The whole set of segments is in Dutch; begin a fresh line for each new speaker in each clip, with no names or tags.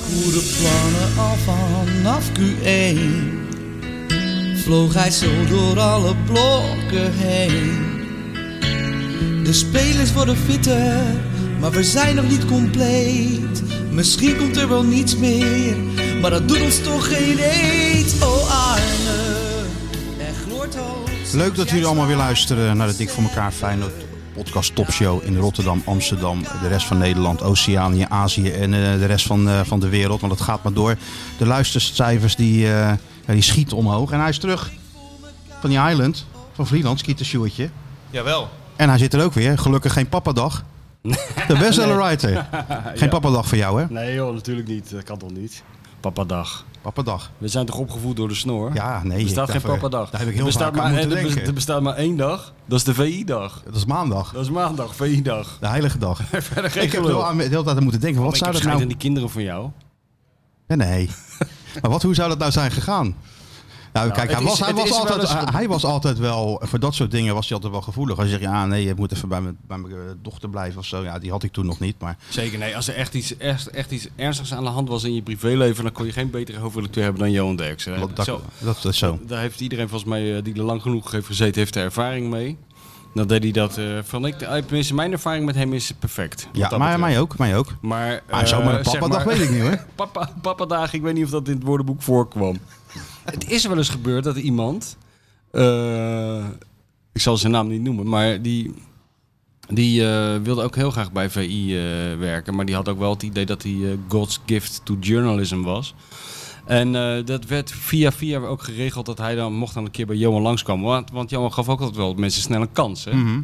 goede plannen al vanaf Q1 Vloog hij zo door alle blokken heen De spelers worden fitter, maar we zijn nog niet compleet Misschien komt er wel niets meer, maar dat doet ons toch geen eet Oh Arne, er gloort hoop
Leuk dat jullie allemaal weer luisteren naar de Dik voor elkaar Feyenoord podcast topshow in Rotterdam, Amsterdam, de rest van Nederland, Oceanië, Azië en eh, de rest van, eh, van de wereld. Want het gaat maar door. De luistercijfers die, eh, ja, die schieten omhoog. En hij is terug van die island, van Vlieland, skietersjoertje.
Jawel.
En hij zit er ook weer. Gelukkig geen papadag. De bestseller writer. Geen papadag voor jou hè?
Nee joh, natuurlijk niet. Dat kan toch niet? Papadag.
Papadag.
We zijn toch opgevoed door de snor?
Ja, nee.
Er bestaat
ik-
geen
daarvoor-
papadag.
Daar heb ik
Er
heel
bestaat
vaak aan
maar,
moeten
er bes-
denken.
Er bestaat maar één dag. Dat is de VI-dag.
Dat is maandag.
Dat is maandag, VI-dag.
De heilige dag.
Verder geen
Ik heb er
gelul.
wel aan de hele tijd aan moeten denken. Wat
Ik
zou
heb
dat nou...
schijt aan die kinderen van jou.
Nee, nee. maar wat, hoe zou dat nou zijn gegaan? Nou, kijk,
het
hij
is-
was, hij,
het
was
is wel
altijd,
eens-
hij- hij was altijd wel, voor dat soort dingen was hij altijd wel gevoelig. Als je zegt, ja, nee, je moet even bij mijn, bij mijn eh, dochter blijven of zo. Ja, die had ik toen nog niet, maar
Zeker, nee. Als er echt iets, echt, echt iets ernstigs aan de hand was in je privéleven, dan kon je geen betere hoofdredacteur hebben dan Johan Derksen.
dat, dat,
Zo,
dat is zo.
daar heeft iedereen volgens mij eh, die er lang genoeg heeft gezeten, heeft er ervaring mee. Dan deed hij dat eh, van ik, eh, tenminste, mijn ervaring met hem is perfect. wat
Ja,
dat
maar
betreft.
mij ook, mij ook.
Maar,
Ah, Maar zomaar een
eh, zeg
papa, dag
maar-
weet ik niet hoor.
Papa, papa dagen, ik weet niet of dat in het woordenboek voorkwam. het is wel eens gebeurd dat iemand, eh, ik zal zijn naam niet noemen, maar die, die eh, wilde ook heel graag bij VI eh, werken. Maar die had ook wel het idee dat hij eh, God's gift to journalism was. En eh, dat werd via via ook geregeld dat hij dan mocht dan een keer bij Johan langskomen. Want, want Johan gaf ook altijd wel mensen snel een kans. Hè?
Mhm.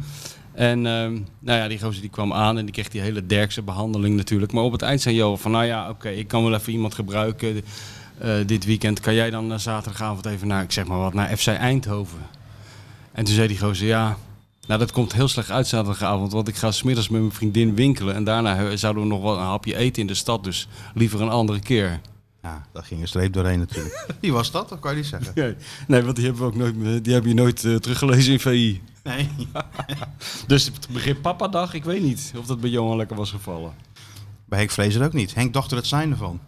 En ehm, nou ja, die gozer die kwam aan en die kreeg die hele derkse behandeling natuurlijk. Maar op het eind zei Johan van, nou ja, oké, ik kan wel even iemand gebruiken eh, dit weekend. Kan jij dan eh, zaterdagavond even naar, ik zeg maar wat, naar FC Eindhoven? En toen zei die gozer, ja, nou dat komt heel slecht uit zaterdagavond. Want ik ga smiddags met mijn vriendin winkelen. En daarna eh, zouden we nog wel een hapje eten in de stad. Dus liever een andere keer.
Ja, daar ging een streep doorheen natuurlijk. Wie was dat? Dat kan je niet zeggen.
Nee, want die hebben we ook nooit, eh, die heb je nooit teruggelezen in VI.
Nee.
Dus het begrip papadag, ik weet niet of dat bij Johan lekker was gevallen.
Bij Henk Vrezer ook niet. Henk dacht er het zijn ervan.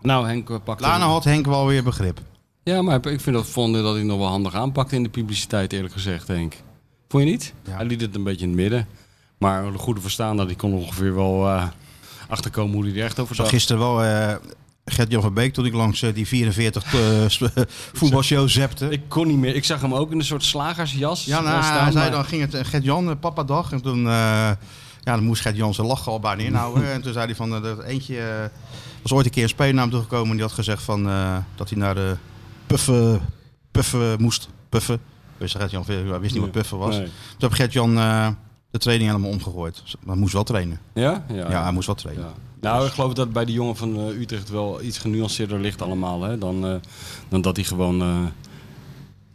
Nou, Henk eh, pakte.
Daarna had Henk wel weer begrip.
Ja, maar ik vind dat vonden dat hij nog wel handig aanpakte in de publiciteit, eerlijk gezegd, Henk. Vond je niet?
Ja.
Hij liet het een beetje in het midden. Maar een goede verstaander, die kon ongeveer wel eh, achterkomen hoe hij er echt over
zag
zag.
gisteren wel eh Gert-Jan van Beek toen ik langs eh, die 44 eh, voetbalshow zepte.
Ik kon niet meer. Ik zag hem ook in een soort slagersjas.
ja,
eh,
nou,
staan,
hij zei
maar-
dan ging het eh, Gert-Jan, eh, papa dag. En toen, eh, ja, dan moest Gert-Jan zijn lachen al bijna inhouden. en toen zei hij van, eh, dat eentje eh, was ooit een keer een speelnaam toegekomen. En die had gezegd van, eh, dat hij naar de puffen, puffen moest. Puffen. Wist Gert-Jan, veel- hij wist niet wat puffen was.
Nee.
Toen heb Gert-Jan eh, de training helemaal omgegooid. Dus Hij moest wel trainen.
Ja?
Ja,
Ja.
hij moest wel trainen.
Ja. Nou, ik geloof dat het bij de jongen van eh, Utrecht wel iets genuanceerder ligt allemaal, hè, dan, eh, dan dat hij gewoon... eh,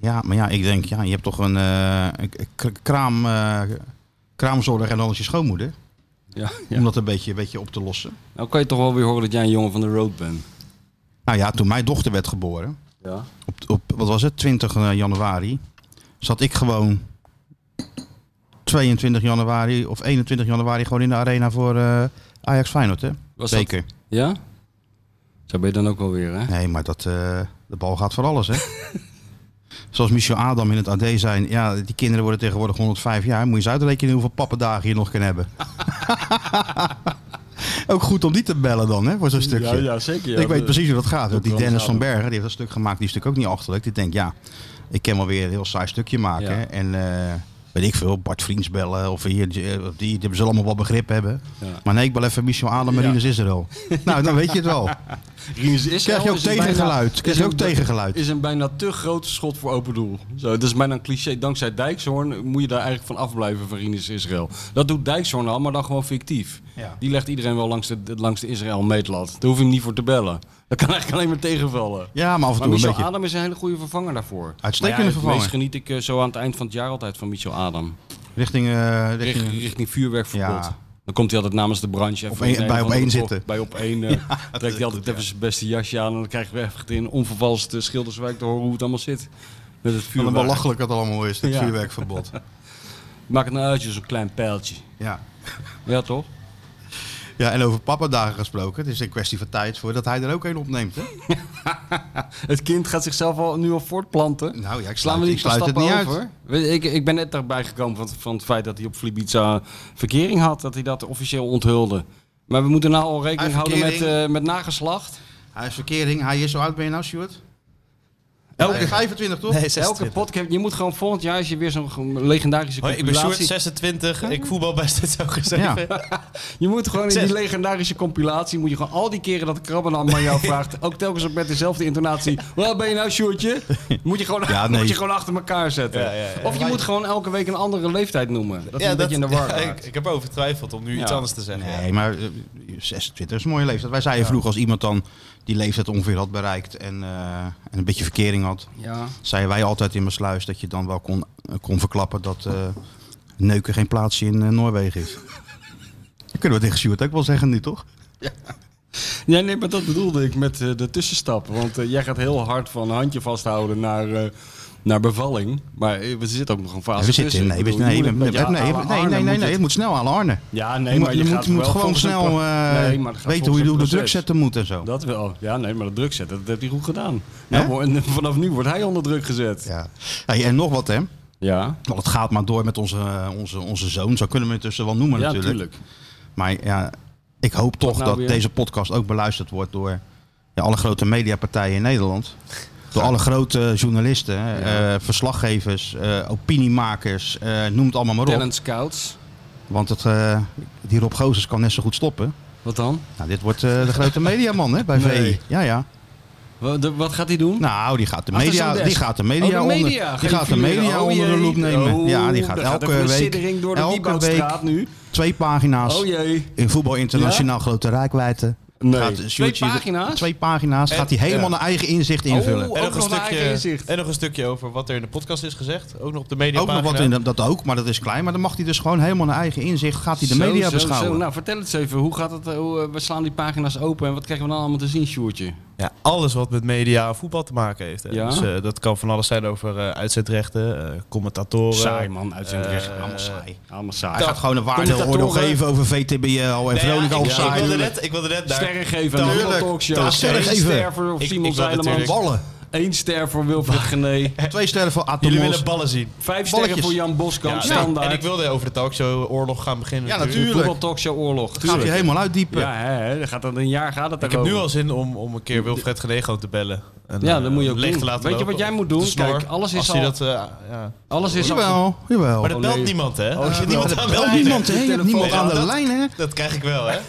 Ja, maar ja, ik denk, ja, je hebt toch een, eh, een k- kraam, eh, kraamzorg en dan is je schoonmoeder.
ja, ja.
Om dat een beetje, een beetje op te lossen.
Nou kan je toch wel weer horen dat jij een jongen van de road bent.
Nou ja, toen mijn dochter werd geboren,
Ja.
op, op wat was het, 20 eh, januari, zat ik gewoon 22 januari of 21 januari gewoon in de arena voor eh, Ajax Feyenoord, hè?
Was dat-
Zeker.
Ja? Zo ben je dan ook wel weer, hè?
Nee, maar dat, eh, de bal gaat voor alles, hè? Zoals Michel Adam in het AD zei, ja, die kinderen worden tegenwoordig 105 jaar. Moet je eens uitrekenen hoeveel pappendagen je nog kan hebben. Ook goed om die te bellen dan, hè, voor zo'n stukje.
zeker.
ik weet precies hoe dat gaat. Want die
kan
Dennis
gaan.
van Bergen, die heeft dat stuk gemaakt, die is natuurlijk ook niet achterlijk. Die denkt, ja, ik kan wel weer een heel saai stukje maken.
Ja.
En eh, weet ik veel, Bart Vriends bellen of hier, die, die zullen allemaal wel begrip hebben.
Ja.
Maar nee, ik bel even Michel Adam en
Ja.
Rinus Israël. nou, dan weet je het wel.
is
Krijg je ook tegengeluid. Krijg je ook tegengeluid.
Is een bijna te groot schot voor open doel. Zo, dat is bijna een cliché. Dankzij Dijkshoorn moet je daar eigenlijk van afblijven van Rinus Israël. Dat doet Dijkshoorn al, maar dan gewoon fictief.
Ja.
Die legt iedereen wel langs de, langs de Israël-meetlat. Daar hoef je hem niet voor te bellen. Dat kan eigenlijk alleen maar tegenvallen.
Ja, maar af en
Maar
toe een
Michel
beetje.
Adam is een hele goede vervanger daarvoor.
Uitstekende
Maar
vervanger.
Het meest geniet ik eh, zo aan het eind van het jaar altijd van Michel Adam.
Richting, eh, richting,
Richting, richting vuurwerkverbod.
Ja.
Dan komt hij altijd namens de branche. even
Op één-
in een
bij
of
op
andere
één
kroeg,
zitten.
Bij op één eh, trekt hij altijd even zijn beste jasje aan. En dan krijgen we echt in onvervalst eh, Schilderswijk te horen hoe het allemaal zit. Met
Wat
het
een
vuurwerk.
belachelijk dat allemaal is, dit
Ja.
vuurwerkverbod.
Maak het nou uit, je zo'n klein pijltje.
Ja.
Ja, toch?
Ja, en over papadagen gesproken. Het is een kwestie van tijd voordat hij er ook een opneemt. Hè?
Het kind gaat zichzelf al, nu al voortplanten.
Nou ja, ik sluit,
Slaan we die
ik sluit het niet
stappen
uit.
over? Weet je, Ik, ik ben net daarbij gekomen van, van het feit dat hij op Flibiza verkering had. Dat hij dat officieel onthulde. Maar we moeten nou al rekening
Ah,
houden met,
verkering.
eh, met nageslacht.
Hij is verkering. Hij is zo oud ben je nou, Stuart?
Elke,
Eh, 25 toch?
Nee,
elke
26.
podcast, je moet gewoon volgend jaar als je weer zo'n ge- legendarische
Hoi, ik ben Sjoerd,
compilatie...
26. Ik voetbal bij Stedt ook geschreven.
Je moet gewoon in die
Zes.
legendarische compilatie... moet je gewoon al die keren dat krabben aan jou vraagt... ook telkens ook met dezelfde intonatie... Waar ben je nou, Sjoerdje? Moet je gewoon,
Ja, nee.
moet je gewoon achter elkaar zetten.
Ja, ja, ja.
Of je moet gewoon elke week een andere leeftijd noemen. Dat is
Ja,
een beetje in de war
ja, ik,
raakt.
ik heb over getwijfeld om nu
Ja.
iets anders te zeggen.
Nee, maar eh, 26 is een mooie leeftijd. Wij zeiden vroeger als iemand dan die leeftijd ongeveer had bereikt en, eh, en een beetje verkering had,
Ja.
zeiden wij altijd in mijn sluis dat je dan wel kon, eh, kon verklappen dat eh, neuken geen plaatsje in eh, Noorwegen is. Dat kunnen we tegen Stuart ook wel zeggen nu, toch?
Ja, nee, maar dat bedoelde ik met eh, de tussenstap. Want eh, jij gaat heel hard van handje vasthouden naar, eh, naar bevalling. Maar eh, we zitten ook nog een
we
fase
zitten in,
tussen.
nee,
Ik
we,
bedoel, je
nee, we-
moet
nee,
een beetje
nee,
à la
nee, nee,
Arne
nee,
moet
nee,
het-
het moet snel aan Arne.
Ja, nee,
Je moet-
maar
je
gaat
moet, je moet
wel
gewoon
volgens een
snel
pro-
eh,
Nee, maar het gaat
weten hoe
volgens
je
een
de druk
proces.
zetten moet en zo.
Dat wel. Ja, nee, maar dat druk zetten, dat heeft hij goed gedaan.
Ja?
Ja, en vanaf nu wordt hij onder druk gezet. Ja.
Ja. Hey, en nog wat, hè?
Ja,
Want het gaat maar door met onze, eh, onze, onze zoon. Zo kunnen we het tussen wel noemen
natuurlijk.
natuurlijk. Maar ja, ik hoop toch
nou
dat
weer?
deze podcast ook beluisterd wordt door ja, alle grote mediapartijen in Nederland. Door alle grote journalisten, eh, verslaggevers, eh, opiniemakers, eh, noem het allemaal maar op.
Talent scouts.
Want het, eh, die Rob Gozers kan net zo goed stoppen.
Wat dan?
Nou, dit wordt eh, de grote mediaman hè, bij
Nee.
VI. Ja, ja.
Wa- de- Wat gaat hij doen?
Nou, die gaat de
Achter
media,
zo'n desk.
die gaat de media,
Oh, de media.
onder, die
Geen
gaat de
figuren.
media
Oh,
onder de
jee.
loep nemen.
Oh,
ja, die
daar
gaat
gaat
elke
even een
week,
siddering door de
elke week
Wieboudstraat nu.
twee pagina's.
Oh jee.
In voetbal internationaal grote rijkwijde.
Nee.
Gaat
Twee
Sjoerdje-
pagina's?
Twee pagina's.
En-
gaat hij helemaal
ja.
naar eigen inzicht invullen.
Oh, ook nog naar eigen inzicht.
en nog een stukje over wat er in de podcast is gezegd. Ook nog op de media.
ook nog wat in de- dat ook, maar dat is klein. Maar dan mag hij dus gewoon helemaal naar eigen inzicht. Gaat hij de
Zo,
media
zo,
beschouwen.
zo. Nou, vertel het eens even. Hoe gaat het? eh, Hoe, eh, we slaan die pagina's open en wat krijgen we dan allemaal te zien, Sjoerdje?
Ja, alles wat met media en voetbal te maken heeft. hè.
Ja.
Dus eh, dat kan van alles zijn over eh, uitzendrechten, eh, commentatoren.
Saai, man. Uitzendrecht.
eh,
Allemaal saai.
Allemaal saai.
Hij gaat gewoon een waardeoordeel
Commentatoren.
geven over VTBL en
Nee, ja,
Veronica
ik, ik, wilde
Offside.
net, ik wilde net daar...
Sterren geven aan de
Tuurlijk.
voetbaltalkshow.
Ja, sterren
Eén
geven.
ster voor
Ik-
Simon
ik wil natuurlijk-
Zeilemans.
Ballen.
Eén ster voor Wilfried Gené.
Twee sterren voor
Jullie
Atomos.
willen ballen zien.
Vijf sterren
Balletjes.
voor Jan Boskamp.
Ja, nee,
Standaard.
En ik wilde over de talkshow oorlog gaan beginnen.
Ja,
De
natuurlijk.
voetbaltalkshow oorlog.
Gaat hij helemaal uitdiepen.
Ja, hè, hè, dan gaat dat een jaar gaat het
Ik heb nu
daarover.
al zin om, om een keer Wilfred Genego te bellen. En,
Ja,
eh,
dat moet je ook
leeg
doen.
te laten
Weet je
lopen
wat jij
op
moet doen?
de snor,
Kijk, alles is
als hij
al-
Dat, eh, ja.
Alles is al...
Jawel, jawel.
Maar dat
nee.
belt niemand, hè? Er
Oh,
zit
nee.
niemand
Dat
aan de
Belt
lijn.
niemand, hè? Je hebt niemand
Ja,
aan de
dat-
lijn, hè?
Dat krijg ik wel, hè?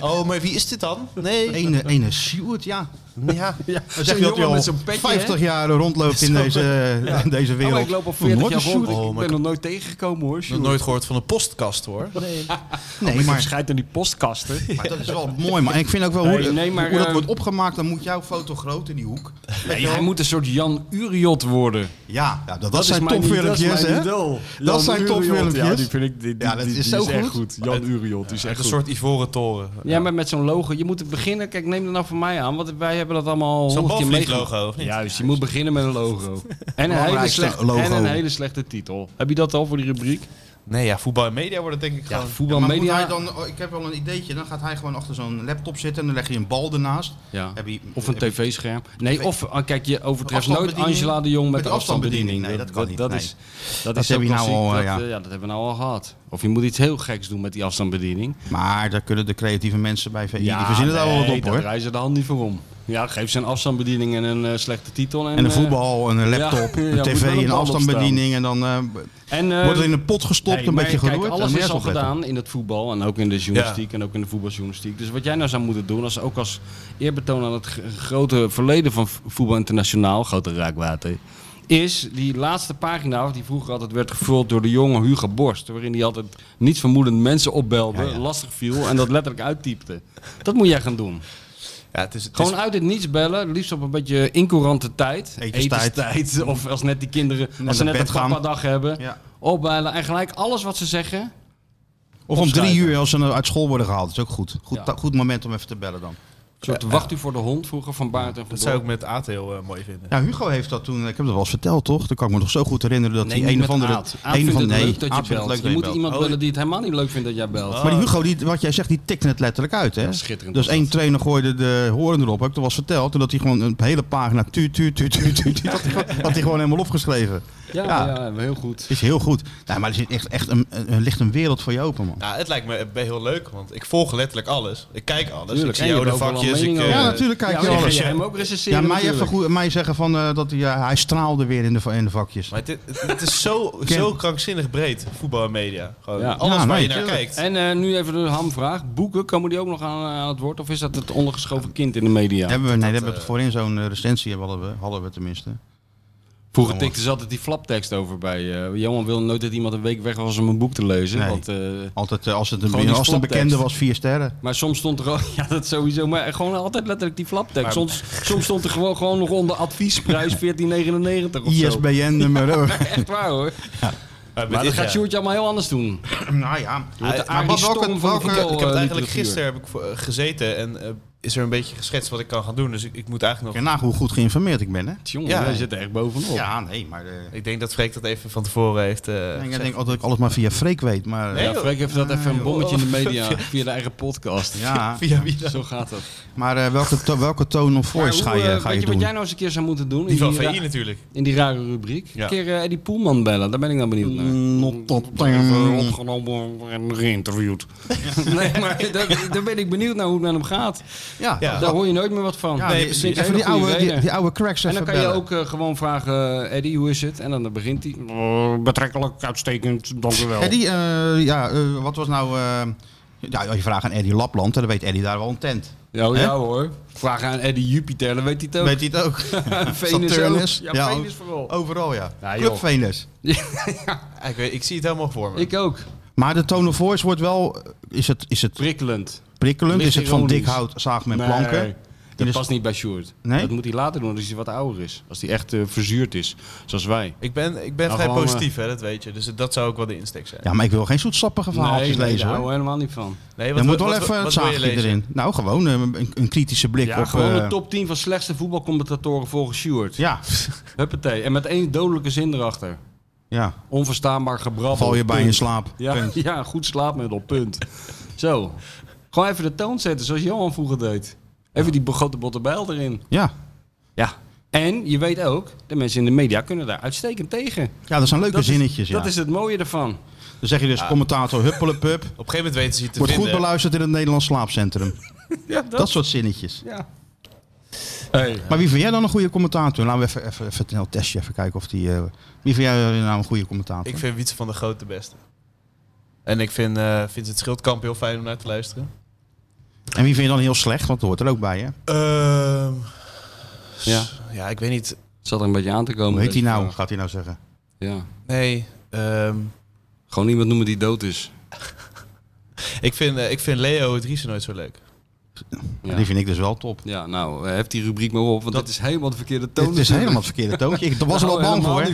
Oh, maar wie is dit dan? Nee.
Ene, ene Sjoerd, ja.
Ja.
Ja,
Dan
zo'n
zeg je dat hij
jongen
al
met zo'n petje, hè?
50 jaar rondloopt in deze, in deze
Oh,
wereld.
maar ik loop al
Nooit
40
een
jaar rond.
Sjoerd.
Oh,
Ik
maar
ben
ik-
nog nooit tegengekomen, hoor.
Nog nooit gehoord van een postkast, hoor.
Nee, Oh, maar
schijt aan die postkasten.
Maar dat is wel mooi, man. En ik vind ook wel hoe,
Nee, nee, maar,
hoe dat
eh,
wordt opgemaakt, dan moet jouw foto groot in die hoek.
Nee, hij moet een soort Jan Uriot worden.
Ja, ja dat, dat,
is
zijn
mijn-
topfilmpjes,
Dat is mijn
hè?
idool.
Dat zijn
Jan Uriot.
topfilmpjes.
Ja, die vind ik die, die,
Ja, dat
die-
is
die
zo
echt
goed.
goed. Jan Uriot, die is echt
Echt een
goed.
soort ivoren toren.
Ja, maar met zo'n logo. Je moet beginnen. Kijk, neem dat nou van mij aan. Want wij hebben dat allemaal al
Zo'n
honderd keer
balvlieg
meegemaakt.
logo, of niet?
Juist, je moet beginnen met een logo. En een, hele
Belangrijkste
slechte,
logo.
en een hele slechte titel. Heb je dat al voor die rubriek?
Nee, ja, voetbal en media worden denk ik
Ja,
gewoon...
Ja,
voetbal,
maar moet
media.
hij dan, oh, ik heb wel een ideetje, dan gaat hij gewoon achter zo'n laptop zitten en dan leg je een bal ernaast.
Ja.
Heb je-
Of een
heb je-
tv-scherm. Nee, of ah, kijk, je overtreft nooit
afstandsbediening.
Angela de Jong met,
Met
de
de
afstandsbediening.
afstandsbediening. Nee, dat kan niet.
Dat,
Nee.
is, dat,
Dat
is
heb
zo
je nou
klassiek.
al, eh,
dat,
ja.
eh, ja, dat hebben we nou al gehad. Of je moet iets heel geks doen met die afstandsbediening.
Maar daar kunnen de creatieve mensen bij VI, die verzinnen daar wel
nee,
wat op,
daar
hoor.
draaien ze de hand niet voor om. Ja, geef ze een afstandsbediening en een eh, slechte titel. En,
En een
eh,
voetbal, en een laptop,
ja,
een
moet
tv,
wel een
een
bal
afstandsbediening en dan eh,
en, eh,
wordt er in een pot gestopt,
nee,
een
maar
beetje
kijk,
geroerd.
Alles
Dan moet je
is al
echt opletten.
gedaan in het voetbal en ook in de journalistiek en ook in de voetbaljournalistiek. Dus wat jij nou zou moeten doen, als, ook als eerbetoon aan het g- grote verleden van v- voetbal internationaal, grote raakwater, is die laatste pagina, die vroeger altijd werd gevuld door de jonge Hugo Borst, waarin hij altijd niet vermoedend mensen opbelde,
Ja, ja.
lastig viel en dat letterlijk uittypte. Dat moet jij gaan doen.
Ja, het is, het is-
Gewoon uit het niets bellen, liefst op een beetje incoherante tijd.
Etenstijd.
Of als net die kinderen, als ze
naar
net een
bed gaan.
papa-dag hebben.
Ja.
Opbellen en gelijk alles wat ze zeggen.
Of om drie
Opschrijven.
uur als ze uit school worden gehaald, dat is ook goed. Goed,
Ja.
ta- goed moment om even te bellen dan.
soort wacht u voor de hond vroeger van Baart en van
Dat zou ik
Dorp.
met Aad heel eh, mooi vinden.
Ja, Hugo heeft dat toen, ik heb dat wel eens verteld toch? Dan kan ik me nog zo goed herinneren dat
Nee,
hij
niet
een of
met
andere...
Aad. Aad
een
vindt
van,
het
nee,
leuk dat je
Aad vindt Oh. het
belt.
leuk
je
dat
moet
belt.
iemand
Oh,
bellen die het helemaal niet leuk vindt dat jij belt.
Maar die Hugo, die, wat jij zegt, die tikte het letterlijk uit. Hè?
schitterend
dus
was dat.
één trainer gooide de horen erop, heb ik er was verteld. Toen dat hij gewoon een hele pagina tuur, tuur, tuur, tuur, tuur, tuur, had hij gewoon- had hij gewoon helemaal opgeschreven.
Ja,
Ja.
ja. heel goed.
Het is heel goed. Nou, maar er zit echt, echt een, een, er ligt een wereld voor je open, man.
Nou, het lijkt me eh, heel leuk, want ik volg letterlijk alles. Ik kijk alles.
Tuurlijk,
ik zie
en
oude
je hebt ook wel
vakjes.
een
Ik,
mening
eh,
Ja, natuurlijk kijk
ja,
je
maar
alles.
ga
Ja,
jij hem ook recenseren
ja, mij, even
natuurlijk.
goed, mij zeggen van, eh, dat hij, ja, hij straalde weer in de, in de vakjes.
Maar het, is- het is zo, zo krankzinnig breed, voetbal en media. Gewoon
Ja.
alles
Ja,
waar
nee,
je naar
tuurlijk.
kijkt.
En eh, nu even de hamvraag. Boeken, komen die ook nog aan, aan het woord? Of is dat het ondergeschoven kind in de media?
hebben we, nee, hebben we voorin zo'n eh, recensie hadden we, hadden we tenminste.
Vroeger tikte ze altijd die flaptekst over bij. eh, Johan wil nooit dat iemand een week weg was om een boek te lezen.
Nee.
Want, eh,
Altijd eh, als het
Gewoon
een,
die
als het een
stoptekst.
bekende was, vier sterren.
maar soms stond er ook, ja dat sowieso, maar gewoon altijd letterlijk die flaptekst. Soms, soms stond er gewoon, gewoon nog onder adviesprijs 14,99 of zo.
ISBN-nummer.
Echt waar hoor.
Maar
Maar
dit
dat gaat
jaar-
Sjoerdje allemaal heel anders doen.
nou ja.
wordt de
Maar
Arie
wat-
Storm
welke-
van de
welke-
voetbal,
Ik heb
eh,
het eigenlijk
literatuur.
gisteren heb ik voor- eh, gezeten en eh, is er een beetje geschetst wat ik kan gaan doen. Dus ik, ik moet eigenlijk
Kijk
nog...
na nou, hoe goed geïnformeerd ik ben, hè?
Jongen,
Ja.
wij zitten echt bovenop.
Ja, nee, maar... eh,
Ik denk dat Freek dat even van tevoren heeft eh,
ik denk- ik
gezegd.
denk altijd dat ik alles maar via Freek weet, maar... eh,
Nee,
Ja,
joh.
Freek heeft dat even een bommetje in de media via de eigen podcast.
Ja,
Via wie dan?
Zo gaat dat.
maar eh, welke, to- welke tone of voice
Maar
ga
hoe,
je,
eh,
ga
weet
je
wat
doen?
jij nou eens een keer zou moeten doen?
Die van
in die
VI
ra-
natuurlijk.
in die rare rubriek.
Ja.
Een keer eh, Eddie Poelman bellen, daar ben ik dan benieuwd
Mm,
naar.
Not mm. op-
nou- Even opgenomen en geïnterviewd. nee, maar dat- daar ben ik benieuwd naar hoe het met hem gaat.
Ja,
Ja.
Daar hoor je nooit meer wat van.
Ja,
Nee,
die-
precies.
die- even
Hele
die
goede
oude, die,
reden.
die oude cracks
en
even
dan kan je
bellen.
ook eh, gewoon vragen, eh, Eddie, hoe is het? En dan begint hij. "Eh, Betrekkelijk uitstekend, dank u wel.
Eddie, eh, ja, eh, wat was nou... eh, ja, als je vraagt aan Eddie Lapland, dan weet Eddie daar wel een tent.
Ja,
Hè?
ja hoor. Vraag aan Eddie Jupiter, dan weet hij het ook.
Weet hij het ook?
Venus
Saturnus?
ook. Ja,
Ja,
Venus vooral.
Overal, ja.
Ja, joh.
Club Venus.
Ik, weet- ik zie het helemaal voor me.
Ik ook.
Maar de tone of voice wordt wel... Is het, is het
Prikkelend.
prikkelend?
Licht
Is het van
ironisch.
dik hout, zaag met
Nee,
planken?
Dat
Dus-
past niet bij Sjoerd.
Nee?
Dat moet hij later doen als hij wat ouder is. Als hij echt eh, verzuurd is, zoals wij.
Ik ben, ik ben
Nou,
vrij
gewoon,
positief, hè, dat weet je. Dus dat zou ook wel de insteek zijn.
eh, Ja, maar ik wil geen zoetsappige verhaaltjes
nee, nou, eh,
lezen,
daar
hoor.
houden we helemaal niet van.
Nee,
Er moet wel
wat-
even
wat
het
wil je
zaagje
lezen?
erin. Nou, gewoon eh, een, een kritische blik
Ja,
op...
gewoon
eh,
de top 10 van slechtste voetbalcommentatoren volgens Sjoerd.
Ja,
Huppatee. En met één dodelijke zin erachter.
ja.
Onverstaanbaar gebrabbel.
Val je bij in
punt.
slaap.
Ja,
Punt.
ja, goed slaapmiddel, punt. Zo. Gewoon even de toon zetten, zoals Johan vroeger deed. Even die grote botte bijl erin.
Ja.
Ja. En je weet ook, de mensen in de media kunnen daar uitstekend tegen.
ja, dat zijn leuke
Dat is-
zinnetjes. ja.
Dat is het mooie ervan.
Dan zeg je dus commentator huppelepup.
Op een gegeven moment weten ze je te
Wordt goed
vinden.
beluisterd in het Nederlands slaapcentrum.
Ja,
Dat soort zinnetjes.
Ja. Hey.
Maar wie vind jij dan een goede commentator? Laten we even, even, even een heel testje even kijken of die... eh, wie vind jij eh, nou een goede commentator?
Ik vind Wietse van der Groot de beste. En ik vind eh Vincent Schildkamp heel fijn om naar te luisteren.
En wie vind je dan heel slecht? Want dat hoort er ook bij, hè?
Ehm,
Ja.
ja, ik weet niet.
Zat er een beetje aan te komen.
Hoe heet hij
deze
nou?
vraag.
Gaat hij nou zeggen?
Ja.
Nee. ehm,
Gewoon iemand noemen die dood is.
ik, vind, eh, ik vind Leo het Riesen nooit zo leuk.
Ja.
Die vind ik dus wel top.
Ja, nou, eh, heft die rubriek maar op, want dat is helemaal de verkeerde toon.
Dit is helemaal het verkeerde toontje. Ik was er al bang voor. hè?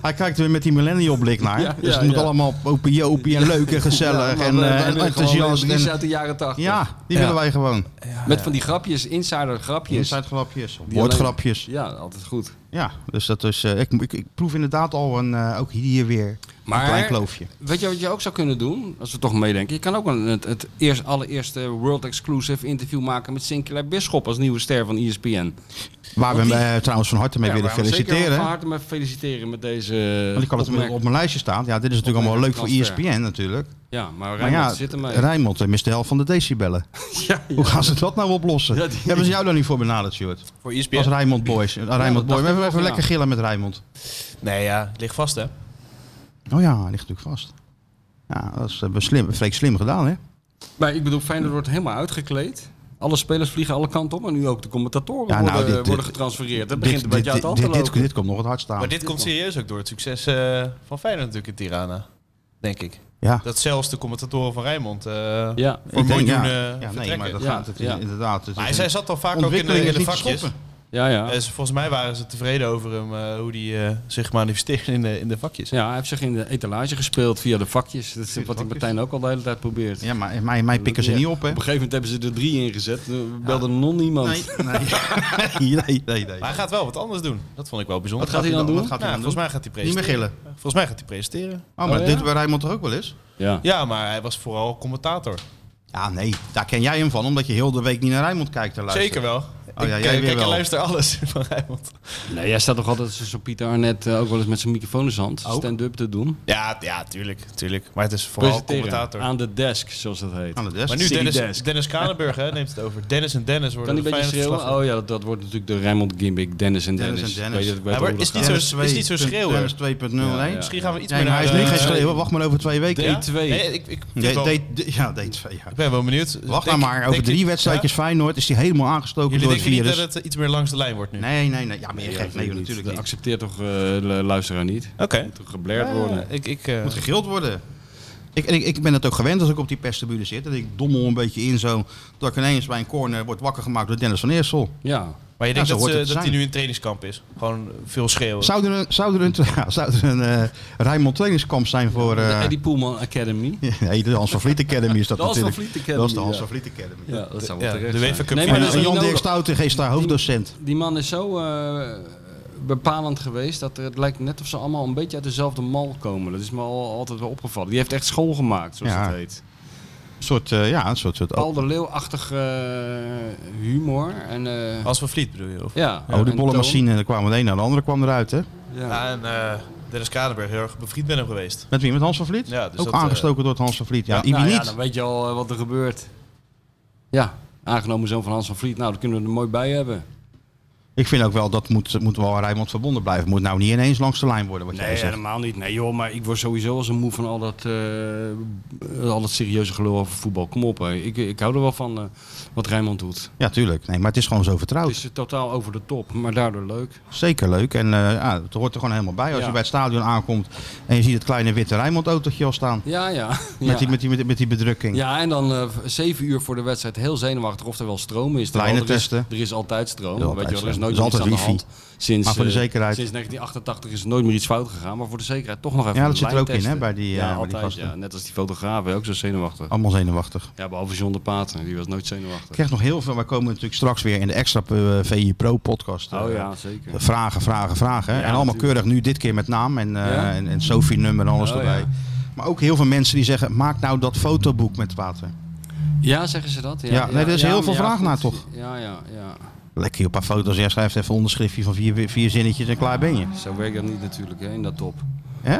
Hij kijkt er weer met die millennial blik naar.
Ja,
dus
ja,
het moet
ja.
allemaal opie, opie en leuk en gezellig en, eh, en enthousiast.
Ries
En,
uit de jaren 80.
ja, die
Ja.
willen wij gewoon.
Met van die grapjes, insider grapjes.
Insidegrapjes,
Die
woordgrapjes.
Ja, altijd goed.
Ja, dus dat is. eh, ik, ik, ik proef inderdaad al een, eh, ook hier weer een klein
Maar
kloofje.
weet je wat je ook zou kunnen doen, als we toch meedenken? Je kan ook een, het, het eerst, allereerste World Exclusive interview maken met Sinclair Bisschop als nieuwe ster van E ESPN.
Waar we hem eh, trouwens van harte mee
Ja,
willen
waar we hem Zeker eh,
feliciteren.
van harte mee feliciteren met deze.
Want ik had het
opmerking.
op mijn lijstje staan. Ja, dit is natuurlijk allemaal leuk voor E
transfer.
ESPN natuurlijk.
Ja, maar
Maar
Rijnmond
ja,
zit ermee.
Rijnmond eh, mist de helft van de decibellen.
ja, ja.
Hoe gaan ze dat nou oplossen?
Ja, die-
Hebben ze jou daar niet voor benaderd, Stuart?
Voor E
Als
ESPN?
Rijnmond Boys. Eh, Rijnmond Boys.
dat dacht
We
ik
hebben
nog,
even
ja.
lekker gillen met Rijnmond.
Nee, ja. het Ligt vast, hè?
Nou, Oh ja, hij ligt natuurlijk vast. Ja, dat is eh, slim, Freek slim gedaan, hè?
Maar ik bedoel, Feyenoord wordt helemaal uitgekleed. Alle spelers vliegen alle kanten op en nu ook de commentatoren
Ja, nou,
worden,
dit- dit-
worden getransfereerd. Dat begint een beetje uit de hand
dit,
te
dit,
lopen.
dit, komt nog het hard staan.
Maar dit komt serieus ook door het succes eh, van Feyenoord natuurlijk in Tirana. Denk ik.
ja.
Dat zelfs de commentatoren van Rijnmond eh,
ja.
voor
Ik denk,
miljoenen
ja. Ja, nee,
vertrekken.
maar dat
eh, Ja,
gaat het
ja.
inderdaad. Het is
Maar
een-
zij zat al vaak ook in de,
ontwikkeling
in
is
de
niet te
vakjes.
stoppen.
Ja, ja.
En ze- volgens mij waren ze tevreden over hem, eh, hoe die eh, zich manifesteerde in de, in de vakjes.
Ja, hij heeft zich in de etalage gespeeld via de vakjes. Dat is
Via de
wat ik
vakjes.
Martijn ook al de hele tijd probeert.
Ja, maar mij, mij pikken ze
Ja.
niet op,
Op
hè?
een gegeven moment hebben ze er drie ingezet. Er belde non niemand.
Nee, nee, nee. nee, nee.
Maar hij gaat wel wat anders doen. Dat vond ik wel bijzonder.
Wat gaat hij dan doen?
Wat gaat
Nou,
hij dan
volgens
doen?
mij gaat hij
Niet meer
presenteren.
gillen.
Volgens mij gaat hij presenteren.
Oh, maar
Oh,
dit
ja?
waar Rijmond toch ook wel eens?
Ja.
Ja, maar hij was vooral commentator.
Ja, nee. Daar ken jij hem van, omdat je heel de week niet naar Rijmond kijkt te luisteren.
Zeker wel.
Oh ja,
ik,
jij weer
eh, kijk, en
wel.
luister alles van Rijmond.
Nee, jij staat toch altijd zo Pieter Arnett eh, ook wel eens met zijn microfoon in zijn hand.
Ook?
Stand-up te doen.
Ja, ja, tuurlijk, tuurlijk. Maar het is vooral commentator.
Aan de desk, zoals dat heet.
Aan de desk.
Maar nu
City
Dennis,
desk.
Dennis Kranenburg hè, neemt het over. Dennis en Dennis
Kan
worden
die
de
een beetje
fijne
schreeuwen? Oh ja, dat, dat wordt natuurlijk de Raymond gimmick. Dennis en Dennis.
Dennis en Dennis.
Weet je, ik weet
Hij
wel
wordt-
hoe dat
is
dus
gaat.
niet zo- is niet zo schreeuwen.
Dennis 2.0, nee.
Oh, Ja, ja.
Misschien gaan we iets
Nee,
meer
maar
naar...
hij is nu
eh,
geen schreeuwen. Wacht maar over twee weken.
ja?
D2.
Nee, ik, ik, vind
Ja,
wel-
D- D- ja, D2, ja.
ik ben wel benieuwd.
Wacht nou
Denk-
maar. Over
denk-
drie wedstrijdjes
Ja?
Feyenoord is hij helemaal aangestoken
Jullie
door het
denken niet
virus.
dat het eh, iets meer langs de lijn wordt nu?
Nee, nee, nee. Ja, meer
Ja,
gek. Nee,
niet.
natuurlijk
Dat
niet.
accepteert toch eh, de luisteraar niet?
Oké.
Moet toch geblerd worden?
Ja, ik, ik, eh,
moet gegild worden. Ik, en ik, ik ben het ook gewend als ik op die perstribune zit. Dat ik dommel een beetje in zo. Dat ik ineens bij een corner word wakker gemaakt door Dennis van Eersel.
Ja.
maar je denkt
zo
dat,
hoort
ze,
het te
dat hij
zijn.
nu in trainingskamp is? Gewoon veel schreeuwen.
Zou er een, zou er een, ja, zou er een eh, Rijnmond trainingskamp zijn voor...
De
eh,
Eddie Poelman Academy.
nee, de Hans van Vliet Academy is dat
De Hans van
natuurlijk.
Vliet Academy,
Dat is de Hans
ja.
van Vliet Academy.
Ja, dat zou wel
Ja,
terecht
de
zijn.
UEFA Cup
Nee, maar
En
dat is
eh,
niet
Jan Dirk
nodig.
Stouten is daar hoofddocent.
Die man is zo eh, bepalend geweest dat er- het lijkt net of ze allemaal een beetje uit dezelfde mal komen. Dat is me al, altijd wel opgevallen. Die heeft echt school gemaakt, zoals
Ja.
dat heet.
Een soort, eh, ja, een soort... soort
Paul de Leeuw-achtig eh, humor. En, eh,
Als van Vliet bedoel je? Of?
ja,
oh, die
en toon.
bollenmachine. Er kwam de een naar de andere kwam eruit, hè?
Ja.
Ja, en eh, Dennis Kranenburg heel erg bevriend met hem geweest.
Met wie? Met Hans van Vliet?
Ja, dus
ook
dat, eh,
aangestoken door het Hans van Vliet. Ja,
ja,
Ibi
Nou ja,
niet.
dan weet je al eh, wat er gebeurt. Ja, aangenomen zoon van Hans van Vliet. Nou, dat kunnen we er mooi bij hebben.
Ik vind ook wel, dat moet, moet wel aan Rijnmond verbonden blijven. Moet nou niet ineens langs de lijn worden, wat jij zegt.
helemaal niet. Nee joh, maar ik word sowieso als een moe van al dat, eh, al dat serieuze gelul over voetbal. Kom op, hè. Ik, ik hou er wel van eh, wat Rijnmond doet.
Ja, tuurlijk. Nee, maar het is gewoon zo vertrouwd.
Het is eh, totaal over de top, maar daardoor leuk.
Zeker leuk. En eh, ja, het hoort er gewoon helemaal bij. Als
Ja.
je bij het stadion aankomt en je ziet het kleine witte Rijnmond-autootje al staan.
Ja, ja.
Met,
ja.
die, met, die, met, die- met die bedrukking.
ja, en dan eh, zeven uur voor de wedstrijd heel zenuwachtig of er wel stroom is. Terwijl
Lijnen
er is-
testen.
dus Er is altijd stroom.
Er is altijd
Weet je, wel, er is
stroom.
nooit
Er is
iets aan
altijd
de hand. Sinds,
Maar voor de
eh,
zekerheid.
Sinds 1988 is er nooit meer iets fout gegaan. Maar voor de zekerheid toch nog even
Ja, dat
de
zit er
lijn
ook in, hè,
testen.
bij die, eh, bij
ja,
die
altijd,
gasten.
ja. Net als die fotograaf, hè, ook zo zenuwachtig.
Allemaal zenuwachtig.
Ja, behalve John de Paten, die was nooit
Ik
zenuwachtig.
krijg nog heel veel. Wij komen natuurlijk straks weer in de extra eh, VI Pro podcast. eh,
Oh ja, zeker.
Vragen, vragen, vragen.
Ja,
en allemaal
natuurlijk.
keurig nu dit keer met naam en, eh,
Ja?
en, en Sophie-nummer en alles
Oh,
erbij.
ja.
Maar ook heel veel mensen die zeggen, maak nou dat fotoboek met water.
Ja, zeggen ze dat? Ja,
Ja, nee, er is heel
maar
veel vraag
goed.
naar, toch?
Ja, ja, ja.
Lekker je een paar foto's. Jij schrijft even een onderschriftje van vier, vier zinnetjes en klaar ben je.
Zo werkt dat niet natuurlijk, hè, in dat top.
Hè?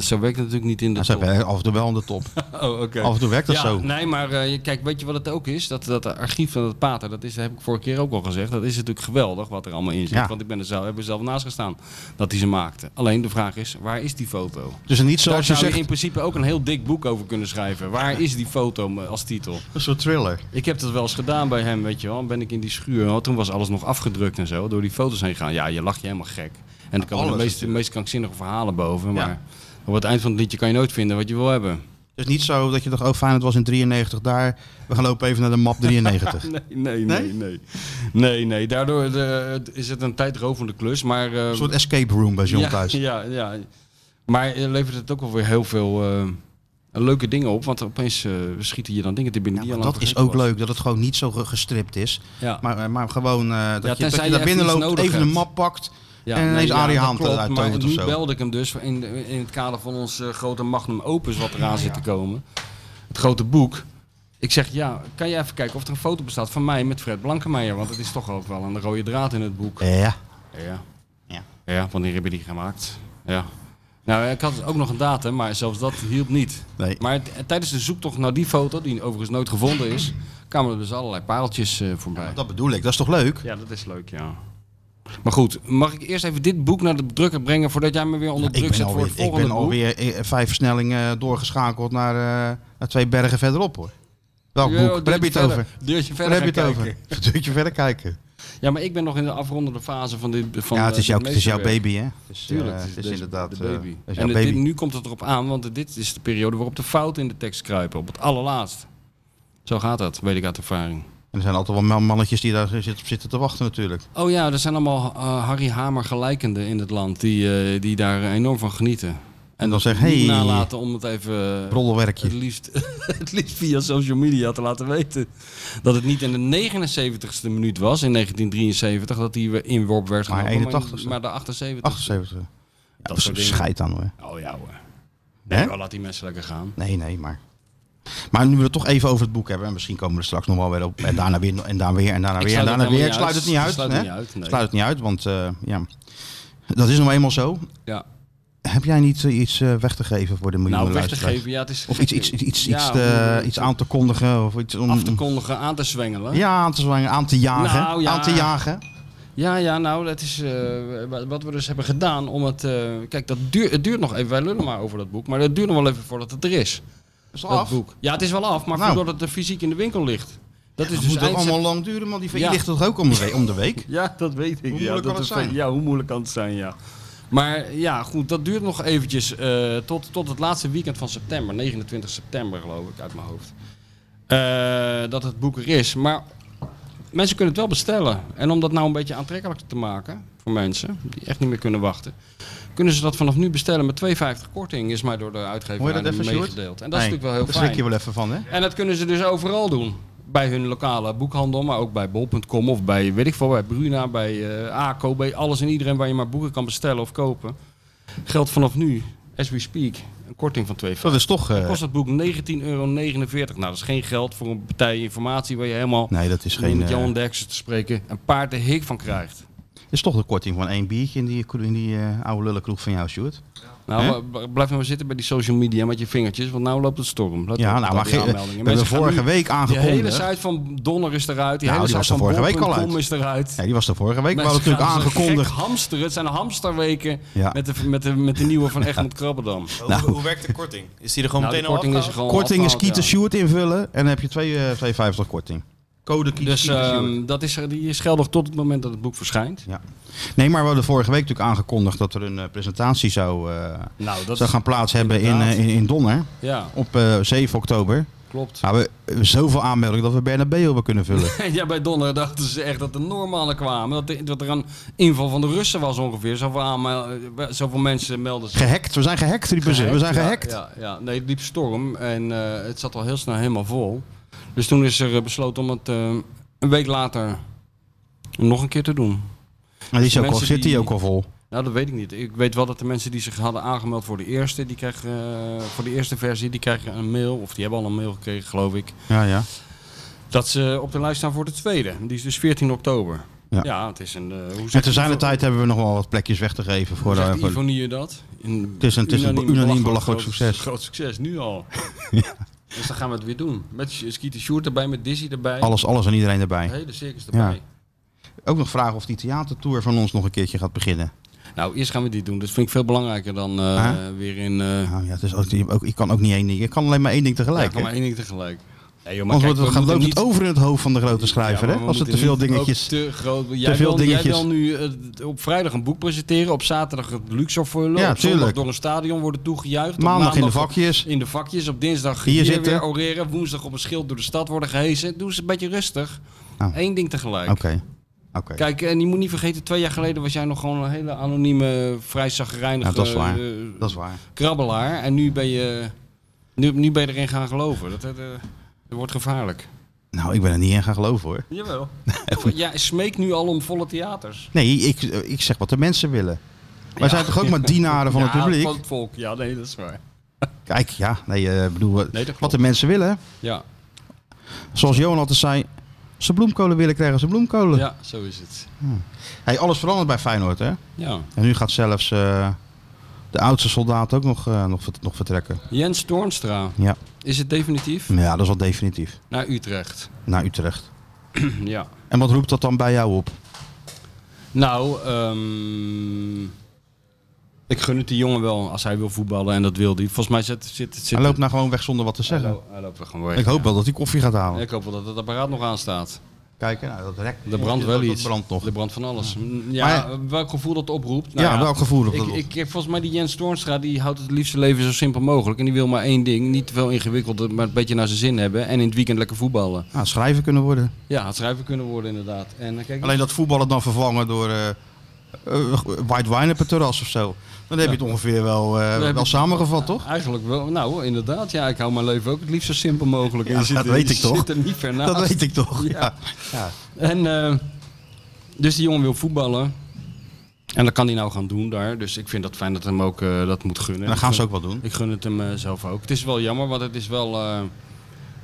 Zo werkt het natuurlijk niet in de
Dat
top.
zijn wij af en toe wel aan de top.
Oh, oké.
Af en toe werkt dat
ja,
zo.
Nee, maar eh, je- kijk, weet je wat het ook is? Dat, dat archief van het Pater, dat, is, dat heb ik vorige keer ook al gezegd. Dat is natuurlijk geweldig wat er allemaal in zit.
Ja.
Want ik ben er zelf, heb er zelf naast gestaan dat hij ze maakte. Alleen de vraag is, waar is die foto?
Dus niet
Daar
zoals je
zou je
zegt,
in principe ook een heel dik boek over kunnen schrijven. Waar is die foto m- als titel?
een soort thriller.
Ik heb dat wel eens gedaan bij hem, weet je wel. Dan Ben ik in die schuur. want toen was alles nog afgedrukt en zo. Door die foto's heen gaan. Ja, je lacht je helemaal gek. En dan komen de
alles
meest, de meest krankzinnige verhalen boven.
Ja.
Maar op het eind van het liedje kan je nooit vinden wat je wil hebben.
Dus niet zo dat je dacht, oh fijn, het was in 93 daar. We gaan lopen even naar de map 93.
Nee, nee, nee, nee. Nee, nee. Daardoor eh, is het een tijdrovende klus. Maar, eh,
Een soort escape room bij John
ja,
thuis.
Ja, ja. Maar eh, levert het ook wel weer heel veel eh, leuke dingen op. Want opeens eh, schieten je dan dingen te
Ja,
binnen die
maar
je al
dat is
lang
ook
vergeten
leuk, dat het gewoon niet zo ge- gestript is.
was. Ja.
Maar, eh, maar gewoon eh, dat, je, dat
tenzij
je
je
daar
echt
binnen
iets
loopt,
nodig
even een
hebt.
map pakt.
Ja,
en ineens Arie
dat
Haan
klopt,
eruit
maar
tovert of
nu
zo.
belde ik hem dus in, in het kader van ons eh, grote magnum opus wat eraan zit te komen. Het grote boek. Ik zeg, ja, kan jij even kijken of er een foto bestaat van mij met Fred Blankenmeijer? Want het is toch ook wel een rode draad in het boek.
Ja,
Ja.
Ja.
Ja, wanneer heb je die gemaakt? Ja. Nou, ik had ook nog een datum, maar zelfs dat hielp niet.
nee.
Maar t- tijdens de zoektocht naar die foto, die overigens nooit gevonden is, kwamen er dus allerlei pareltjes eh, voorbij.
Dat bedoel ik, dat is toch leuk?
Ja, dat is leuk, ja. Maar goed, mag ik eerst even dit boek naar de drukker brengen voordat jij me weer onder
Ik
druk
ben
zet voor het
alweer, ik
volgende
ben
boek?
alweer eh, vijf versnellingen doorgeschakeld naar, eh, naar twee bergen verderop hoor. Welk
Ja,
boek? Daar heb je het
deurtje
over.
verder- Deurtje
Daar
verder
heb je het
gaan
over.
kijken.
Een deurtje verder kijken.
Ja, maar ik ben nog in de afrondende fase van dit van
ja, het
eh,
is, jouw,
dit
het is jouw
meesterwerk.
baby, hè? Het is,
Tuurlijk,
eh,
het is
het is
deze-
inderdaad
de
eh,
baby.
het is jouw
en het-
baby.
dit- nu komt het erop aan, want dit is de periode waarop de fouten in de tekst kruipen. Op het allerlaatst. Zo gaat dat, weet ik uit ervaring.
En er zijn altijd wel mannetjes die daar zitten, op zitten te wachten natuurlijk.
Oh ja, er zijn allemaal eh, Harry Hamer gelijkenden in het land die, eh, die daar enorm van genieten.
En dan zeg
niet
hey,
nalaten om het even eh,
Rollenwerkje.
het liefst, het liefst via social media te laten weten. Dat het niet in de 79ste minuut was in 1973 dat hij weer in Worp werd
Maar
genomen.
81ste.
Maar, maar de 78ste.
78. Ja, dat
soort
is
dingen.
scheid aan hoor.
Oh ja hoor.
Hè?
Nee, wel, laat die mensen lekker gaan.
Nee, nee, maar. Maar nu we het toch even over het boek hebben, en misschien komen we er straks nog wel weer op. En daarna weer, en daarna weer, en daarna
Ik
weer, en
sluit
daarna
het
nou weer. Ik
helemaal
sluit het niet
niet
uit.
uit. Ik sluit het
hè?
niet uit, nee.
Ik sluit het niet uit, want eh, ja. Dat is nou eenmaal zo.
Ja.
Heb jij niet eh, iets eh, weg te geven voor de miljoenen
Nou, weg te
luisteraars?
geven. Ja, het is
Of iets, iets, iets,
Ja,
iets,
om-
te- iets aan te kondigen? Of iets om,
af te kondigen, aan te zwengelen.
ja, aan te zwangen, aan te jagen.
Nou, ja.
Aan te jagen.
Ja, ja, nou, dat is eh, wa- wat we dus hebben gedaan om het... eh, kijk, dat duur, het duurt nog even, wij lullen maar over dat boek, maar dat duurt nog wel even voordat het er is.
Is
Dat boek. Ja, het is wel af, maar
Nou.
voordat het er fysiek in de winkel ligt. Dat is
Het
dus
moet ook
eind
allemaal lang duren, man. Die van
Ja.
ligt toch ook om de, we- om de week?
Ja, dat weet ik.
Hoe
ja,
moeilijk
dat
kan het
is wel-
zijn?
Ja, hoe moeilijk kan het zijn, ja. Maar ja, goed, dat duurt nog eventjes eh, tot, tot het laatste weekend van september. 29 september, geloof ik, uit mijn hoofd. Eh, dat het boek er is. Maar mensen kunnen het wel bestellen. En om dat nou een beetje aantrekkelijk te maken voor mensen die echt niet meer kunnen wachten, kunnen ze dat vanaf nu bestellen met 2,50 korting, is mij door de
Hoor je
uitgever
dat
aan hem
even, Sjoerd?
meegedeeld. En dat is
Nee,
natuurlijk wel heel
Daar
fijn.
schrik je wel even van, hè?
En dat kunnen ze dus overal doen. Bij hun lokale boekhandel, maar ook bij bol.com of bij, weet ik veel, bij Bruna, bij eh, ACO, bij alles en iedereen waar je maar boeken kan bestellen of kopen. Geldt vanaf nu, as we speak, een korting van 2,50.
Dat is toch... eh,
Kost het boek 19,49 euro. Nou, dat is geen geld voor een partij informatie waar je helemaal,
nee, dat is
om
geen...
met
eh,
Johan Derksen te spreken, een paard de hik van krijgt.
is toch de korting van één biertje in die, in die eh, oude lullenkroeg van jou, Sjoerd?
Nou,
Hè?
b- b- blijf nou maar zitten bij die social media met je vingertjes, want nou loopt het storm. Let
Ja, nou,
op met
maar
al die
ge-
aanmeldingen.
we hebben
Mensen gaan nu-
vorige week
De hele
aangekondigd.
site van Donner is eruit. Die
Nou,
hele
die was
site
er
van
vorige week al
bol.com is eruit.
Ja, die was er vorige week. We
Mensen
hadden natuurlijk
gaan als een
aangekondigd.
gek hamsteren. Het zijn hamsterweken
Ja.
met, de, met, de, met de nieuwe van Egmond Krabbendam.
Hoe,
Nou.
hoe werkt de korting? Is die er gewoon
Nou, de
meteen al
korting is er
afgehaald?
gewoon
Korting is
afgehaald,
Kieter
ja.
Sjoerd invullen. En dan heb je twee, eh, 2,50 korting. Code Kieter
Dus
Sjoerd.
ehm, dat is, er- die is geldig tot het moment dat het boek verschijnt.
Ja. Nee, maar we hadden vorige week natuurlijk aangekondigd dat er een eh, presentatie zou, eh,
Nou, dat
zou gaan plaats hebben in,
inderdaad.
eh, in, in Donner.
ja,
Op eh, 7 oktober.
klopt.
Nou, we hebben zoveel aanmeldingen dat we Bernabeu hebben kunnen vullen.
Ja, bij Donner dachten ze echt dat de Noormannen kwamen. Dat, de- dat er een inval van de Russen was ongeveer. Zoveel, aanmel- eh, zoveel mensen melden zich.
gehackt. We zijn gehackt, riepen ze. Dus, eh, We zijn
Ja,
gehackt.
Ja, ja, nee, het liep storm en eh, het zat al heel snel helemaal vol. Dus toen is er eh, besloten om het eh, een week later nog een keer te doen.
Maar die is ook al,
Mensen
zit die
die-
ook al vol.
Nou, dat weet ik niet. Ik weet wel dat de mensen die zich hadden aangemeld voor de eerste, die krijgen, eh, voor de eerste versie, die krijgen een mail, of die hebben al een mail gekregen, geloof ik,
Ja, ja.
dat ze op de lijst staan voor de tweede. Die is dus 14 oktober.
Ja.
Ja, het is een... eh, hoe zegt
En
die-
te zijn de tijd hebben we nog wel wat plekjes weg te geven voor,
Hoe
eh,
zegt
voor-
Ivonie dat? Een
Het is een- het is een unaniem belachelijk
groot-
succes.
Groot succes, nu al. Dus dan gaan we het weer doen. Met Skeeter Sjoerd erbij, met Dizzy erbij.
alles, alles en iedereen erbij.
De hele circus erbij.
Ook nog vragen of die theatertour van ons nog een keertje gaat beginnen.
Nou, eerst gaan we dit doen. Dat vind ik veel belangrijker dan eh,
Huh?
weer in... eh
Nou ja, het is ook, je- ook, ik kan ook niet één ding. Ik kan alleen maar één ding
ja,
tegelijk.
kan
hè?
maar één ding tegelijk. Nee, joh, maar
Anders wordt
kijk,
het,
we
gaat,
moeten
loopt
niet-
het over in het hoofd van de grote schrijver.
Ja,
hè?
maar we
Als er te
moeten
veel
niet
dingetjes.
ook Te groot. Jij,
veel
wil,
dingetjes.
jij wil nu eh, op vrijdag een boek presenteren, op zaterdag het Luxor vullen,
Ja,
op zondag
tuurlijk.
door een stadion worden toegejuicht. op
Maandag in de
op-
vakjes.
in de vakjes. Op dinsdag
Hier
hier,
zitten.
weer oreren. Woensdag op een schild door de stad worden gehesen. Doe eens een beetje rustig.
Oh.
Eén ding tegelijk.
Oké. Oké.
Kijk, en je moet niet vergeten, twee jaar geleden was jij nog gewoon een hele anonieme, vrij zagrijnige
Ja, dat is waar.
eh,
Dat is waar.
krabbelaar. En nu ben je, nu, nu ben je erin gaan geloven. Dat, dat, eh, dat wordt gevaarlijk.
Nou, ik ben er niet in gaan geloven hoor.
Jawel. Jij smeekt nu al om volle theaters.
Nee, ik, eh, ik zeg wat de mensen willen. Wij zijn toch ook maar dienaren van het
Ja,
publiek?
Van het volk, ja, nee, dat is waar.
Kijk, ja, nee, eh, ik bedoel, eh,
dat klopt.
wat de mensen willen.
Ja,
Zoals Johan altijd zei, als ze bloemkolen willen, krijgen ze bloemkolen.
ja zo is het.
Hey, alles verandert bij Feyenoord, hè?
Ja.
En nu gaat zelfs eh, de oudste soldaat ook nog, eh, nog, vert- nog vertrekken.
Jens Toornstra,
Ja.
is het definitief?
ja, dat is al definitief.
Naar Utrecht.
Naar Utrecht.
ja.
En wat roept dat dan bij jou op?
Nou, ehm, ik gun het die jongen wel als hij wil voetballen en dat wil hij. Volgens mij zit... zit, zit Oh,
Hij loopt nou gewoon weg zonder wat te
hij
zeggen.
lo- hij loopt er gewoon weg.
Ik hoop
ja.
wel dat hij koffie gaat halen.
Ik hoop wel dat het apparaat nog aanstaat.
kijken. Nou, dat rek,
Er brandt wel
dat
iets.
brandt nog.
Er brandt van alles. Mm, Ja,
Maar-
welk gevoel dat oproept. Nou
ja, welk gevoel op dat op?
Ik, ik, volgens mij die Jens Toornstra, die houdt het liefste leven zo simpel mogelijk. En die wil maar één ding, niet te veel ingewikkeld, maar een beetje naar zijn zin hebben. En in het weekend lekker voetballen.
Nou, schrijver kunnen worden.
Ja, het schrijven kunnen worden inderdaad. En eh, kijk,
Alleen dat voetballen dan vervangen door eh, eh, white wine op het terras of zo. Dan heb je het ongeveer wel, eh,
heb je
wel
het-
samengevat, toch?
Eigenlijk wel. Nou, inderdaad. Ja, ik hou mijn leven ook het liefst zo simpel mogelijk.
Ja,
Je
dat
zit,
weet
je
ik toch?
zit er niet ver naast.
Dat weet ik toch.
Ja.
Ja. Ja.
En eh, dus die jongen wil voetballen. En dat kan hij nou gaan doen daar. Dus ik vind dat fijn dat hij hem ook eh, dat moet gunnen.
En dat gaan ze ook wel doen.
Ik gun het hem eh, zelf ook. Het is wel jammer, want het is wel eh, eh,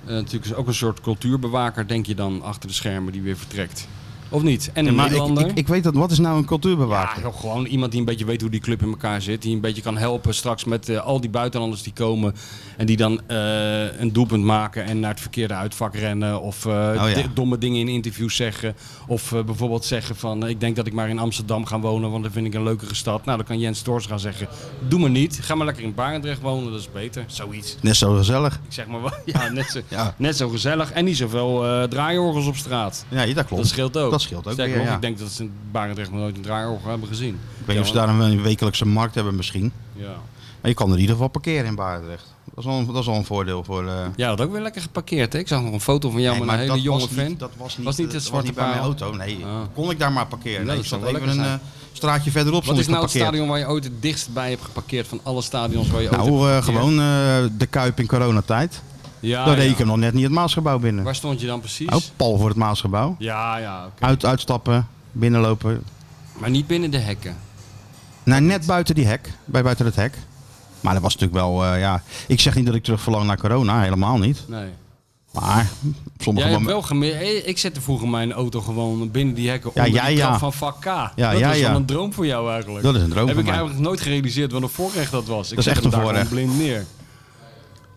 natuurlijk ook een soort cultuurbewaker, denk je dan, achter de schermen die weer vertrekt. Of niet? En een
maar ik,
Nederlander.
ik, ik weet dat. Wat is nou een
ja,
cultuurbewaker?
joh, gewoon iemand die een beetje weet hoe die club in elkaar zit. Die een beetje kan helpen straks met eh, al die buitenlanders die komen. En die dan eh, een doelpunt maken en naar het verkeerde uitvak rennen. Of eh,
Oh ja.
di- domme dingen in interviews zeggen. Of eh, bijvoorbeeld zeggen van eh, ik denk dat ik maar in Amsterdam ga wonen. Want dat vind ik een leukere stad. Nou dan kan Jens Toors gaan zeggen doe me niet. Ga maar lekker in Barendrecht wonen. Dat is beter. Zoiets.
Net zo gezellig.
Ik zeg maar wel. Ja, net zo,
Ja.
Net zo gezellig. En niet zoveel eh draaiorgels op straat.
Ja, dat klopt.
Dat scheelt ook.
Dat scheelt ook
Sterker
weer,
nog,
ja.
ik denk dat ze in Barendrecht nog nooit een draaiorgel hebben gezien.
Ik weet niet of ze daar een wekelijkse markt hebben misschien.
Ja.
Maar je kan er in ieder geval parkeren in Barendrecht. Dat is al, dat is al een voordeel voor... eh,
Ja, dat ook weer lekker geparkeerd. Hè? Ik zag nog een foto van jou
nee,
met een
maar
hele
dat
jonge
was
fan.
Niet, dat was niet,
Was niet
eh,
het
dat
zwarte
was niet bij mijn
paal?
auto. Nee,
Ah.
kon ik daar maar parkeren.
dat
Nee, ik
zou
zat
wel
even een
lekker
eh, straatje verderop.
Wat
stond
is
ik
nou het
geparkeerd.
stadion waar je ooit het dichtst bij hebt geparkeerd van alle stadions waar je ooit
Nou, eh,
hebt geparkeerd?
gewoon eh, de Kuip in coronatijd.
Ja,
Daar
Ah, ja.
reed ik hem nog net niet het Maasgebouw binnen.
Waar stond je dan precies?
Oh, pal voor het Maasgebouw.
Ja, ja. oké.
Uit, uitstappen, binnenlopen.
Maar niet binnen de hekken.
Nou, net buiten die hek. Bij buiten het hek. Maar dat was natuurlijk wel, eh, ja... Ik zeg niet dat ik terug verlang naar corona, helemaal niet.
Nee.
Maar op sommige
Jij
momenten...
hebt wel geme- Hey, Ik zette vroeger mijn auto gewoon binnen die hekken
Ja,
onder
jij,
die trap
ja.
van vak K. Ja, dat
jij,
was
ja.
wel een droom voor jou eigenlijk.
Dat is een droom
Heb
voor
ik
mij.
eigenlijk nooit gerealiseerd wat een voorrecht dat was. Ik
Dat is
zet
echt
hem
een
daar gewoon
voorrecht.
blind neer.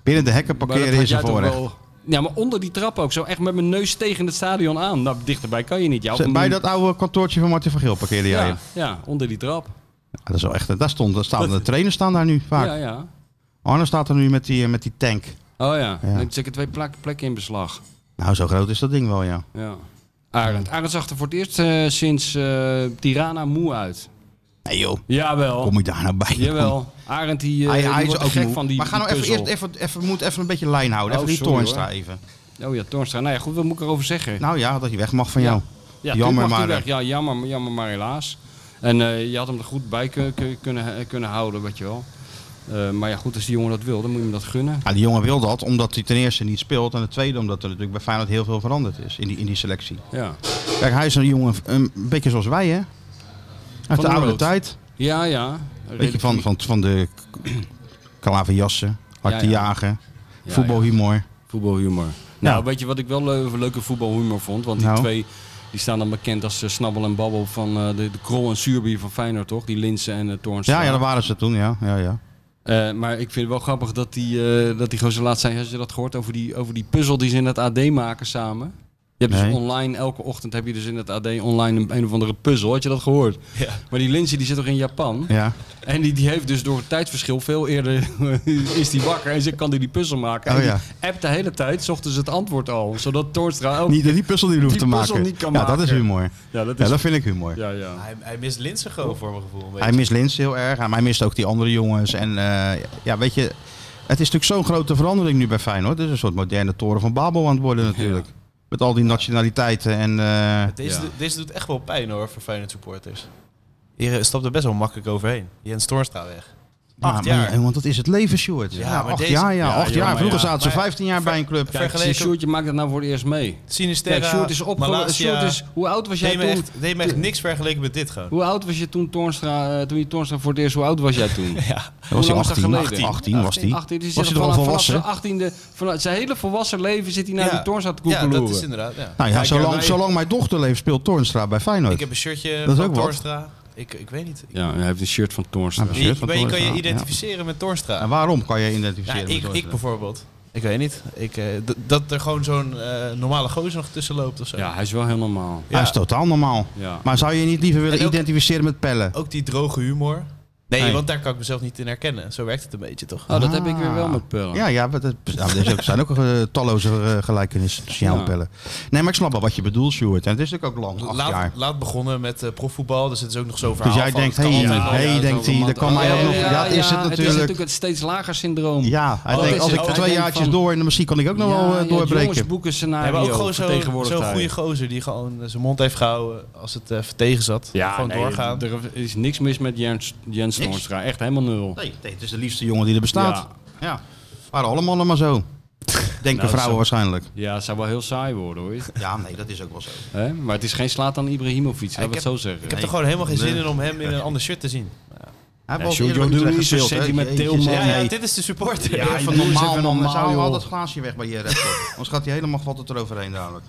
Binnen de hekken
Maar dat
parkeren
had
is een
jij toch
voorrecht.
wel- Ja, maar onder die trap ook. Zo echt met mijn neus tegen het stadion aan. Nou, dichterbij kan je niet. Ja, op een-
Bij dat oude kantoortje van Martin van Geel parkeerde jij
ja,
in.
ja, onder die trap.
Ja, dat is wel echt... eh, Daar, stond, daar staan, de trainers staan daar nu vaak.
Ja, ja.
Arne staat er nu met die, eh, met die tank.
Oh ja,
Ja.
neemt zeker twee plek, plekken in beslag.
Nou, zo groot is dat ding wel, ja.
Ja. Arend. Arend zag er voor het eerst eh, sinds eh, Tirana moe uit.
Nee joh,
Jawel.
kom je daar nou bij?
Jawel. Arend die, eh
Hij, hij
die
is
wordt
ook
gek
moe.
van die
maar gaan we
die
even eerst
puzzel.
even, even, we moeten even een beetje lijn houden.
Oh,
even die
sorry,
Toornstra even.
Oh ja, Toornstra. Nou ja, goed, wat moet ik erover zeggen?
Nou ja, dat je weg mag van
Ja.
jou.
ja,
jammer,
tuurlijk mag
maar,
die
eh,
Weg. Ja, jammer, maar- jammer, maar helaas. En eh, je had hem er goed bij kun- kun- kunnen, eh, kunnen houden, weet je wel. Eh, maar ja, goed, als die jongen dat wil, dan moet je hem dat gunnen.
Ja, die jongen wil dat omdat hij ten eerste niet speelt. En ten tweede omdat er natuurlijk bij Feyenoord heel veel veranderd is in die, in die selectie.
Ja,
Kijk, hij is een jongen, een beetje zoals wij hè. Uit
de
de oude
rood.
tijd.
ja. ja.
Weet je, van, van, van de klaverjassen, hard
Ja,
te
ja.
jagen,
Ja,
voetbalhumor.
Voetbalhumor. Nou, weet je wat ik wel leu- leuke voetbalhumor vond? Want die
Nou.
twee die staan dan bekend als eh, Snabbel en Babbel van eh, de, de Krol en Zuurbier van Feyenoord, toch? Die Linsen en uh, Toornstra.
Ja, ja, dat waren ze toen, ja. ja, ja.
Eh, maar ik vind het wel grappig dat die, eh, dat die gozer laatst zei, had je dat gehoord? Over die, over die puzzel die ze in het AD maken samen. Je hebt
Nee.
dus online, elke ochtend heb je dus in het AD online een, een of andere puzzel. Had je dat gehoord?
Ja.
Maar die Linsen die zit toch in Japan?
ja.
En die, die heeft dus door het tijdsverschil veel eerder is die wakker en ze kan die, die puzzel maken.
Oh
en die
ja.
appt de hele tijd, zocht dus het antwoord al. Zodat Toornstra ook...
Niet die puzzel die hoeft
Die
te
puzzel
maken.
niet kan
ja, dat
maken.
is humor.
Ja, dat
Ja,
is...
dat vind ik humor.
Ja, ja.
Hij, hij mist Linsen gewoon voor mijn gevoel. een beetje.
Hij mist Lins heel erg, maar hij mist ook die andere jongens. En eh, ja, weet je, het is natuurlijk zo'n grote verandering nu bij Feyenoord. Het is een soort moderne toren van Babel aan het worden natuurlijk. Met al die nationaliteiten en... eh,
Deze,
Ja.
deze doet echt wel pijn hoor voor Feyenoord supporters. Hier eh, stapt er best wel makkelijk overheen. Jens Toornstra weg. Acht
ja, maar-
jaar.
want dat is het leven, Sjoerd.
Ja,
Ja,
maar
acht
deze-
jaar, ja.
ja,
acht
joh,
jaar.
maar
Vroeger
ja.
zaten ze
Maar-
15 jaar bij een club.
Kijk,
Zie, Sjoerdje maakt dat nou voor het eerst mee.
Sinisterra,
Kijk, Sjoerd is opgegroeid.
Malasia,
Sjoerd is... Hoe oud was jij
deed me,
toen?
echt, deed me echt niks vergeleken met dit gewoon.
Hoe oud was je toen Toornstra, eh, toen je Toornstra voor het eerst, hoe oud was jij toen?
Ja.
Dat was hij
lang is dat
18,
geleden?
18, 18 was hij.
18, dus
Was hij
zit er
toch al
vanaf-
volwassen?
Vanaf zijn 18e, vanaf zijn hele volwassen leven zit hij naar
Ja.
die Toornstra te
Ja, dat
koekeloeren.
is inderdaad. Ja.
Nou ja,
Kijk, ja,
zolang,
wij-
zolang mijn dochter leeft speelt Toornstra bij Feyenoord.
Ik heb een shirtje
Dat is
van
ook wat.
Toornstra. Ik, ik weet niet.
Ja, hij heeft een shirt van Toornstra.
Ja,
Je,
precies. shirt van
je kan je
Toornstra,
identificeren met Toornstra.
En waarom kan je
Ja,
identificeren met
ik, ik
Toornstra?
bijvoorbeeld. Ik weet niet. Ik, eh, d- dat er gewoon zo'n eh, normale gozer nog tussen loopt of zo.
Ja, hij is wel heel normaal.
Hij is totaal normaal.
Ja.
Maar zou je niet liever willen
En ook-
identificeren met Pelle?
Ook die droge humor. Nee,
Nee.
want daar kan ik mezelf niet in herkennen. Zo werkt het een beetje, toch?
Oh, dat heb ik weer wel met pellen.
Ah. Ja, ja maar dat, nou, er zijn- er zijn ook eh, talloze eh, gelijkenissen tussen jou en
Ja.
Pelle. Nee, maar ik snap wel wat je bedoelt, Sjoerd. En het is natuurlijk ook lang, Oh, acht jaar.
Laat, laat begonnen met eh, profvoetbal, dus het is ook nog zo
Dus
verhaal
jij
van,
denkt,
het
hé,
kan
hey,
altijd wel.
hey,
Oh, ja,
denkt
zo
hij, dat
romantisch.
kan mij ook nog... Ja, dat is het
Het is
natuurlijk.
natuurlijk het steeds lager syndroom.
Ja, hij
Oh,
denkt,
is
als
het.
ik
Hij
twee
denkt
jaartjes
van-
door en dan misschien kan ik ook nog wel eh, doorbreken.
boeken
We
scenario
hebben ook gewoon zo'n
vertegenwoordigt
zo'n
hij.
goede gozer die gewoon eh, zijn mond heeft gehouden als het eh tegen zat. gewoon
nee,
doorgaan.
Er is niks mis met Jens, Jens
Niks.
Toornstra. Echt helemaal nul.
Nee, nee, het is de liefste jongen die er bestaat.
Ja.
Ja. Waren alle mannen maar zo. Denken vrouwen
zo.
waarschijnlijk.
Ja, het zou wel heel saai worden hoor.
Nou, Ja, nee, dat is ook wel zo.
Hè? Maar het is geen slaat aan Ibrahimovic, laten we het
heb-
zo zeggen.
Ik heb er gewoon helemaal geen zin
Nee.
in om hem in een ander shirt te zien.
Hij
Ja, Sjoerd, joh, doe niet zo'n sentimenteel man.
Ja,
Ja,
ja, dit is de supporter.
ja,
even
van normaal
normaal,
man. Dan zou
joh.
al dat glaasje weg bij je rechter. Anders gaat hij helemaal wat het eroverheen dadelijk.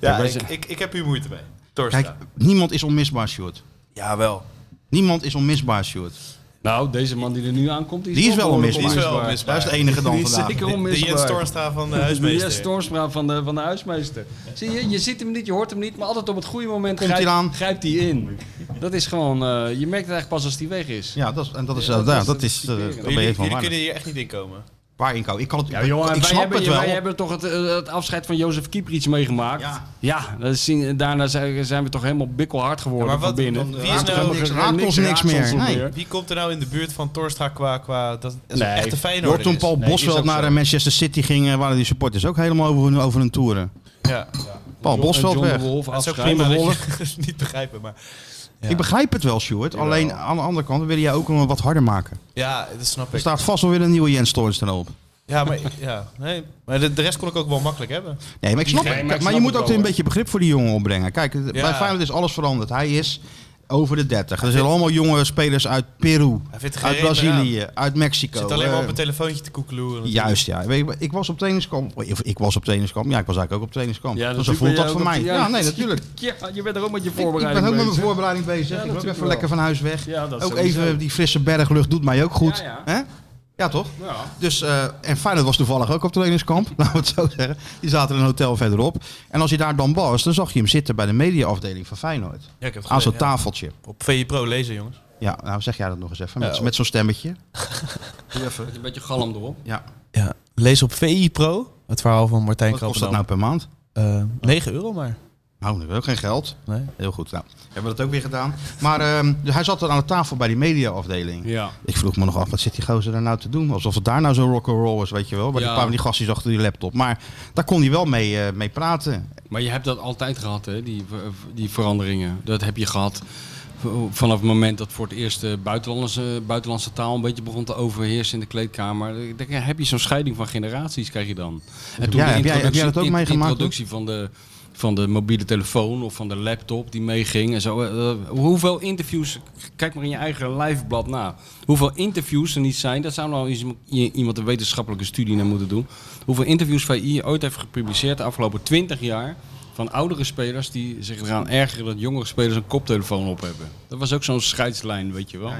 Ja,
maar
ik,
ze-
ik, ik heb hier moeite mee. Torstra.
Kijk, niemand is onmisbaar, Sjoerd.
Jawel.
Niemand is onmisbaar, Sjoerd.
Nou, deze man die er nu aankomt, die is,
Die is wel onmisbaar.
Die is wel
Hij
onmisbaar.
is de enige dan
Die is
vandaag.
zeker
De, de
onmisbaar.
Jens Torstra van de
De
huismeester.
Jens Toornstra van de, van de huismeester. Zie je, je ziet hem niet, je hoort hem niet, maar altijd op het goede moment
Komt
grijpt-
hij aan?
grijpt hij in. Dat is gewoon, eh, je merkt het eigenlijk pas als hij weg is.
Ja, dat is, en dat is,
Ja,
eh,
dat
ja,
is-
dat
dat
is,
is
eh,
typerend.
daar ben
Jullie,
je van
jullie
waar.
kunnen hier echt niet in komen.
Waar inkomen? Ik kan het,
Ja, jongen,
ik
wij,
snap
hebben,
het wel.
wij hebben toch het, eh, het afscheid van Jozef Kieprits meegemaakt.
Ja.
Ja, dat is, daarna zijn zijn we toch helemaal bikkelhard geworden
Ja, maar
van
wat-
binnen.
dan-
Raakt
Wie is
ons
nou-
niks- raakt ons niks
raakt
meer.
ons
Nee.
meer.
Wie komt er nou in de buurt van Torstra qua... qua dat is
Nee.
een echte
Je hoort
Feyenoord.
toen Paul
Nee, is
Bosveld
ook
naar
zo.
eh, Manchester City ging, eh, waren die supporters ook helemaal over hun, over hun toeren.
Ja.
Paul
John-
Bosveld
John de
weg.
Wolf
Dat is ook
afscheid.
prima dat je het niet begrijpen, maar... Ja.
Ik begrijp het wel, Stuart. Alleen aan de andere kant wil jij ook hem wat harder maken.
Ja, dat snap
Er
ik.
staat vast wel weer een nieuwe Jens Toornstra op.
Ja, maar, ja, nee. maar de, de rest kon ik ook wel makkelijk hebben.
Nee, maar ik snap
Nee,
het.
maar ik
maar je
snap
moet
het
ook
wel,
een
hoor.
beetje begrip voor die jongen opbrengen. Kijk, het- bij
Ja.
Feyenoord is alles veranderd. Hij is over de 30. Er zijn allemaal jonge spelers uit Peru,
Hij vindt er geen
uit
reet meer aan.
Brazilië, uit Mexico.
Zit alleen maar op
eh,
een telefoontje te koekeloeren.
Juist, ja. Weet je, maar Ik was op trainingskamp. Of Ik was op trainingskamp. Ja, ik was eigenlijk ook op trainingskamp.
Ja,
dus zo
natuurlijk
voelt dat
ben jij
voor
ook
mij.
op-
Ja,
ja,
nee, natuurlijk. Ik-
Ja, je bent er ook met je
Ik ben ook
voorbereiding
met mijn
bezig.
voorbereiding bezig. ik ben ook
natuurlijk
even
wel.
lekker van huis weg.
Ja, dat
ook
sowieso.
even die frisse berglucht doet mij ook goed.
Ja,
Hè? ja toch?
Ja.
Dus, eh, en Feyenoord was toevallig ook op trainingskamp, laten we het zo zeggen. Die zaten in een hotel verderop. En als je daar dan was, dan zag je hem zitten bij de mediaafdeling van Feyenoord.
Ja, ik heb het
Aan zo'n
gelezen, ja.
tafeltje.
Op VE Pro lezen, jongens.
Ja, nou zeg jij dat nog eens even.
Ja.
Met, met zo'n stemmetje.
Met Een beetje galm erop.
Ja.
Ja. Lees op VI Pro. Het verhaal van Martijn
Wat kost dat nou per maand?
Eh, 9 euro maar.
Nou, dat is ook geen geld.
Nee.
Heel goed. Nou, hebben we dat ook weer gedaan. Maar ehm, dus hij zat er aan de tafel bij die mediaafdeling.
Ja.
Ik vroeg me nog af, wat zit die gozer daar nou te doen? Alsof het daar nou zo rock'n'roll was, weet je wel. Maar die
Ja.
kwamen die gastjes achter die laptop. Maar daar kon hij wel mee, eh, mee praten.
Maar je hebt dat altijd gehad, hè? Die, die veranderingen. Dat heb je gehad v- vanaf het moment dat voor het eerst de buitenlandse, buitenlandse taal een beetje begon te overheersen in de kleedkamer. Ik denk, ja, heb je zo'n scheiding van generaties, krijg je dan. En
jij- heb jij- heb jij dat ook
de in-
meegemaakt,
introductie van de, van de mobiele telefoon of van de laptop die meeging en zo. eh, hoeveel interviews, kijk maar in je eigen lijfblad na. Hoeveel interviews er niet zijn, daar zou nou eens i- iemand een wetenschappelijke studie naar moeten doen. Hoeveel interviews VI ooit heeft gepubliceerd de afgelopen 20 jaar van oudere spelers die zich eraan ergeren dat jongere spelers een koptelefoon op hebben. Dat was ook zo'n scheidslijn, weet je wel.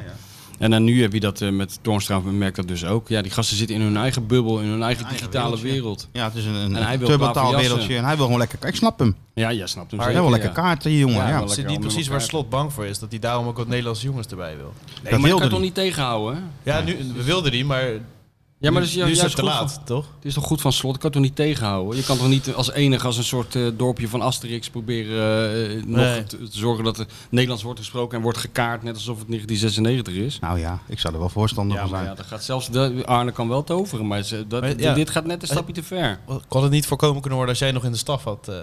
En dan nu heb je dat eh, met Toornstra, merkt dat dus ook. Ja, die gasten zitten in hun eigen bubbel, in hun eigen
Eigen
digitale
wereldje.
wereld.
Ja, het is een,
En hij
een
wil
turbotaal
klaverjassen.
wereldje. En hij wil gewoon lekker... Ik snap hem.
Ja, jij snapt hem
Hij
zeker,
wil wel
ja.
lekker kaarten, die jongen.
Ja,
Ja,
wel
Ik
lekker
zit
onder
niet precies waar
elkaar.
Slot bang voor is. Dat hij daarom ook wat Nederlandse jongens erbij wil.
Nee,
Dat
maar dat
wilde
kan toch
hij.
niet tegenhouden? hè?
Ja, nu, we wilden die, maar
Ja, maar
nu,
dat is, ju-
nu is het
juist
te
goed
laat,
van-
toch?
het is toch goed van slot? Ik kan toch niet tegenhouden? Je kan toch niet als enige, als een soort eh, dorpje van Asterix proberen eh, eh, nog
Nee.
te, te zorgen dat er Nederlands wordt gesproken en wordt gekaart, net alsof het 1996 is?
Nou ja, ik zou er wel voorstander
Ja,
van
maar
zijn.
ja, dat gaat zelfs de, Arne kan wel toveren, maar, ze- dat,
Maar ja.
dit gaat net een stapje te ver.
Kon het niet voorkomen kunnen worden als jij nog in de staf had eh,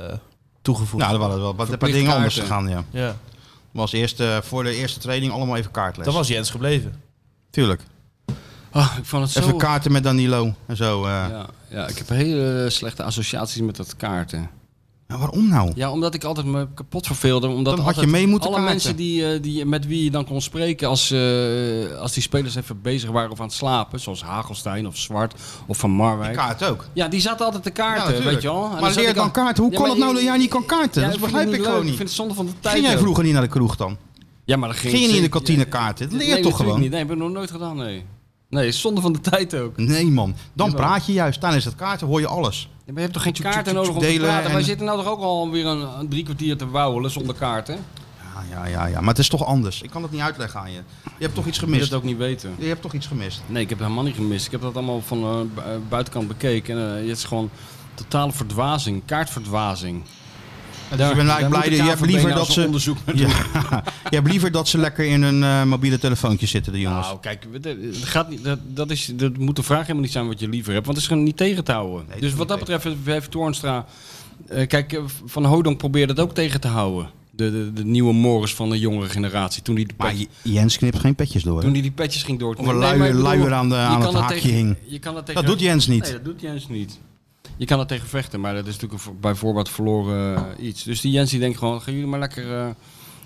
toegevoegd.
Nou, er waren wel wat- een paar
Verplicht
dingen anders
kaarten.
gegaan, ja.
ja.
Was eerst, eh, voor de eerste training allemaal even kaartles.
Dan was Jens gebleven.
Tuurlijk.
Ah, ik vond het zo...
Even kaarten met Danilo en zo. eh.
ja, ja, ik heb hele slechte associaties met dat kaarten.
Nou, waarom nou?
Ja, omdat ik altijd me kapot verveelde. Omdat
Dan had je
altijd
mee moeten
alle
kaarten.
mensen die, eh, die, met wie je dan kon spreken als, eh, als die spelers even bezig waren of aan het slapen, zoals Hagelstein of Zwart of Van Marwijk.
Kaart ook.
ja, die zaten altijd te
Ja,
kaarten,
natuurlijk.
weet je wel. En
maar
zat
leer
ik al-
dan kaarten. Hoe
Ja,
kan
maar
het nou
je-
dat jij niet kan kaarten?
Ja,
dat
ik vind
begrijp
het
ik
niet
gewoon
leuk. Ik
niet.
vind het zonde van de tijd.
Ging jij
ook.
vroeger niet naar de kroeg dan?
Ja, maar dan ging,
Ging je niet in de kantine
Ja,
kaarten? Dat leer je
nee,
toch
natuurlijk
gewoon?
Niet. Nee, heb ik nog nooit gedaan, nee. Nee, zonde van de tijd ook.
Nee man, dan praat je juist. Tijdens het kaarten hoor je alles.
Ja, Maar je hebt toch geen
tjoek,
kaarten
tjoek,
nodig om
tjoek,
te
delen
praten?
en-
Wij zitten nou toch ook alweer een, een drie kwartier te wauwelen zonder kaarten?
Ja, ja, ja, ja. Maar het is toch anders. Ik kan het niet uitleggen aan je. Je hebt toch iets
Ik wil
gemist.
het ook niet weten.
Je hebt toch iets gemist.
Nee, ik heb helemaal niet gemist. Ik heb dat allemaal van eh, bu- eh, buitenkant bekeken. En eh, het is gewoon totale verdwazing, kaartverdwazing.
En dus ik ben eigenlijk blij dat je hebt liever dat ze...
onderzoek
Ja, je hebt liever dat ze lekker in hun eh, mobiele telefoontje zitten, de jongens.
Nou, kijk, het- het gaat niet, dat, dat, is, dat moet de vraag helemaal niet zijn wat je liever hebt. Want het is gewoon niet tegen te houden.
het is
dus wat
niet
dat betreft heeft Toornstra... eh, kijk, eh, Van Hodong probeerde dat ook tegen te houden. De, de, de nieuwe Morris van de jongere generatie. Toen hij de
maar
pet-
J- Jens knipt geen petjes door. hè?
toen die, die petjes ging door.
Of een luier- luier aan de- aan het haakje hing.
Je kan dat, tegen,
Dat doet Jens
Nee,
niet.
dat doet Jens niet. Je kan er tegen vechten, maar dat is natuurlijk een vo- bij voorbaat verloren eh, iets. Dus die Jens die denkt gewoon, gaan jullie maar lekker eh, een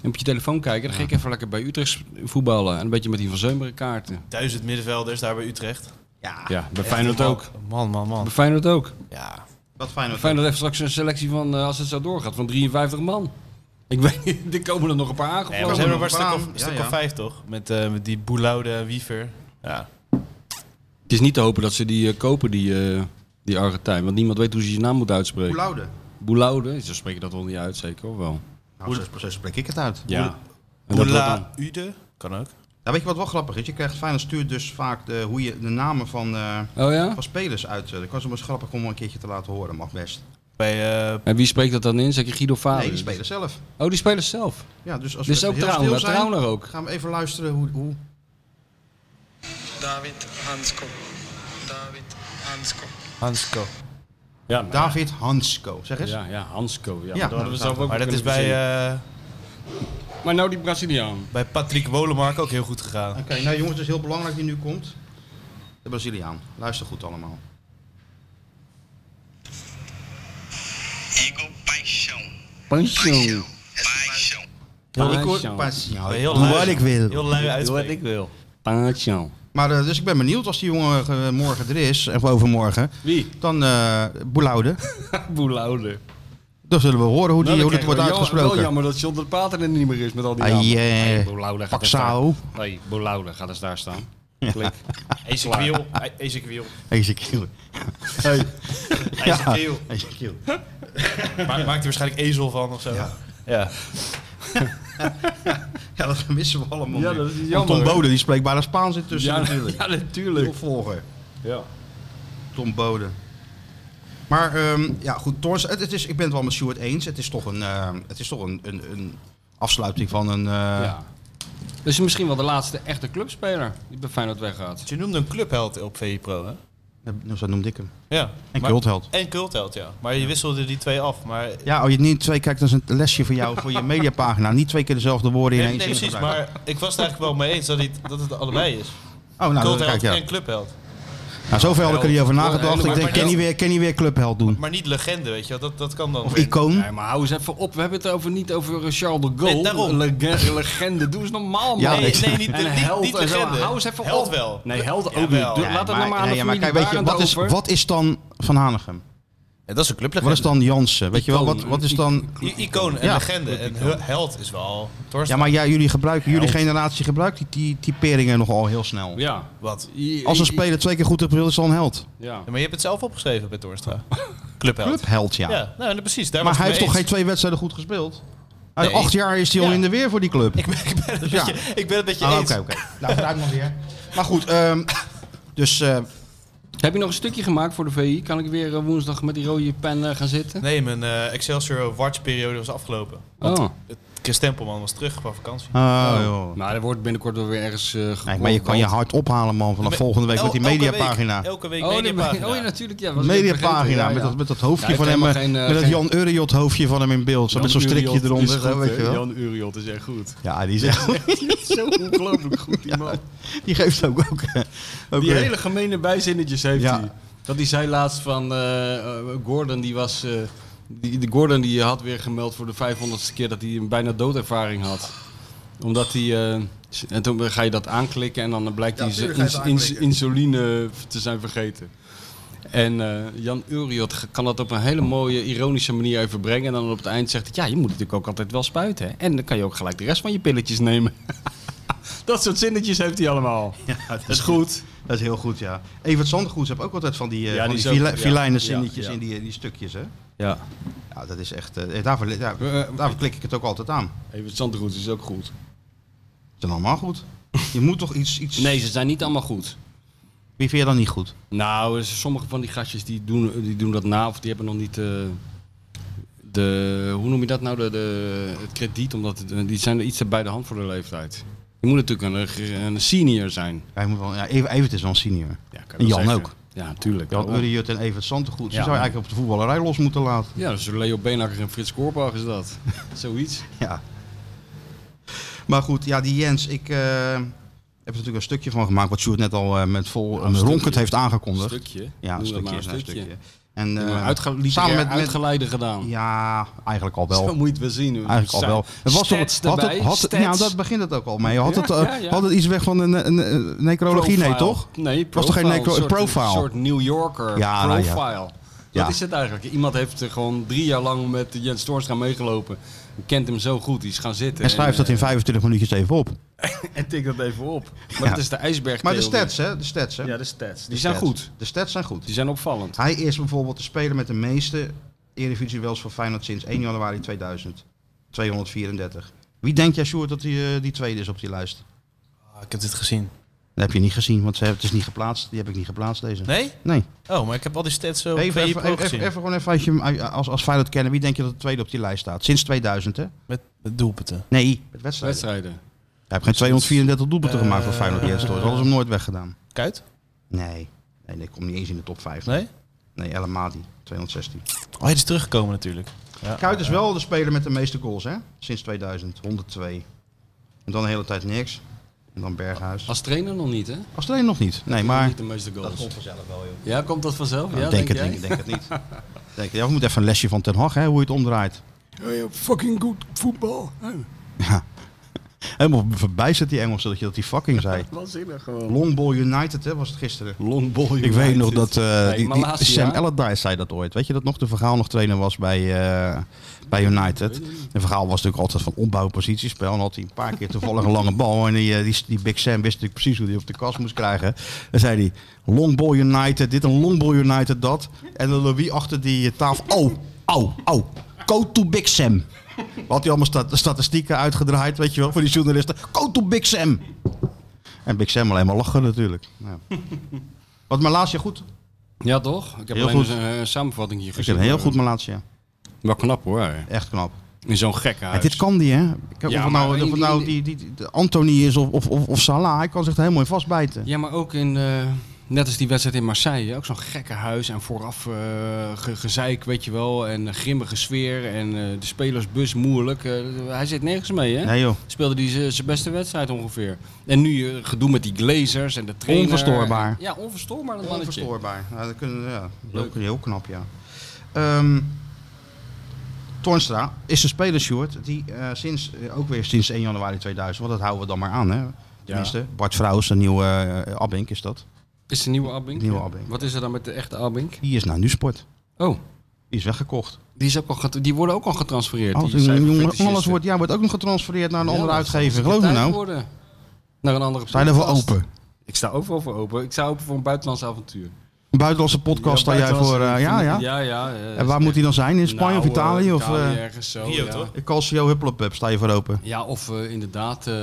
beetje telefoon kijken. Dan ga ik even lekker bij Utrecht voetballen. En een beetje met die Van Zeumeren kaarten.
Duizend middenvelders daar bij Utrecht.
Ja, bij Feyenoord ook.
Man, man, man.
Bij Feyenoord ook.
Ja.
Wat fijn dat
Feyenoord heeft straks een selectie van, eh, als het zo doorgaat, van 53 man. Ik weet niet, er komen er nog een paar
Nee, maar
aangevlogen.
ze hebben
nog
maar een
een
stuk of,
paar.
stuk
Ja,
of
ja.
vijf, toch? Met, eh, met die Boelaude en Wiever. Ja.
het is niet te hopen dat ze die eh, kopen, die, eh, die Argentijn. Want niemand weet hoe ze zijn naam moet uitspreken.
Boelaude.
Boulaude, zo spreek je dat wel niet uit, zeker of wel?
Nou, zo- zo spreek ik het uit.
Ja.
Boelaude. Kan ook.
Ja, weet je wat wel grappig is? Je krijgt Feyenoord stuurt dus vaak de, hoe je de namen van, eh,
Oh ja?
van spelers uit. eh. Dat was wel eens grappig om een keertje te laten horen, mag best.
Bij, eh,
En wie spreekt dat dan in? Zeg je Guido Vader?
Nee, die spelers zelf.
Oh, die spelers zelf.
Ja, dus als
Dus
we
ook
heel
Trauner,
stil zijn,
Trauner ook.
gaan we even luisteren hoe... hoe...
David Hansko. David Hansko.
Hansko.
Ja, maar-
David Hansko, zeg eens.
Ja, ja, Hansco. Ja,
Ja.
Dat hadden we zelf ook
Maar
wel
dat is
kunnen
bij,
verzinnen.
eh,
Maar nou die Braziliaan.
bij Patrick Wolemark ook heel goed gegaan.
Oké, nou jongens, het is heel belangrijk die nu komt. De Braziliaan. Luister goed allemaal.
Igor Paixão.
Pancho.
Paixão.
Heel
Doe
heel lui.
wat ik wil.
Heel lui uitspreken.
wil. Pancho.
Maar eh, dus ik ben benieuwd als die jongen eh, morgen er is, of overmorgen,
Wie?
dan eh Boelaude.
Boulaude.
Dan zullen we horen hoe, die, hoe dat
het
wordt
Wel
uitgesproken.
jammer dat John de Pater er niet meer is met al die
Ah,
namen.
jee.
Hey, Boulaude gaat
Paxao.
eens daar- Hey, Boulaude gaat eens daar staan. Klik.
Ezekiel. E- Ezekiel.
Ezekiel.
Hey.
Ezekiel.
Ezekiel.
Ma- Maakt er waarschijnlijk ezel van of zo. Ja.
Ja, dat missen we allemaal
Ja,
nu.
dat is
Want
jammer.
Tom Bode, die spreekt bijna Spaans intussen
Ja,
natuurlijk.
ja,
De
natuurlijk.
opvolger,
Ja.
Tom Bode. Maar ehm, ja, goed, Toorns, het, het is, ik ben het wel met Stuart eens. Het is toch een, ehm, het is toch een, een, een afsluiting van een... eh,
ja. Dus misschien wel de laatste echte clubspeler die bij Feyenoord weggaat.
Je noemde een clubheld op VI Pro, hè?
nou, Zo noemde ik hem.
Ja.
En
Maar-
cultheld.
En cultheld, ja. Maar je wisselde die twee af. Maar
Ja, oh, je niet twee, kijk, dat is een lesje voor jou, voor je mediapagina. Niet twee keer dezelfde woorden in
Nee,
één
nee,
zin
precies,
gebruiken.
maar ik was het eigenlijk wel mee eens dat het, dat het allebei is.
Oh, nou,
Cultheld
kijk, ja.
en clubheld.
Nou, zoveel had ik er niet over nagedacht. Ik
Helemaal-
denk, ken je weer, ken je weer clubheld doen?
Maar niet legende, weet je wel. Dat, dat kan dan.
Of
weer.
icoon?
Nee, maar hou eens even op. We hebben het over, niet over Charles de
Nee,
Gaulle.
daarom.
lege- legende. Doe eens normaal, man.
Ja,
Nee,
ik-
nee, niet,
En
niet,
held
niet
en zo.
legende.
Hou eens even
held
op.
wel.
Nee, held ook
Jawel.
niet. Doe,
Ja,
laat het
maar-
nou maar aan
nee,
de
ja, maar kijk, weet je, wat is, wat is dan Van Hanegem?
Ja, dat is een clublegende.
Wat is dan Jansen? Weet je wel, wat,
Icoon,
wat is dan...
I- icoon en
Ja.
legende. En he- held is wel...
Ja,
Torsten.
maar ja, jullie gebruiken, jullie generatie gebruikt die, die typeringen nogal heel snel.
Ja.
Wat?
Als een speler twee keer goed hebt gespeeld, is dan een held.
Ja.
Ja, maar je hebt het zelf opgeschreven bij Torstra. Clubheld.
Clubheld, ja.
Ja, nou, nou, precies. Daar
Maar
was
hij
ik
heeft
mee
toch geen
eens.
twee wedstrijden goed gespeeld? Uit
Nee.
acht jaar is hij al
Ja.
in de weer voor die club. Dus
Ik ben, ik ben, het
Ja.
een beetje, ik ben het met je
Ah, Oké,
eens.
oké. Nou, vooruit nog weer. Maar goed, ehm, dus eh,
Heb je nog een stukje gemaakt voor de VI? Kan ik weer eh, woensdag met die rode pen eh, gaan zitten?
Nee, mijn eh, Excelsior watchperiode was afgelopen.
Oh.
Chris Tempelman was terug van vakantie.
oh, joh.
Maar er wordt binnenkort wel weer ergens eh
Nee, maar je kan je hard ophalen, man, vanaf volgende week met die
El- elke
mediapagina.
week- Elke week
Oh, die-
mediapagina.
oh ja, natuurlijk. Ja, was ik even vergeten,
Mediapagina,
ja,
met
ja.
dat, met dat
Ja,
hoofdje
hij
van hem,
heeft
eh,
helemaal geen, eh,
met dat
geen-
Jan Uriot hoofdje van hem in beeld. Zo, met zo'n strikje
Uriot
eronder,
is goed,
weet je
hè.
wel.
Jan Uriot is echt goed.
Ja, die is echt-
Zo ongelooflijk goed, die man.
Die geeft ook ook. eh, ook
Die
eh,
hele gemene bijzinnetjes heeft
Ja.
hij. Dat hij zei laatst van eh, eh, Gordon, die was. eh, die, de Gordon die had weer gemeld voor de 500ste keer dat hij een bijna doodervaring had. Omdat hij. eh, s- en toen ga je dat aanklikken en dan blijkt
Ja,
hij zijn
tuurlijk ga je het
ins-
aanklikken.
insuline te zijn vergeten. En eh, Jan Uriot g- kan dat op een hele mooie, ironische manier even brengen. En dan op het eind zegt hij, ja, je moet natuurlijk ook altijd wel spuiten. Hè? En dan kan je ook gelijk de rest van je pilletjes nemen. dat soort zinnetjes heeft hij allemaal.
dat
Dat is goed.
Dat is heel goed, ja. Evert Zandergoed heeft ook altijd van die, eh
Ja,
van
die
die,
is ook-
vila-
ja.
filijnen zinnetjes
Ja,
in
ja.
die, die stukjes, hè?
Ja.
Ja, dat is echt. eh, daarvoor, daar-
Eh,
daarvoor klik ik het ook altijd aan.
Even het zandgoed is ook goed.
Ze zijn allemaal goed. Je moet toch iets. iets...
Nee, ze zijn niet allemaal goed.
Wie vind je dan niet goed?
Nou, er zijn sommige van die gastjes die doen, eh, die doen dat na of die hebben nog niet eh, de, hoe noem je dat nou, de, de, het krediet, omdat het- eh, die zijn er iets te bij de hand voor de leeftijd. Je moet natuurlijk een, ge- een senior zijn.
Hij moet wel, ja, Ev- Evert is wel een senior.
Ja, kan
En Jan ook.
Ja, natuurlijk.
Jan Uriut en Evert Santegoed. Ze
Ja.
zou je eigenlijk op de voetballerij los moeten laten.
Ja, dus Leo Beenhakker en Frits Korbach is dat. Zoiets.
Ja. Maar goed, ja, die Jens, ik eh, heb er natuurlijk een stukje van gemaakt. Wat Sjoerd net al eh, met vol een
Ja, een
ronkend
stukje.
heeft aangekondigd.
stukje.
Ja, een
Noem dat
stukje,
maar
is een stukje. En
Ja,
eh,
maar uitge- liet
samen
ik er
met, met
uitgeleide gedaan.
ja, eigenlijk al wel.
Zo moet je het wel zien. hoor.
Eigenlijk al wel.
Zijn
Het was toch,
stats
had
erbij,
het, had het,
stats.
ja, dat begint het ook al mee. Had,
Ja,
het, eh,
ja, ja.
had het iets weg van een, een, een necrologie? Nee,
Profile.
toch?
Nee,
Was toch geen
profile,
necro-
een soort-
profile?
Een soort New Yorker
Ja, nou ja.
profile.
Ja.
Dat is het eigenlijk. Iemand heeft er gewoon drie jaar lang met Jens Toornstra meegelopen. Kent hem zo goed, die is gaan zitten.
En schrijf dat in
eh,
25 minuutjes even op.
En tik dat even op. Maar
Ja.
dat is de ijsberg.
Maar de stats, hè? De stats, hè?
Ja,
de
de stats. Die zijn
stats.
goed.
De stats zijn goed.
Die zijn opvallend.
Hij is bijvoorbeeld de speler met de meeste Eredivisie duels voor Feyenoord sinds 1 januari 2000. 234. Wie denk jij, Sjoerd, dat die, eh, die tweede is op die lijst?
Ah, ik heb dit gezien.
Dat heb je niet gezien, want ze hebben, het is niet geplaatst. Die heb ik niet geplaatst, deze.
Nee?
Nee.
Oh, maar ik heb al die stats zo
Even,
op je
even,
pro
even,
gezien.
even gewoon even als, je, hem- eh, als, als Feyenoord kennen. Wie denk je dat de tweede op die lijst staat? Sinds 2000, hè?
Met, met doelpunten.
Nee, met wedstrijden.
Wedstrijden.
Hij heeft geen 234 doelpunten
Eh,
gemaakt voor Feyenoord Jens Toorn. Dat hadden ze hem nooit weggedaan.
Kuit?
Nee. Nee, nee, ik kom niet eens in de top 5.
Nee?
Nee, El Amadi, 216.
Oh, hij is teruggekomen natuurlijk. Ja.
Kuit is wel de speler met de meeste goals, hè? Sinds 2000, 102. En dan de hele tijd niks. En dan Berghuis.
Als trainer nog niet, hè?
Als trainer nog niet. Nee, maar...
Niet de meeste goals.
vanzelf wel, joh.
Ja, komt dat vanzelf? Ja,
ik denk, het,
jij?
denk, denk het niet. denk, ja, we moeten even een lesje van Ten Hag, hè? Hoe je het omdraait.
fucking goed voetbal.
Helemaal verbijsterd die Engels, dat je dat die fucking zei.
Waanzinnig gewoon.
Longball United, hè, was het gisteren.
Longball
Ik weet nog dat eh,
Nee,
die- die-
Malasia.
Sam Allardyce zei dat ooit. Weet je dat nog? De verhaal nog trainer was bij, eh, bij United. De verhaal was natuurlijk altijd van opbouwpositiespel. En had hij een paar keer toevallig een lange bal. En die, eh, die, die Big Sam wist natuurlijk precies hoe hij op de kast moest krijgen. Dan zei hij, long ball United, dit en long ball United, dat. En dan Louis achter die eh, tafel. Oh, oh, oh. Go to Big Sam. Had hij allemaal sta- statistieken uitgedraaid, weet je wel, voor die journalisten. Go to Big Sam. En Big Sam alleen maar lachen natuurlijk. Ja. Wat Malasia goed
Ja, toch? Ik heb
Heel
alleen
goed.
eens een, eh, samenvatting hier
Ik
gezien.
vind hem heel goed Malatia.
Wel knap hoor.
Echt knap.
In zo'n gekke huis.
En dit kan die, hè? Kijk,
Ja,
of het
maar
nou, of
in
het
die-
nou die, die, die- de Anthony is of, of, of, of Salah, hij kan zich er helemaal in vastbijten.
Ja, maar ook in. eh, net als die wedstrijd in Marseille. Ook zo'n gekke huis. En vooraf eh, ge- gezeik, weet je wel. En een grimmige sfeer. En eh, de spelersbus moeilijk. Eh, hij zit nergens mee, hè?
Nee joh,
Speelde hij zijn beste wedstrijd ongeveer. En nu eh, gedoe met die glazers en de trainer.
Onverstoorbaar.
Ja, onverstoorbaar dat mannetje.
onverstoorbaar. Ja, dat kunnen, ja. Heel, heel knap, ja. Ehm Tornstra is een speler, Sjoerd, die eh, sinds, eh, ook weer sinds 1 januari 2000, want dat houden we dan maar aan, hè? Tenminste, Bart Vrouws, een nieuwe eh, Abink is dat.
Is de nieuwe Abink?
Nieuwe
Ja.
Abink.
Wat is er dan met de echte Abink?
Die is naar Nusport.
Oh,
Die is weggekocht.
die, is ook al get- die worden ook al getransfereerd.
Alles,
die zijn
Oh, jongen,
fetishisten.
alles wordt, ja, wordt ook nog getransfereerd naar een andere
Ja,
uitgever.
dat is
Geloof me
tijd
nou.
worden. Naar een andere
Zijn er voor
podcast.
open?
Ik sta overal voor open. Ik sta open voor een buitenlands avontuur.
Een buitenlandse podcast sta jij voor. eh, ja, ja.
Ja, ja. eh,
En waar moet hij dan zijn? In
nou,
Spanje of
eh,
Italië? Of,
Italië,
eh
ergens zo,
Rio,
ja.
toch?
ik Calcio Huppelpub, sta je voor open?
Ja, of eh, inderdaad eh,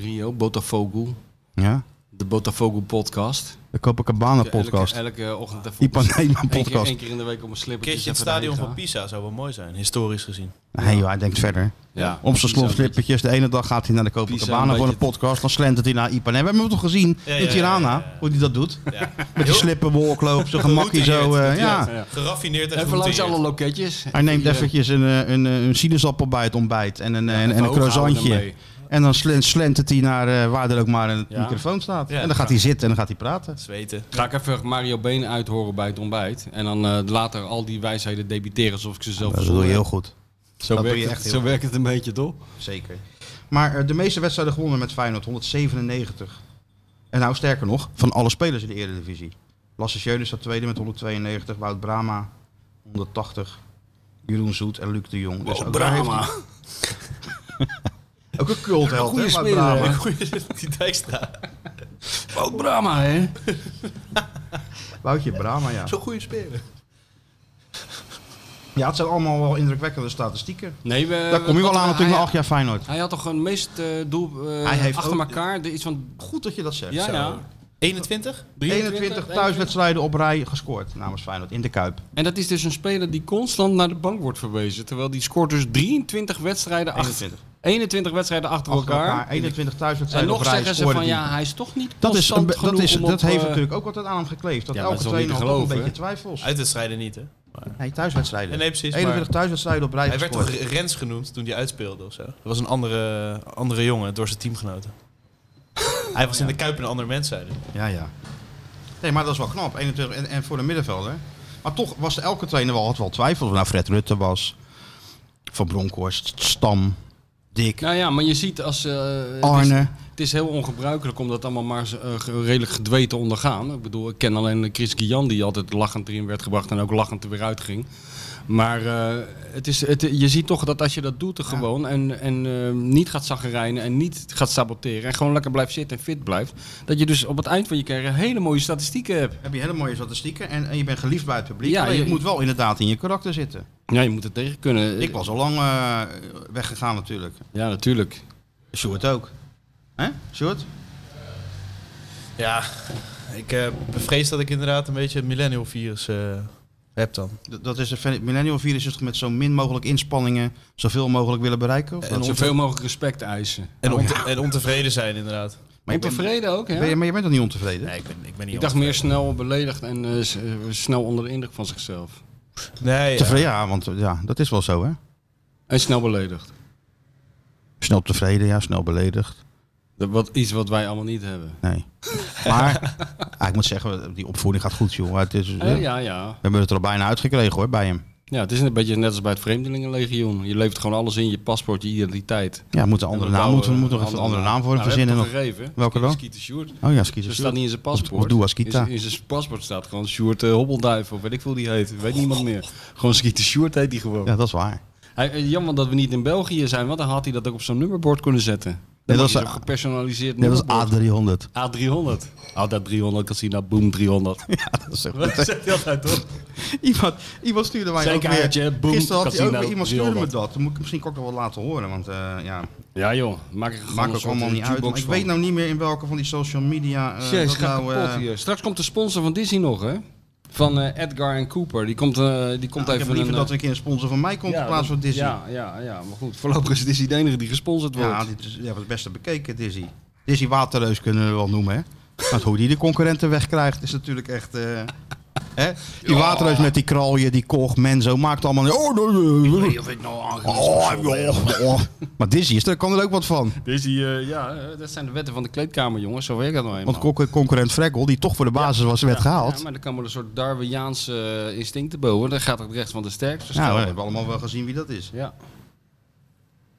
Rio, Botafogo.
Ja.
De Botafogo podcast.
De Copacabana podcast.
Elke, elke ochtend even...
Die Panema
Eén keer, één
podcast.
keer in de week op een slippertje.
keertje het
even
stadion
erheen
van
gaan.
Pisa zou wel mooi zijn, historisch gezien.
Nee joh, hij denkt verder.
Ja.
Om zijn slotslippertjes. De ene dag gaat hij naar de
Pisa,
Copacabana
een
voor een
beetje-
podcast. Dan slentert hij naar Ipanema. We hebben hem toch gezien
Ja,
in
ja,
Tirana.
ja, ja, ja.
Hoe hij dat doet.
Ja.
Met die slippenwolkloop, zijn gemakkie zo. eh, ja.
Ja.
Geraffineerd en
Even langs alle
gerouteerd.
loketjes.
Hij neemt
Die, eh,
eventjes een, eh, een, eh, een sinaasappel bij het ontbijt. En een, eh, en, en een
hoog houden
croissantje.
ermee.
En dan slen- slentert hij naar eh, waar er ook maar een
Ja.
microfoon staat.
Ja,
en dan gaat hij zitten en dan gaat hij praten.
Zweten.
eh, Ga ik even Mario Been uithoren bij het ontbijt. En dan eh, later al die wijsheden debiteren alsof ik ze zelf
Dat doe
verzonnen
je
heb.
heel goed.
Zo,
Dat doe
werkt,
je
het,
echt heel
zo
goed.
werkt het een beetje, toch? Oh,
Zeker. Maar eh, de meeste wedstrijden gewonnen met Feyenoord, 197. En nou sterker nog, van alle spelers in de Eredivisie. Lasse Schöne staat tweede met 192, Wout Brama 180, Jeroen Zoet en Luc de Jong. Dus ook daar heeft hij- Ook een cultheld, hè,
Goeie
Wout
speler,
Brama.
hè?
Die Dijkstra.
Ook Brahma, hè?
Woutje Brama, ja.
Zo'n goede speler.
Ja, het zijn allemaal wel indrukwekkende statistieken.
Nee, we, ah,
Daar kom je wel
Eh, wat-
aan
hij-
natuurlijk na acht jaar Feyenoord.
Hij had toch een meest eh, doel eh,
Hij heeft
achter
ook-
elkaar. de- iets van
Goed dat je dat zegt.
ja,
Zo.
ja,
21?
21 thuiswedstrijden op rij gescoord namens Feyenoord in de Kuip.
En dat is dus een speler die constant naar de bank wordt verwezen. Terwijl die scoort dus 23 wedstrijden achter,
21.
21 wedstrijden achter,
Achter
elkaar.
elkaar. 21
En
thuiswedstrijden op
nog
rij
zeggen ze
scoorde
van
die.
ja, hij is toch niet
Dat, is, een
constant
be- dat,
genoeg
is,
om op,
dat heeft
eh,
natuurlijk ook altijd aan hem gekleefd. Dat
Ja, maar
elke
dat is wel niet
trainer
te
had toch een
geloven,
beetje
hè?
twijfels.
Uitwedstrijden niet, hè? Maar
Nee, thuiswedstrijden.
Nee, precies,
41
maar-
thuiswedstrijden op rij
hij werd toch
gescoord.
Rens genoemd toen hij uitspeelde of zo? Dat was een andere, andere jongen door zijn teamgenoten. Hij was in de Kuip een ander mens, zeiden.
Ja, ja. Nee, maar dat is wel knap. 21 en, en voor de middenvelder. Maar toch was elke trainer wel, had wel twijfels. Of nou Fred Rutte was, Van Bronckhorst, Stam, Dick,
Nou ja, maar je ziet als... eh, het is-
Arne.
Het is heel ongebruikelijk om dat allemaal maar eh, ge- redelijk gedwee te ondergaan. Ik bedoel, ik ken alleen eh, Chris Guillan die altijd lachend erin werd gebracht en ook lachend er weer uitging. Maar eh, het is, het, je ziet toch dat als je dat doet er gewoon en, en eh, niet gaat zaggerijnen en niet gaat saboteren en gewoon lekker blijft zitten en fit blijft, dat je dus op het eind van je carrière hele mooie statistieken hebt.
Heb je hele mooie statistieken en, en je bent geliefd bij het publiek.
Ja,
maar je,
je-
moet wel inderdaad in je karakter zitten.
Ja, je moet het tegen kunnen.
Ik was al lang eh, weggegaan natuurlijk.
Ja, natuurlijk.
Sjoerd ook. Hè, Sjoerd?
Ja, ik eh, bevrees dat ik inderdaad een beetje het millennial virus eh, heb dan.
D- Dat is het millennial virus is toch met zo min mogelijk inspanningen zoveel mogelijk willen bereiken? Of
En
Eh, dat
En
is-
zoveel mogelijk respect eisen.
En, onte- en ontevreden zijn, inderdaad.
maar, je bent-
Ontevreden ook, hè?
ben je, maar je bent toch niet ontevreden?
Nee, ik ben, ik ben niet
Ik dacht meer snel beledigd en eh, s- eh, snel onder de indruk van zichzelf.
Nee, ja.
Tevreden, ja, want eh, ja, dat is wel zo hè.
En snel beledigd.
Snel tevreden, ja, snel beledigd.
Dat wat, iets wat wij allemaal niet hebben.
Nee. maar ah, ik moet zeggen, die opvoeding gaat goed joh. Het is,
Eh, ja, ja.
We hebben het er al bijna uitgekregen hoor, bij hem.
Ja, het is een beetje net als bij het Vreemdelingenlegioen. Je levert gewoon alles in, je paspoort, je identiteit.
Ja, moet een andere naam, moeten we moeten we even een andere naam
Nou,
voor hem verzinnen nog.
Gegeven.
Welke dan?
Skeeter Sjoerd.
Oh ja,
Dat
schieten.
staat niet in zijn paspoort.
Of Dua Skeeta.
In zijn- In zijn paspoort staat gewoon Sjoerd eh, Hobbelduif of weet ik veel die heet. Weet niemand meer. Gewoon Skeeter Sjoerd heet die gewoon.
Ja, dat is waar.
Hij, eh, jammer dat we niet in België zijn, want dan had hij dat ook op zo'n nummerbord kunnen zetten.
Nee,
Dat
dat
is een
is-
gepersonaliseerd
Net als A300.
nummerbord. A300. Oh, dat 300 casino, boom 300.
Dat is echt
Wat zegt hij altijd toch?
Iemand, iemand stuurde mij
Zeker,
ook weer.
Aartje, boem,
Gisteren had hij ook
casino,
weer, iemand stuurde me
300.
dat. Dat moet ik misschien ook nog wel laten horen. Want eh, ja,
Ja joh, maak ik gewoon
maakt
een
ook
soort
allemaal niet uit.
jukebox
Maar ik
van.
weet nou niet meer in welke van die social media. eh,
Jezus,
dat
gaat
nou,
kapot
eh,
hier. Straks komt de sponsor van Disney nog, hè? Van eh, Edgar en Cooper. Die komt, eh, die komt
ik heb
even
liever
een... eh,
dat er een keer een sponsor van mij komt in plaats van Disney. Ja,
Ja, ja, ja, maar goed. Voorlopig is Disney de enige die gesponsord wordt.
dit is ja, het beste bekeken, Disney. Disney Waterreus kunnen we wel noemen, hè? Want hoe die de concurrenten wegkrijgt is natuurlijk echt. eh, hè? Die Waterreus met die kralje, die koch, Menzo maakt allemaal. Oh, nee, nee, nee.
nou
Oh, joh, oh. Maar Disney is, daar kan er ook wat van.
Disney, eh, ja, eh, dat zijn de wetten van de kleedkamer, jongens. Zo werkt dat nou eenmaal.
Want con- concurrent Frekkel, die toch voor de basis was, werd gehaald. Nou,
Ja, maar dan kan wel een soort Darwiniaanse eh, instincten boven. Dan gaat het recht van de sterkste.
Nou, we
staan.
hebben allemaal wel gezien wie dat is.
ja.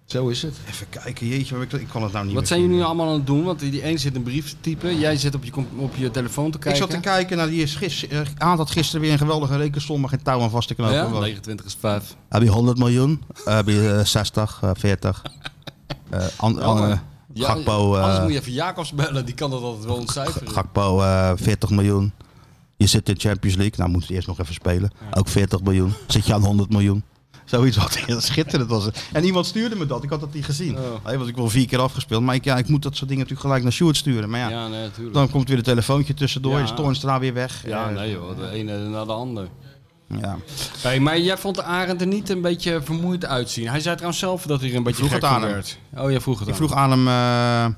Zo is het.
Even kijken, jeetje, maar ik, ik kan het nou niet
Wat
meer
zijn
vinden.
jullie nu allemaal aan het doen? Want die die een zit een brief te typen. Jij zit op je, com- op je telefoon te
Ik
kijken.
zat te kijken naar die is gis, eh, aan dat gisteren weer een geweldige rekensom, maar geen touw aan vast te knopen.
Ja?
was.
29 is 5.
Heb je 100 miljoen? Heb je eh, 60, eh, 40? Eh an, an- eh, Gakpo, eh,
anders moet je even Jacobs bellen. Die kan dat altijd wel ontcijferen.
Gakpo eh, 40 miljoen. Je zit in Champions League, nou moet je eerst nog even spelen. Ook 40 miljoen. Zit je aan 100 miljoen? Zoiets wat heel schitterend was. het. En iemand stuurde me dat, ik had dat niet gezien.
Oh.
Hey, want ik wil vier keer afgespeeld, maar ik, ja, ik moet dat soort dingen natuurlijk gelijk naar Sjoerd sturen. Maar ja,
ja, nee, natuurlijk.
dan komt weer een telefoontje tussendoor,
Ja.
is Toornstra weer weg.
Ja,
Eh,
nee joh. De ene na de ander.
ja.
Hey, maar jij vond Arend er niet een beetje vermoeid uitzien. Hij zei trouwens zelf dat hij er een beetje
vroeg
gek
het aan
van
hem.
werd. Oh, jij vroeg het
Ik
aan
vroeg aan hem, eh,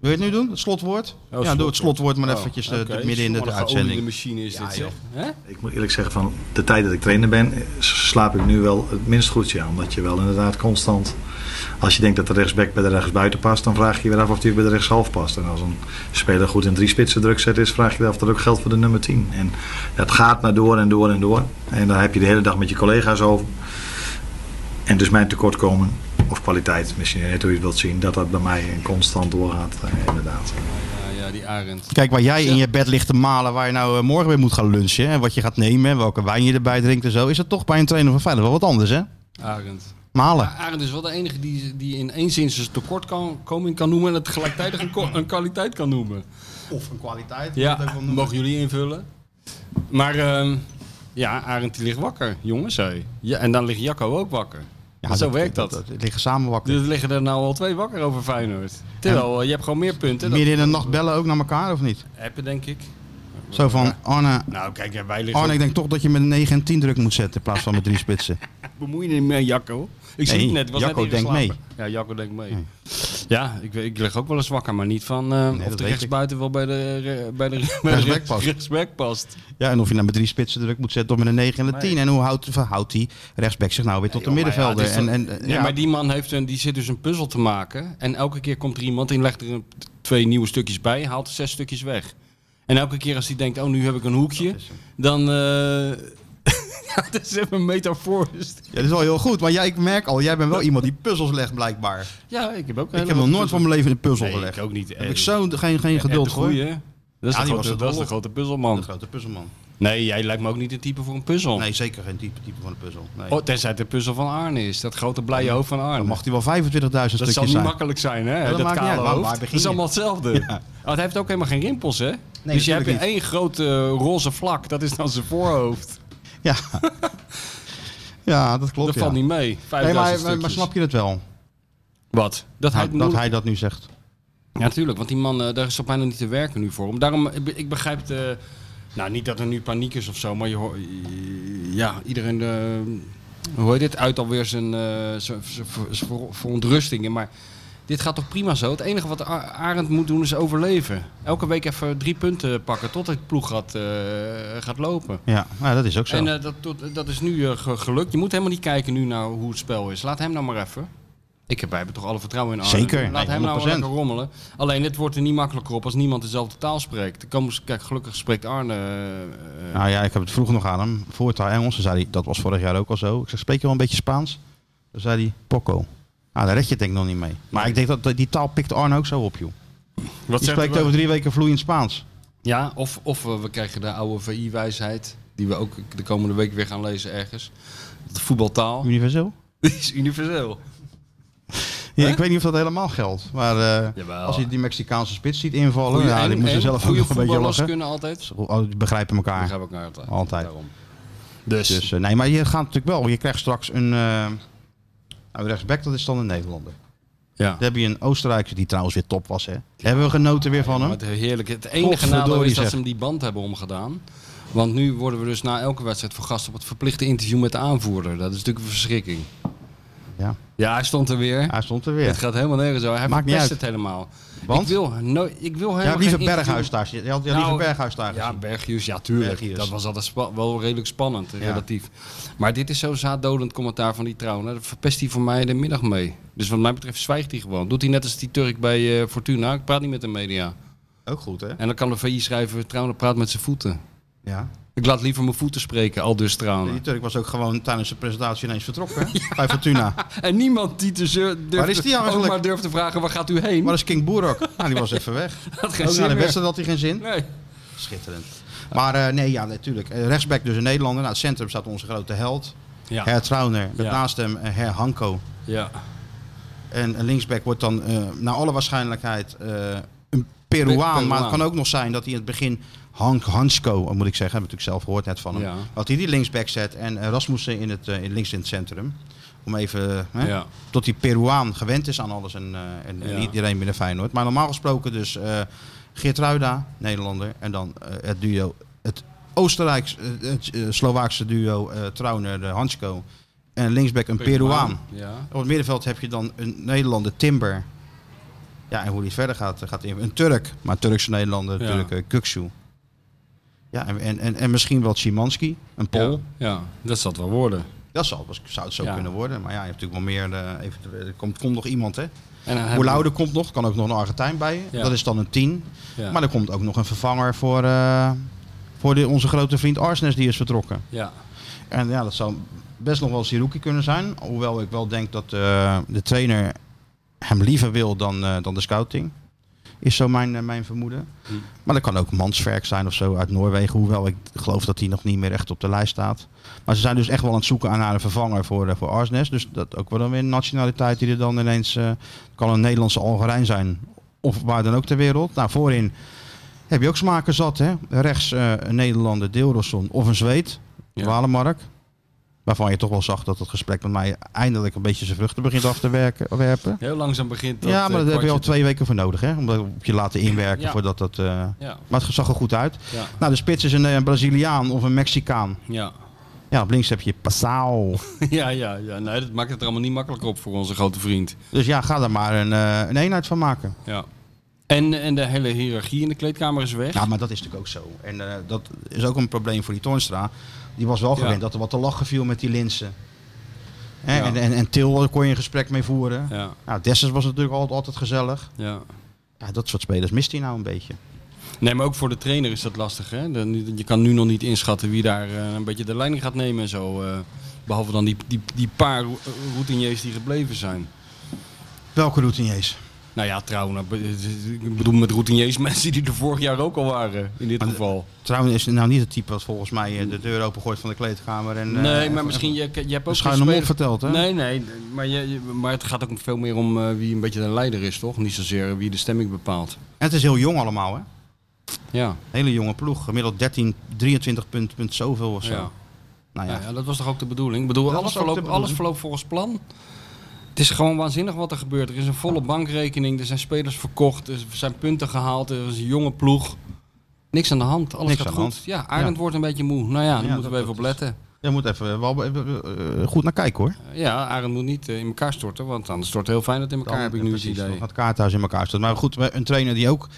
wil je het nu doen? Het slotwoord? ja, doe het
Oh, slotwoord.
slotwoord maar
hem.
eventjes
Oh,
eh,
oké.
midden in de,
Wat een
uitzending.
geoliede machine is dit, zeg. Hè?
Ik moet eerlijk zeggen, van de tijd dat ik trainer ben, slaap ik nu wel het minst goed. Ja, omdat je wel inderdaad constant, als je denkt dat de rechtsback bij de rechtsbuiten past, dan vraag je je weer af of die bij de rechtshalf past. En als een speler goed in drie spitsen druk zet is, vraag je je af of dat ook geldt voor de nummer 10. En dat gaat maar door en door en door. En daar heb je de hele dag met je collega's over. En dus mijn tekortkomen, of kwaliteit, misschien net hoe je het wilt zien, dat dat bij mij constant doorgaat, eh, inderdaad.
Ja, ja, die Arend.
Kijk, waar jij in je bed ligt te malen, waar je nou eh, morgen weer moet gaan lunchen en wat je gaat nemen en welke wijn je erbij drinkt en zo, is dat toch bij een trainer van Feyenoord wel wat anders, hè?
Arend.
Malen.
Arend is wel de enige die, die in één zin zijn tekortkoming kan noemen en het gelijktijdig een, ko- een kwaliteit kan noemen.
Of een kwaliteit.
Ja, mogen jullie invullen. Maar ehm, Ja, Arend die ligt wakker, jongens. hé. Ja, en dan ligt Jacco ook wakker. Want zo werkt dat.
dat liggen samen wakker.
Dus er liggen er nou al twee wakker over Feyenoord. Terwijl eh, je hebt gewoon meer punten. Dat
Midden in de nacht bellen ook naar elkaar of niet?
heb je denk ik.
Zo van, Arne,
Nou kijk, ja, wij liggen...
Arne, ik denk toch dat je met 9 en 10 druk moet zetten in plaats van met drie spitsen.
Bemoei je niet mee, Jacco. Ik zie
Nee,
het net, was
Jacco
net
denkt
ingeslapen. Ja, Jacco denkt mee. Ja, ik, weet- ik lig ook wel eens wakker, maar niet van eh, of
dat
de
weet
rechtsbuiten wel bij de, re- bij de, bij de
Rechtsback
rechts-
past.
rechtsback past.
Ja, en of je nou met drie spitsen druk moet zetten of met een 9 en een 10. En hoe houdt, verhoudt die rechtsback zich nou weer tot de middenvelder?
het is
en, en,
Ja, maar die man heeft een, die zit dus een puzzel te maken. En elke keer komt er iemand in, legt er een- twee nieuwe stukjes bij, haalt er zes stukjes weg. En elke keer als hij denkt, oh nu heb ik een hoekje, dan... eh ja, dat is even metaforisch.
Ja, dat is wel heel goed. Maar jij, ik merk al, jij bent wel iemand die puzzels legt blijkbaar.
Ja, ik heb ook
Ik heb nog nooit van mijn leven een puzzel
Nee,
gelegd.
ik ook niet.
heb ik zo geen, geen geduld voor.
goeie. hè? Dat is,
Ja,
de,
die was
grote,
het
dat is de
wel.
grote
De
puzzelman.
grote puzzelman.
Nee, jij lijkt me ook niet het type voor een puzzel.
Nee, zeker geen type, type van een puzzel. Nee.
Oh, tenzij het de puzzel van Arne is. Dat grote blije hoofd van Arne.
dan mag hij wel 25.000
dat
stukjes
zal niet
zijn.
makkelijk zijn, hè?
dat
dat
maakt niet
kale
uit. Waar-
hoofd.
waar
dat
begin
is
je?
allemaal hetzelfde. Oh, het heeft ook helemaal geen rimpels, hè? dus je
natuurlijk
hebt
niet.
één grote eh, roze vlak. Dat is dan zijn voorhoofd.
Ja. ja, dat klopt.
dat
ja.
valt niet mee.
Nee,
5000
maar, maar,
stukjes.
maar snap je het wel?
Wat? Dat hij,
Dat, dat hij dat nu zegt.
Ja, natuurlijk, want die man, eh, daar is toch bijna niet te werken nu voor hem. Daarom, ik be- ik begrijp, de, nou niet dat er nu paniek is of zo, maar je hoort, ja, iedereen, eh, hoe heet dit, uit alweer zijn, eh, zijn- zijn ver- zijn ver- verontrustingen. Maar dit gaat toch prima zo? Het enige wat A- Arend moet doen is overleven. Elke week even drie punten pakken tot het ploeg gaat, eh, gaat lopen.
Ja, nou, dat is ook zo.
En eh, dat, dat, dat is nu eh, ge- gelukt. Je moet helemaal niet kijken nu naar hoe het spel is. Laat hem nou maar even. Ik heb, wij hebben toch alle vertrouwen in Arne.
Zeker,
Laat
nee,
hem nou maar
100%.
lekker rommelen. Alleen het wordt er niet makkelijker op als niemand dezelfde taal spreekt. Dan komen ze- Kijk, gelukkig spreekt Arne. eh, eh,
nou ja, ik heb het vroeg nog aan hem. Voor het Engels zei hij, dat was vorig jaar ook al zo. Ik zeg, spreek je wel een beetje Spaans? Toen zei hij, poco. Nou, daar red je het denk ik nog niet mee. Maar ik denk dat- dat die taal pikt Arne ook zo op, joh.
wat
Die
zegt eh?
spreekt
er wel?
over drie weken vloeiend Spaans.
Ja, of, of eh, we krijgen de oude VI-wijsheid. Die we ook de komende week weer gaan lezen ergens. De voetbaltaal.
Universeel?
Die is universeel.
Ja,
Hè?
ik weet niet of dat helemaal geldt. Maar eh,
Jawel.
als je die Mexicaanse spits ziet invallen,
Goeie-
ja,
en-
die moeten
en
zelf ook
goede
nog een beetje
voetballers
lachen.
kunnen altijd.
Oh, die begrijpen
We
elkaar.
gaan ook naar altijd.
Altijd.
Daarom.
Dus, eh, nee, maar je gaat natuurlijk wel. Je krijgt straks een. eh nou, rechtsback, dat is dan een Nederlander.
Ja.
Dan heb je een Oostenrijker die trouwens weer top was. Hè. Hebben we genoten weer van
Maar
hem?
het, heerlijke, het enige
Godverdorie
nadeel is dat
zeg.
ze hem die band hebben omgedaan. Want nu worden we dus na elke wedstrijd vergast op het verplichte interview met de aanvoerder. Dat is natuurlijk een verschrikking.
Ja,
Ja, hij stond er weer.
hij stond er
Het
weer.
gaat helemaal nergens over. Hij
Maakt niet
verpest
uit.
het helemaal. Ik
Want?
wil, no, ik wil helemaal
Ja, liever
geen interview-
Berghuis daar. Je had ja,
Nou,
liever Berghuis daar.
Ja,
gezien.
Berghuis, ja tuurlijk.
Berghuis.
Dat was altijd spa- wel redelijk spannend, relatief. Maar dit is zo'n zaaddodend commentaar van die trouwen. Daar verpest hij voor mij de middag mee. Dus wat mij betreft zwijgt hij gewoon. Doet hij net als die Turk bij eh, Fortuna. Ik praat niet met de media.
Ook goed, hè?
En dan kan de VI schrijven, Trauner praat met zijn voeten.
Ja.
Ik laat liever mijn voeten spreken, al dus
Die
Trauner.
Turk was ook gewoon tijdens de presentatie ineens vertrokken. hè, Bij Fortuna.
En niemand die te zeur- durft,
Waar is die nou eigenlijk?
ook maar durft te vragen, waar gaat u heen?
Maar dat is King Boerok. Nou, die was even weg.
dat had geen
Ook na
zin
de
meer.
wedstrijd had hij geen zin.
Nee.
Schitterend. Maar eh, nee, ja, natuurlijk. Eh, rechtsback dus een Nederlander. Nou, het centrum staat onze grote held.
Ja.
Her Trauner. Met
Ja.
naast hem eh, Her Hanko.
ja.
En een linksback wordt dan eh naar alle waarschijnlijkheid eh, een Peruaan.
Peruaan.
Maar het kan ook nog zijn dat hij in het begin Hank Hansko, eh, moet ik zeggen, heb ik natuurlijk zelf gehoord net van hem.
Ja.
Dat hij die linksback zet en eh, Rasmussen in het, eh, in links in het centrum. Om even, eh, hè,
Ja.
tot die Peruaan gewend is aan alles en, eh, en, en
Ja.
iedereen binnen Feyenoord. Maar normaal gesproken dus eh Geertruida, Nederlander. En dan eh, het duo, het Oostenrijks, eh, het eh, Slovaakse duo eh Trauner, de Hansko. En linksback een Peruaan.
Ja.
Op het middenveld heb je dan een Nederlander, Timber. Ja, en hoe die verder gaat, eh, gaat in. Een Turk, maar Turkse Nederlander,
Ja.
natuurlijk eh, Kuksu. Ja, en, en- en, en misschien wel Szymanski, een Pool.
Ja. ja, dat zal het wel worden.
Dat zal, was- zou het zo
Ja.
kunnen worden. Maar ja, je hebt natuurlijk wel meer. eh, eventueel- er komt, komt nog iemand, hè?
En dan hebben we-
Boulaude komt nog, kan ook nog een Argentijn bij.
Ja.
Dat is dan een 10.
Ja.
Maar er komt ook nog een vervanger voor, eh, voor de, onze grote vriend Arsnes, die is vertrokken.
ja.
En ja, dat zou best nog wel Siruki kunnen zijn. Hoewel ik wel denk dat eh, de trainer hem liever wil dan, eh, dan de scouting. Is zo mijn, eh, mijn vermoeden. Maar dat kan ook Mansverk zijn of zo uit Noorwegen. Hoewel ik geloof dat hij nog niet meer echt op de lijst staat. Maar ze zijn dus echt wel aan het zoeken naar een vervanger voor, eh, voor Arsnes. Dus dat ook wel dan weer een nationaliteit die er dan ineens... eh, kan een Nederlandse Algerijn zijn. Of waar dan ook ter wereld. Nou, voorin heb je ook smaken zat. Hè? Rechts eh, een Nederlander, Deelrosson of een Zweed.
Ja.
Walemark. Waarvan je toch wel zag dat het gesprek met mij eindelijk een beetje zijn vruchten begint af te werken, werpen.
Heel langzaam begint dat,
ja, maar
eh,
daar heb je al
kwartje
twee weken voor nodig, hè? Om dat op je te laten inwerken
Ja.
voordat dat... eh,
te- Ja,
Maar het zag er goed uit.
ja,
Nou, de spits is een, eh, Braziliaan of een Mexicaan.
ja.
Ja, op links heb je Passau.
ja, ja, ja. Nee, dat maakt het er allemaal niet makkelijk op voor onze grote vriend.
Dus ja, ga daar maar een, eh, een eenheid van maken.
Ja. En, en de hele hiërarchie in de kleedkamer is weg.
Ja, Nou, maar dat is natuurlijk ook zo. En eh, dat is ook een probleem voor die Toornstra. Die was wel
Ja.
gewend dat er wat te lachen viel met die linsen. Hè,
Ja.
En, en, en Til daar kon je een gesprek mee voeren.
Ja,
Nou, Dessers was natuurlijk altijd, altijd gezellig.
ja.
Ja, dat soort spelers mist hij nou een beetje.
Nee, maar ook voor de trainer is dat lastig. Hè? Dan- Je kan nu nog niet inschatten wie daar eh, een beetje de leiding gaat nemen en zo. eh. behalve dan die, die, die paar ro- routiniers die gebleven zijn.
Welke routiniers?
Nou ja, trouwens, ik bedoel met routiniers mensen die er vorig jaar ook al waren, in dit geval.
Trouwens is het nou niet het type dat volgens mij eh, de deur opengooit van de kleedkamer. En, eh,
Nee,
even-
maar misschien, je, je hebt ook...
een schuine mond
gespeeld-
verteld, hè?
Nee, nee, maar, je, je- maar het gaat ook veel meer om eh, wie een beetje de leider is, toch? Niet zozeer wie de stemming bepaalt.
En het is heel jong allemaal, hè?
Ja,
Hele jonge ploeg. Gemiddeld 13, 23 punt, punt zoveel of zo.
ja.
Nou ja.
Nou ja, dat was toch ook de bedoeling? Ik bedoel,
Dat
alles
was ook de
verloopt, alles
bedoeling.
verloopt volgens plan. Het is gewoon waanzinnig wat er gebeurt. Er is een volle bankrekening, er zijn spelers verkocht, er zijn punten gehaald, er is een jonge ploeg. Niks aan de hand, alles
Niks
gaat
aan de
goed.
hand.
Ja, Arend wordt een beetje moe. Nou ja, daar
Ja,
moeten we
dat-
even op
dat is-
letten.
Je moet even wel eh, eh, goed naar kijken, hoor.
Ja, Arend moet niet eh, in elkaar storten, want anders stort heel fijn dat in elkaar,
Dan-
heb ik nu het
precies,
idee.
nog Het kaarthuis in elkaar staat. Maar goed, een trainer die ook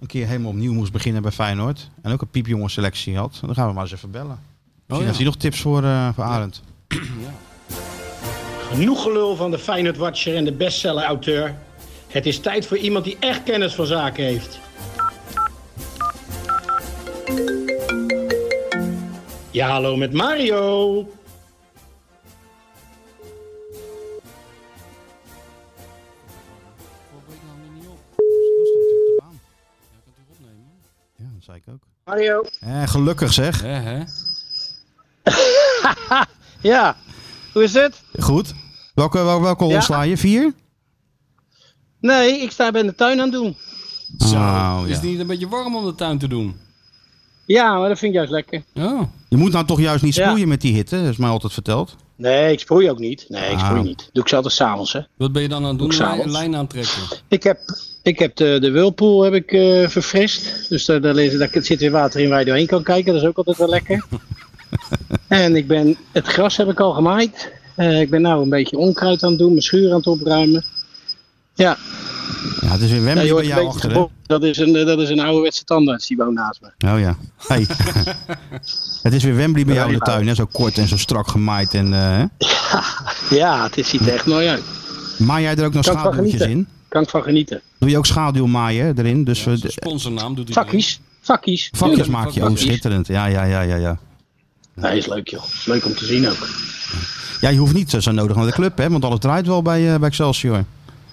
een keer helemaal opnieuw moest beginnen bij Feyenoord. En ook een piepjonge selectie had. Dan gaan we maar eens even bellen. Misschien
Oh, ja.
heeft hij nog tips voor, eh, voor Arend.
Genoeg gelul van de Feyenoord Watcher en de bestseller-auteur. Het is tijd voor iemand die echt kennis van zaken heeft. Ja, hallo met Mario.
Ja, dat zei ik ook.
Mario.
Eh, gelukkig zeg.
Hè, hè?
Ja, hoe is het?
Goed. Welke, wel- welke
Ja.
hol sla je? Vier?
Nee, ik sta bij de tuin aan het doen.
Zo,
Oh,
is
Dus
ja.
het niet een beetje warm om de tuin te doen?
Ja, maar dat vind ik juist lekker.
Ja.
Je moet nou toch juist niet
Ja.
sproeien met die hitte. Dat is mij altijd verteld.
Nee, ik sproei ook niet. Nee, ik sproei
Ah.
niet. Doe ik ze altijd s'avonds, hè.
Wat ben je dan aan het doen?
Ook s'avonds.
Lijn, lijn aantrekken.
Ik heb, ik heb de, de whirlpool heb ik, eh, verfrist. Dus daar, daar, lezen- daar zit weer water in waar je doorheen kan kijken. Dat is ook altijd wel lekker. en ik ben, het gras heb ik al gemaaid. Eh, ik ben nou een beetje onkruid aan het doen. Mijn schuur aan het opruimen. Ja,
Ja, het is weer
nou,
Wembley
je hoort
bij
een
jou
beetje
achter, hè?
gebok. dat is, een, eh, dat is een ouderwetse tandarts die woont naast me.
Oh ja. Hey. het is weer Wembley bij jou in de tuin. Hè? Zo kort en zo strak gemaaid. En, eh, hè?
Ja, het is, ziet er echt mooi uit.
maai jij er ook nog
Kan ik van
schaduwtjes
genieten.
in?
Kan ik van genieten.
Doe je ook schaduwmaaien erin? Dus we,
Zijn Sponsornaam doet hij.
Vakkies. Vakkies.
Vakjes
Ja,
maak je, oh
vakjes.
schitterend. Ja, ja, ja, ja, ja.
Nee, is leuk joh. Is leuk om te zien ook.
Ja, je hoeft niet eh, zo nodig naar de club, hè, want alles draait wel bij, eh bij Excelsior.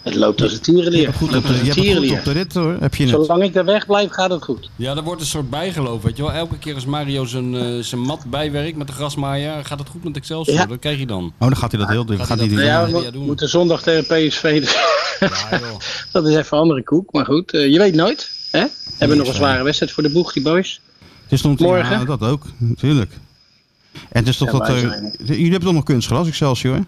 Je
Het loopt als een tierenleer.
hebt het goed
Het
op
loopt
de,
als
je
een
hebt het goed op
tierenleer.
de rit, hoor. Heb je het.
Zolang ik daar weg blijf, gaat het goed.
Ja, er wordt een soort bijgeloof, weet je wel. Elke keer als Mario zijn, eh, zijn mat bijwerkt met de grasmaaier, gaat het goed met Excelsior.
Ja.
Dat krijg je dan.
Oh, dan gaat hij dat heel
Gaat
Gaat
hij
hij
dat-
die-
Ja,
Ja,
we
ja, doen.
moeten zondag tegen PSV. dus
Ja, joh.
dat is even een andere koek. Maar goed, eh, je weet nooit. Hè? Hebben nog een zware wedstrijd voor de boeg, die boys.
Het is nog-
morgen?
Ja, dat ook, natuurlijk. En het is toch
Ja,
dat...
wij
eh,
zijn-
jullie hebben toch nog kunstgras, Excelsior?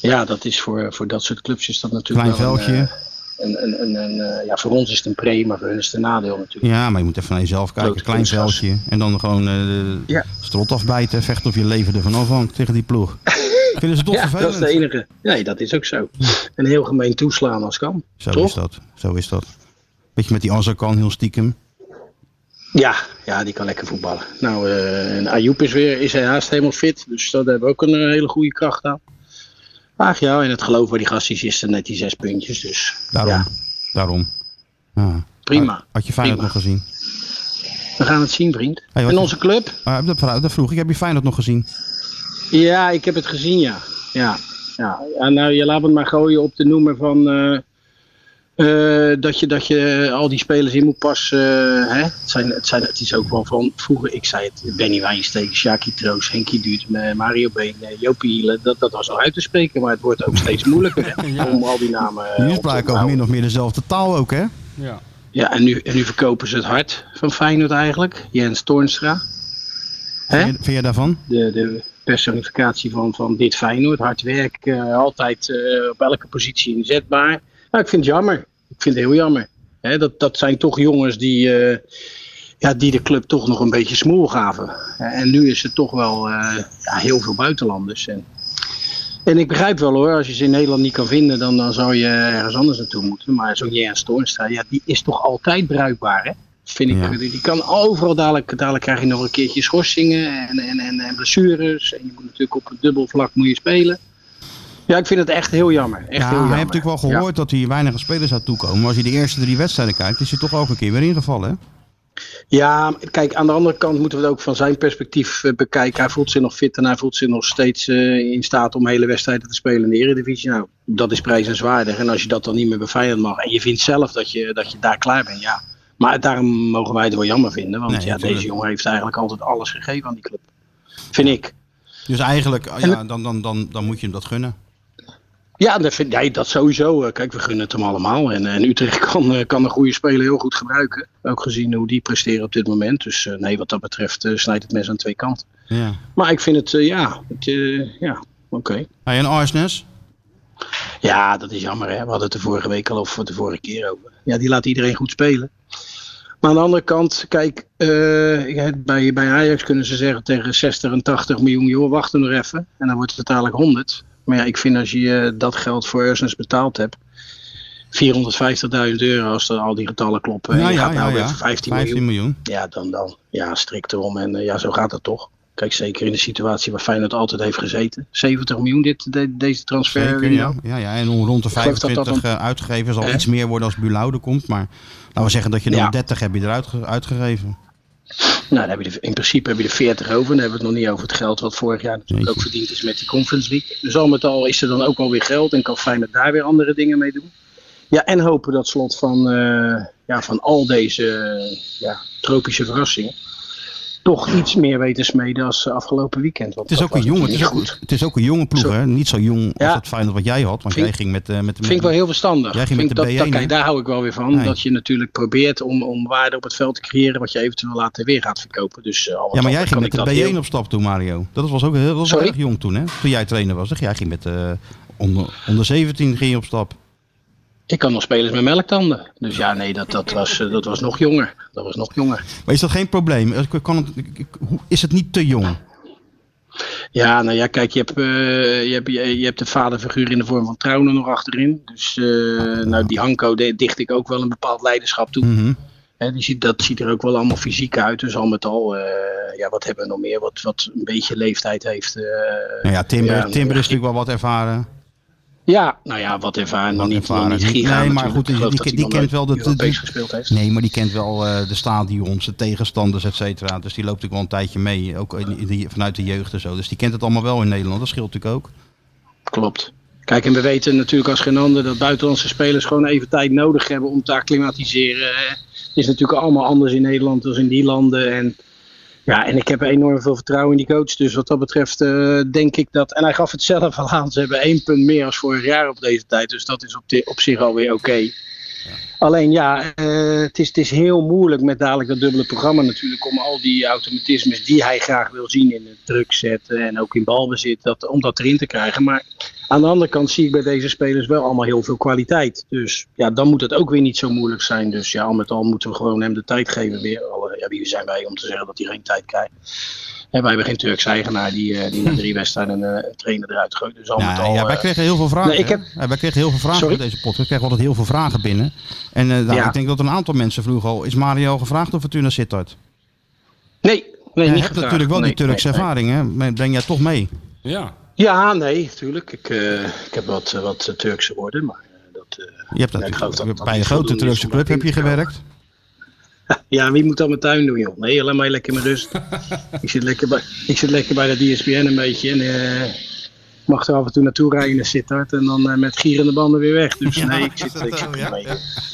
Ja, dat is voor, voor dat soort clubs is dat natuurlijk
Klein
wel een,
veldje.
eh, Een, een, een, een, eh, ja, voor ons is het een pre, maar voor hun is het een nadeel natuurlijk.
Ja, maar je moet even naar jezelf kijken.
Groot
Klein
kunstgras.
veldje. En dan gewoon eh, de
Ja.
strot afbijten. Vechten of je leven ervan afhangt tegen die ploeg. Vinden ze toch
Ja, dat is
vervelend?
de enige. Nee, dat is ook zo. En heel gemeen toeslaan als kan.
Zo
toch?
is dat. Zo is dat. Beetje met die Azarkan heel stiekem.
Ja, ja, die kan lekker voetballen. Nou, eh, en Ayoub is weer is hij haast helemaal fit. Dus dat hebben we ook een eh, hele goede kracht aan. Ach ja, en het geloof bij die gast is, is er net die zes puntjes. Dus
Daarom.
Ja.
Daarom. Ja.
prima.
Had je Feyenoord
Prima.
nog gezien?
We gaan het zien, vriend.
Hey, wat
en
je-
onze club?
Ah, dat, vra- dat vroeg ik. Heb je Feyenoord nog gezien?
Ja, ik heb het gezien, ja. Ja, ja. ja nou, je laat het maar gooien op de noemer van... eh, eh, dat, je, dat je al die spelers in moet passen. eh, hè? Het, zijn, het, zijn, het is ook wel van vroeger, ik zei het, Benny Wijnsteek, Sjaki Troost, Henkie Duurt, Mario Been, eh, Jopie Hielen. Dat, dat was al uit te spreken, maar het wordt ook steeds moeilijker hè, om al die namen eh,
Jullie
op te
spraken ook
onthouden.
min of meer dezelfde taal ook, hè?
Ja.
Ja, en nu, en nu verkopen ze het hart van Feyenoord eigenlijk. Jens Toornstra. Hè?
Vind, je, vind je daarvan?
de, de personificatie van, van dit Feyenoord. Hard werk, eh, altijd eh, op elke positie inzetbaar. Nou, ik vind het jammer. Ik vind het heel jammer. Hè, dat, dat zijn toch jongens die, eh, ja, die de club toch nog een beetje smoel gaven. Eh, en nu is er toch wel eh, ja, heel veel buitenlanders. En, en ik begrijp wel hoor, als je ze in Nederland niet kan vinden, dan, dan zou je ergens anders naartoe moeten. Maar zo'n Jens Toornstra, ja, die is toch altijd bruikbaar hè? Vind ik,
Ja.
die die kan overal dadelijk, dadelijk krijg je nog een keertje schorsingen en, en, en, en blessures. En je moet natuurlijk op het dubbel vlak moet je spelen. Ja, ik vind het echt heel jammer. Echt
ja,
heel
je
jammer.
hebt natuurlijk wel
Ja.
gehoord dat hier weinig spelers aan toekomen. Maar als je de eerste drie wedstrijden kijkt, is hij toch ook een keer weer ingevallen. Hè?
Ja, kijk, aan de andere kant moeten we het ook van zijn perspectief eh, bekijken. Hij voelt zich nog fit en hij voelt zich nog steeds eh, in staat om hele wedstrijden te spelen in de Eredivisie. Nou, dat is prijzenswaardig. En als je dat dan niet meer beveiligd mag en je vindt zelf dat je, dat je daar klaar bent, ja. Maar daarom mogen wij het wel jammer vinden. Want
Nee,
ja,
natuurlijk.
deze jongen heeft eigenlijk altijd alles gegeven aan die club. Vind ik.
Dus eigenlijk, ah, ja, dan, dan, dan, dan moet je hem dat gunnen.
Ja, dat, vind, nee, dat sowieso. Eh, Kijk, we gunnen het hem allemaal. En, eh, en Utrecht kan, eh, kan een goede speler heel goed gebruiken. Ook gezien hoe die presteren op dit moment. Dus eh, nee, wat dat betreft eh, snijdt het mes aan twee kanten.
Ja.
Maar ik vind het, eh, ja, het, eh, ja, oké.
Hey, en Arsnes?
Ja, dat is jammer hè. We hadden het de vorige week al of de vorige keer over. Ja, die laat iedereen goed spelen. Maar aan de andere kant, kijk, eh, ja, bij, bij Ajax kunnen ze zeggen tegen 60 en 80 miljoen, joh, wacht er nog even. En dan wordt het dadelijk 100. Maar ja, ik vind als je eh, dat geld voor Ursens betaald hebt, 450.000 euro als er al die getallen kloppen. en je gaat nou weer voor 15, miljoen. Ja, dan, dan. Ja, strikt erom. En eh, ja, zo gaat dat toch. Kijk, zeker in de situatie waar Feyenoord altijd heeft gezeten. 70 miljoen dit, de- deze transfer. Nou,
Zeker, ja. Ja, ja. En om rond de
Ik geloof dat dat
25 eh, uitgegeven zal
Hè?
iets meer worden als Bulaude komt. Maar laten we zeggen dat je dan
Ja.
30 heb je eruit ge- uitgegeven.
Nou, dan heb je de- in principe heb je er 40 over. Dan hebben we het nog niet over het geld wat vorig jaar natuurlijk
Jeetje.
ook verdiend is met die Conference League. Dus al met al is er dan ook alweer geld en kan Feyenoord daar weer andere dingen mee doen. Ja, en hopen dat slot van, eh, ja, van al deze eh, ja, tropische verrassingen toch iets meer weten smeden als eh, afgelopen weekend. Want
Het is,
dat
ook een
was
jonge, het, is
natuurlijk
ook,
niet goed.
het is ook een jonge ploeg,
Zo.
hè? Niet zo jong als
Ja.
dat Feyenoord wat jij had. Want
Vind-
jij ging met, eh, met, met,
Vind ik wel heel verstandig.
Jij ging
Vind
met
ik
de
dat,
B1,
dat,
hè?
kijk, daar hou ik wel weer van.
Nee.
Dat je natuurlijk probeert om, om waarde op het veld te creëren wat je eventueel later weer gaat verkopen. Dus, eh, al wat
Ja, maar
al
jij ging
kan
met
ik
de
dat
B1
heel-
op stap toen, Mario. Dat was ook heel, dat was wel
Sorry?
erg jong toen, hè? Toen jij trainer was. Zeg, jij ging met eh, onder, onder 17 ging je op stap.
Ik kan nog spelers met melktanden. Dus ja, nee, dat, dat, was, eh, dat was nog jonger. Dat was nog jonger.
Maar is dat geen probleem? Eh, Kan het, hoe- is het niet te jong?
Ja, nou ja, kijk, je hebt, eh, je hebt, je, je hebt de vaderfiguur in de vorm van Trouwen nog achterin. Dus eh, nou, die Hanko de- dicht ik ook wel een bepaald leiderschap toe.
Mhm.
Hè, die ziet, dat ziet er ook wel allemaal fysiek uit. Dus al met al, eh, ja, wat hebben we nog meer? Wat, wat een beetje leeftijd heeft. eh,
Nou ja, Timber,
Ja,
Timber is natuurlijk wel wat ervaren.
ja, nou ja, wat ervaren. Nog
Wat
niet, nog
ervaren.
niet giga
Nee, maar
natuurlijk.
goed, die-
Ik geloof
die-
dat hij
die
nog
kent
nooit
wel dat-
Europees
die-
gespeeld heeft.
Nee, maar die kent wel eh, de stadions, de tegenstanders, et cetera. Dus die loopt natuurlijk wel een tijdje mee. Ook in, in die- vanuit de jeugd en zo. Dus die kent het allemaal wel in Nederland. Dat scheelt natuurlijk ook.
Klopt. Kijk, en we weten natuurlijk als geen ander dat buitenlandse spelers gewoon even tijd nodig hebben om te acclimatiseren. hè. Het is natuurlijk allemaal anders in Nederland dan in die landen. En, ja, en ik heb enorm veel vertrouwen in die coach. Dus wat dat betreft eh, denk ik dat. En hij gaf het zelf al aan. Ze hebben één punt meer als vorig jaar op deze tijd. Dus dat is op, di- op zich alweer oké. Alleen ja, eh, het, is, het is heel moeilijk met dadelijk dat dubbele programma natuurlijk om al die automatismes die hij graag wil zien in het druk zetten en ook in balbezit, dat, om dat erin te krijgen. Maar aan de andere kant zie ik bij deze spelers wel allemaal heel veel kwaliteit. Dus ja, dan moet het ook weer niet zo moeilijk zijn. Dus ja, al met al moeten we gewoon hem de tijd geven weer. Al, eh, Ja, wie zijn wij om te zeggen dat hij geen tijd krijgt? En wij hebben geen Turks eigenaar die, eh, die na drie wedstrijden eh, een trainer eruit gooit. Dus al met
Nou,
al...
ja, wij
eh,
kregen heel veel vragen.
Nee, ik
hè?
heb-
Ja, wij kregen heel veel vragen
Sorry?
voor deze podcast. We kregen altijd heel veel vragen binnen. En eh, nou,
Ja.
ik denk dat een aantal mensen vroegen al... Is Mario gevraagd of het u naar Sittard?
Nee, nee,
Je
niet
hebt
gevraagd.
natuurlijk wel
Nee,
die Turkse
nee, nee.
ervaring, hè? Breng jij toch mee?
Ja.
Ja, nee, tuurlijk. Ik, eh, ik heb wat, eh, wat eh, Turkse woorden, maar eh, dat... eh,
Je hebt
Ja, ik geloof
natuurlijk
dat dat
bij een grote
niet voldoende is
Turkse
om
club
dat
heb je
in te houden.
gewerkt.
Ja, wie moet dat mijn tuin doen, joh? Nee, laat mij lekker met rust. ik, zit lekker bij, ik zit lekker bij dat DSPN een beetje en eh, mag er af en toe naartoe rijden naar Sittard en dan eh, met gierende banden weer weg. Dus nee, ik zit, ik zit ermee.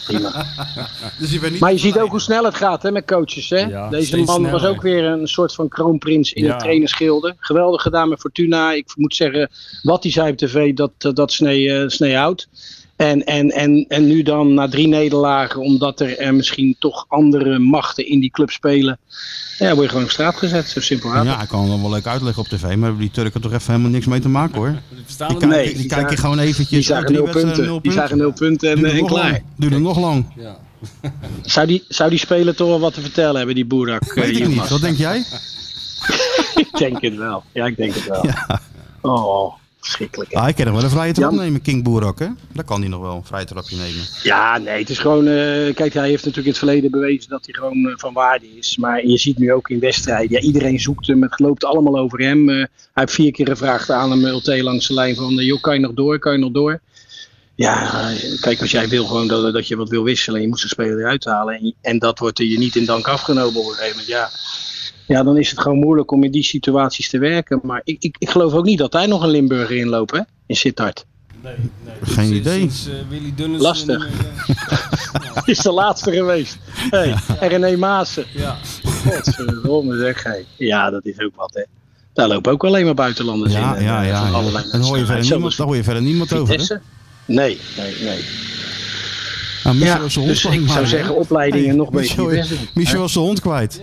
Prima.
eh, Dus je bent niet
Maar je ziet ook hoe snel het gaat hè, met coaches. Hè?
Ja,
Deze man
steeds sneller.
was ook weer een soort van kroonprins in
Ja.
de trainersgilde. Geweldig gedaan met Fortuna. Ik moet zeggen, wat hij zei op tv, dat, dat, dat eh, snee, eh, snee houdt. En, en, en, en nu dan na drie nederlagen, omdat er eh, misschien toch andere machten in die club spelen. Ja, word je gewoon op straat gezet. Zo simpel gaat het.
Ja, ik kan hem wel leuk uitleggen op tv, maar hebben die Turken toch even helemaal niks mee te maken hoor. Die, kijken-
nee.
die
die kijken
zagen-
gewoon eventjes.
Die
oh,
zagen
drie
nul
wedstrijden,
punten. Die zagen nul punten en,
Duurde
eh, en
nog
klaar.
lang. Duurde nog lang.
Ja.
Zou die, zou die speler toch wel wat te vertellen hebben, die Boerak? eh,
Weet ik
Yilmaz?
niet. Wat denk jij?
Ik denk het wel. Ja, ik denk het wel. Oh, verschrikkelijk. hè.
Ah, ik kan nog wel een vrije trap
Jan-
nemen, King Boerak. Hè? Daar kan hij nog wel een vrije trapje nemen.
Ja, nee, het is gewoon. eh, kijk, hij heeft natuurlijk in het verleden bewezen dat hij gewoon eh, van waarde is. Maar je ziet nu ook in wedstrijden. Ja, iedereen zoekt hem. Het loopt allemaal over hem. Eh, hij heeft vier keer gevraagd aan hem eh, LT langs de lijn: van eh, joh, kan je nog door? Kan je nog door? Ja, eh, kijk, als jij wil gewoon dat, dat je wat wil wisselen. Je moet een speler eruit halen. En, en dat wordt er je niet in dank afgenomen op een gegeven moment. Ja. ja, dan is het gewoon moeilijk om in die situaties te werken. Maar ik, ik, ik geloof ook niet dat hij nog een Limburger inloopt, hè? In Sittard.
Nee, nee.
Geen
Sinds-
idee.
Sinds, eh, Willy Dunnes.
Lastig.
en, eh,
is de laatste geweest. Hey, en René Maassen.
ja.
Godverdomme zeg. Hey. Ja, dat is ook wat hè. Daar lopen ook alleen maar buitenlanders
Ja,
in.
ja, ja. ja. En dan hoor je verder niemand, daar hoor je verder niemand over. Hè?
over. Nee, nee, nee.
Nou, Michel
Ja,
was zijn hond
dus
kwijt,
ik zou
maar-
zeggen opleidingen
Hey,
nog beter.
Michel,
best doen.
Michel was zijn hond kwijt.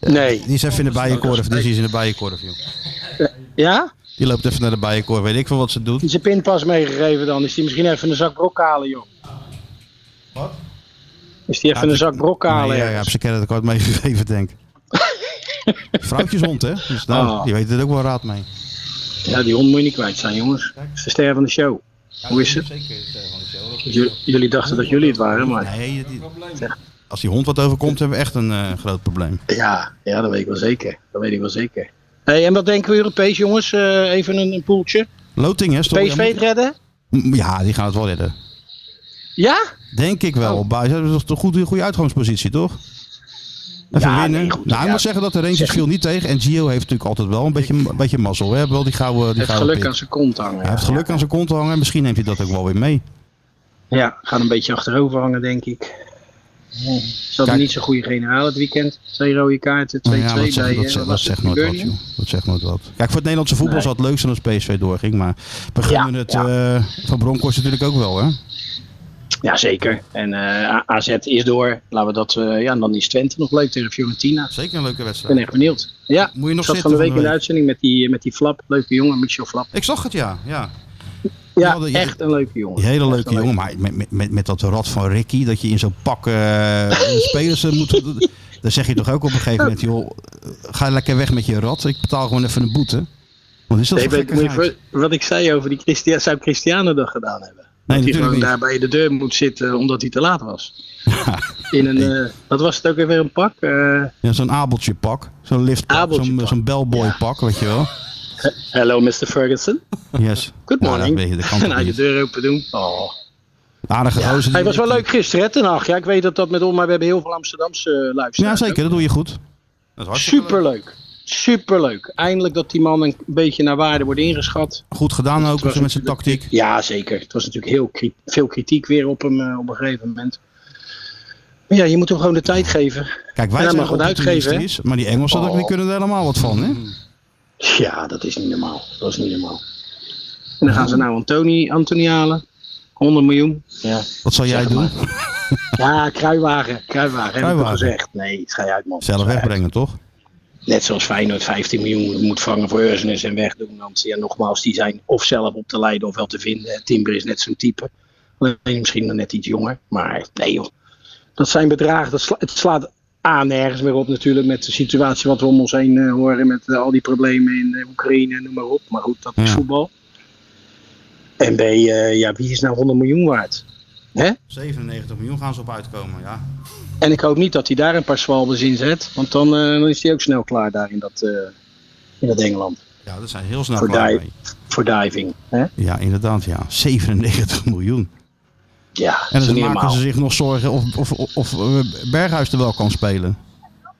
Nee.
Die is even in de bijenkorf. dus Die is in de bijenkorf, joh.
Ja?
Die loopt even naar de bijenkorf. Weet ik veel wat ze doet.
Die zijn pinpas meegegeven dan. Is die misschien even een zak brok halen joh. Wat? Is die even
Ja,
een zak brok halen?
Nee, ja, ja,
ergens?
heb ze kennenkort meegegeven, denk ik. Vrouwtjeshond, hè? Dus nou,
Oh.
die weten er ook wel raad mee.
Ja, die hond moet je niet kwijt zijn, jongens. Het is de ster van de show. Hoe is het? J- jullie dachten dat jullie het waren, maar
Nee, dat- als die hond wat overkomt, hebben we echt een eh, groot probleem.
ja, ja, dat weet ik wel zeker. Dat weet ik wel zeker. Hey, en wat denken we Europees, jongens? Eh, even een, een poeltje.
Loting, hè? Stol-
PSV het redden?
M- Ja, die gaan het wel redden.
Ja?
Denk ik
Oh.
wel. Buis Ze hebben toch een goede, goede uitgangspositie, toch? Even
Ja,
winnen.
nee, goed,
nou, ik
ja.
moet zeggen dat de Rangers viel niet tegen. En Gio heeft natuurlijk altijd wel een beetje, een beetje mazzel. Hè? Hebben wel die gouden, die
Het
gouden
geluk
pik.
aan zijn kont hangen.
Hij heeft geluk aan zijn kont te hangen. Misschien neemt hij dat ook wel weer mee.
Ja, gaat een beetje achterover hangen, denk ik. Ze hadden
Kijk.
niet zo'n goede generaal het weekend. Twee rode kaarten, 2-2
Nou ja, dat,
bij...
zegt, dat,
eh,
zegt, dat
was het,
zegt nooit wat,
Burnley?
joh. Dat zegt nooit wat. Kijk, voor het Nederlandse voetbal
Nee.
zou het leuk zijn als PSV doorging. Maar we gunnen
Ja,
het eh, van Bronkhorst natuurlijk ook wel, hè?
Ja, zeker. En eh, A- AZ is door. Laten we dat... eh, ja, en dan is Twente nog leuk tegen Fiorentina.
Zeker een leuke
Ik ben
wedstrijd.
echt benieuwd. Ja,
Moet je nog
ik zat
zitten
van de week in de
week?
uitzending met die, eh, met die Flap. Leuke jongen, Michel Flap.
Ik zag het, ja. ja.
Ja,
hadden-
echt een leuke jongen.
Die hele
Echt
leuke
een
jongen. Maar met, met- met, met dat rad van Ricky, dat je in zo'n pak eh, spelers eh, moet... Dan zeg je toch ook op een gegeven moment, joh, eh, ga lekker weg met je rad. Ik betaal gewoon even een boete. Wat is dat
Nee,
voor
weet- moet je
gekkigheid?
voor- wat ik zei over die Christia, zou Cristiano dat gedaan hebben?
Nee,
dat hij gewoon
natuurlijk niet.
daar bij de deur moet zitten omdat hij te laat was. In een, eh, wat was het ook weer, een pak? Eh,
Ja, zo'n abeltje pak. Zo'n liftpak.
Abeltje
Zo'n
pak.
zo'n bellboy pak, weet je wel.
Hello Mr. Ferguson,
Yes. Nou, dat
good morning.
weet je, dat kan
en
toch
hij de
niet?
deur open doen. Oh.
Aardige gozer.
Hij
die-
was wel leuk gisteren, hè, Ten Hag? Ja, ik weet dat dat met ons, maar we hebben heel veel Amsterdamse eh,
Ja,
luisteraars.
zeker. Dat doe je goed.
ook. Superleuk. Superleuk. Eindelijk dat die man een beetje naar waarde wordt ingeschat.
Goed gedaan ook dus met zijn tactiek.
Ja, zeker. Het was natuurlijk heel kri- veel kritiek weer op hem eh, op een gegeven moment. Maar ja, je moet hem gewoon de tijd geven.
Kijk,
En
wij
hij
zijn
mag wat uitgeven,
optimistisch, maar die Engelsen dat- die
Oh. Mm.
kunnen er helemaal wat van, hè?
Ja, dat is niet normaal. Dat is niet normaal. En dan gaan ze nou Antoni, Antoni halen. 100 miljoen. Ja,
Wat zal jij
Zeg
doen?
maar. ja kruiwagen. Kruiwagen, heb ik
Kruiwagen.
toch gezegd. Nee, schei uit man.
Zelf
Schei uit.
wegbrengen, toch?
Net zoals Feyenoord 15 miljoen moet vangen voor Ursinus en wegdoen. Want ja, nogmaals, die zijn of zelf op te leiden of wel te vinden. En Timber is net zo'n type. Alleen misschien nog net iets jonger. Maar nee joh. Dat zijn bedragen. Dat sla- het slaat aan nergens meer op natuurlijk. Met de situatie wat we om ons heen eh, horen. Met eh, al die problemen in eh, Oekraïne en noem maar op. Maar goed, dat is
Ja.
voetbal. En B, eh, ja, wie is nou 100 miljoen waard?
97 miljoen gaan ze op uitkomen, ja.
En ik hoop niet dat hij daar een paar zwalbes in zet. Want dan, eh, dan is hij ook snel klaar daar in dat, eh, in dat Engeland.
Ja, dat zijn heel snel
Voor
klaar
die-
mee.
voor diving. Hè?
Ja, inderdaad, ja. 97 miljoen.
Ja,
En
dat is
dan
niet
maken
normaal.
ze zich nog zorgen of, of, of, of, eh, Berghuis er wel kan spelen.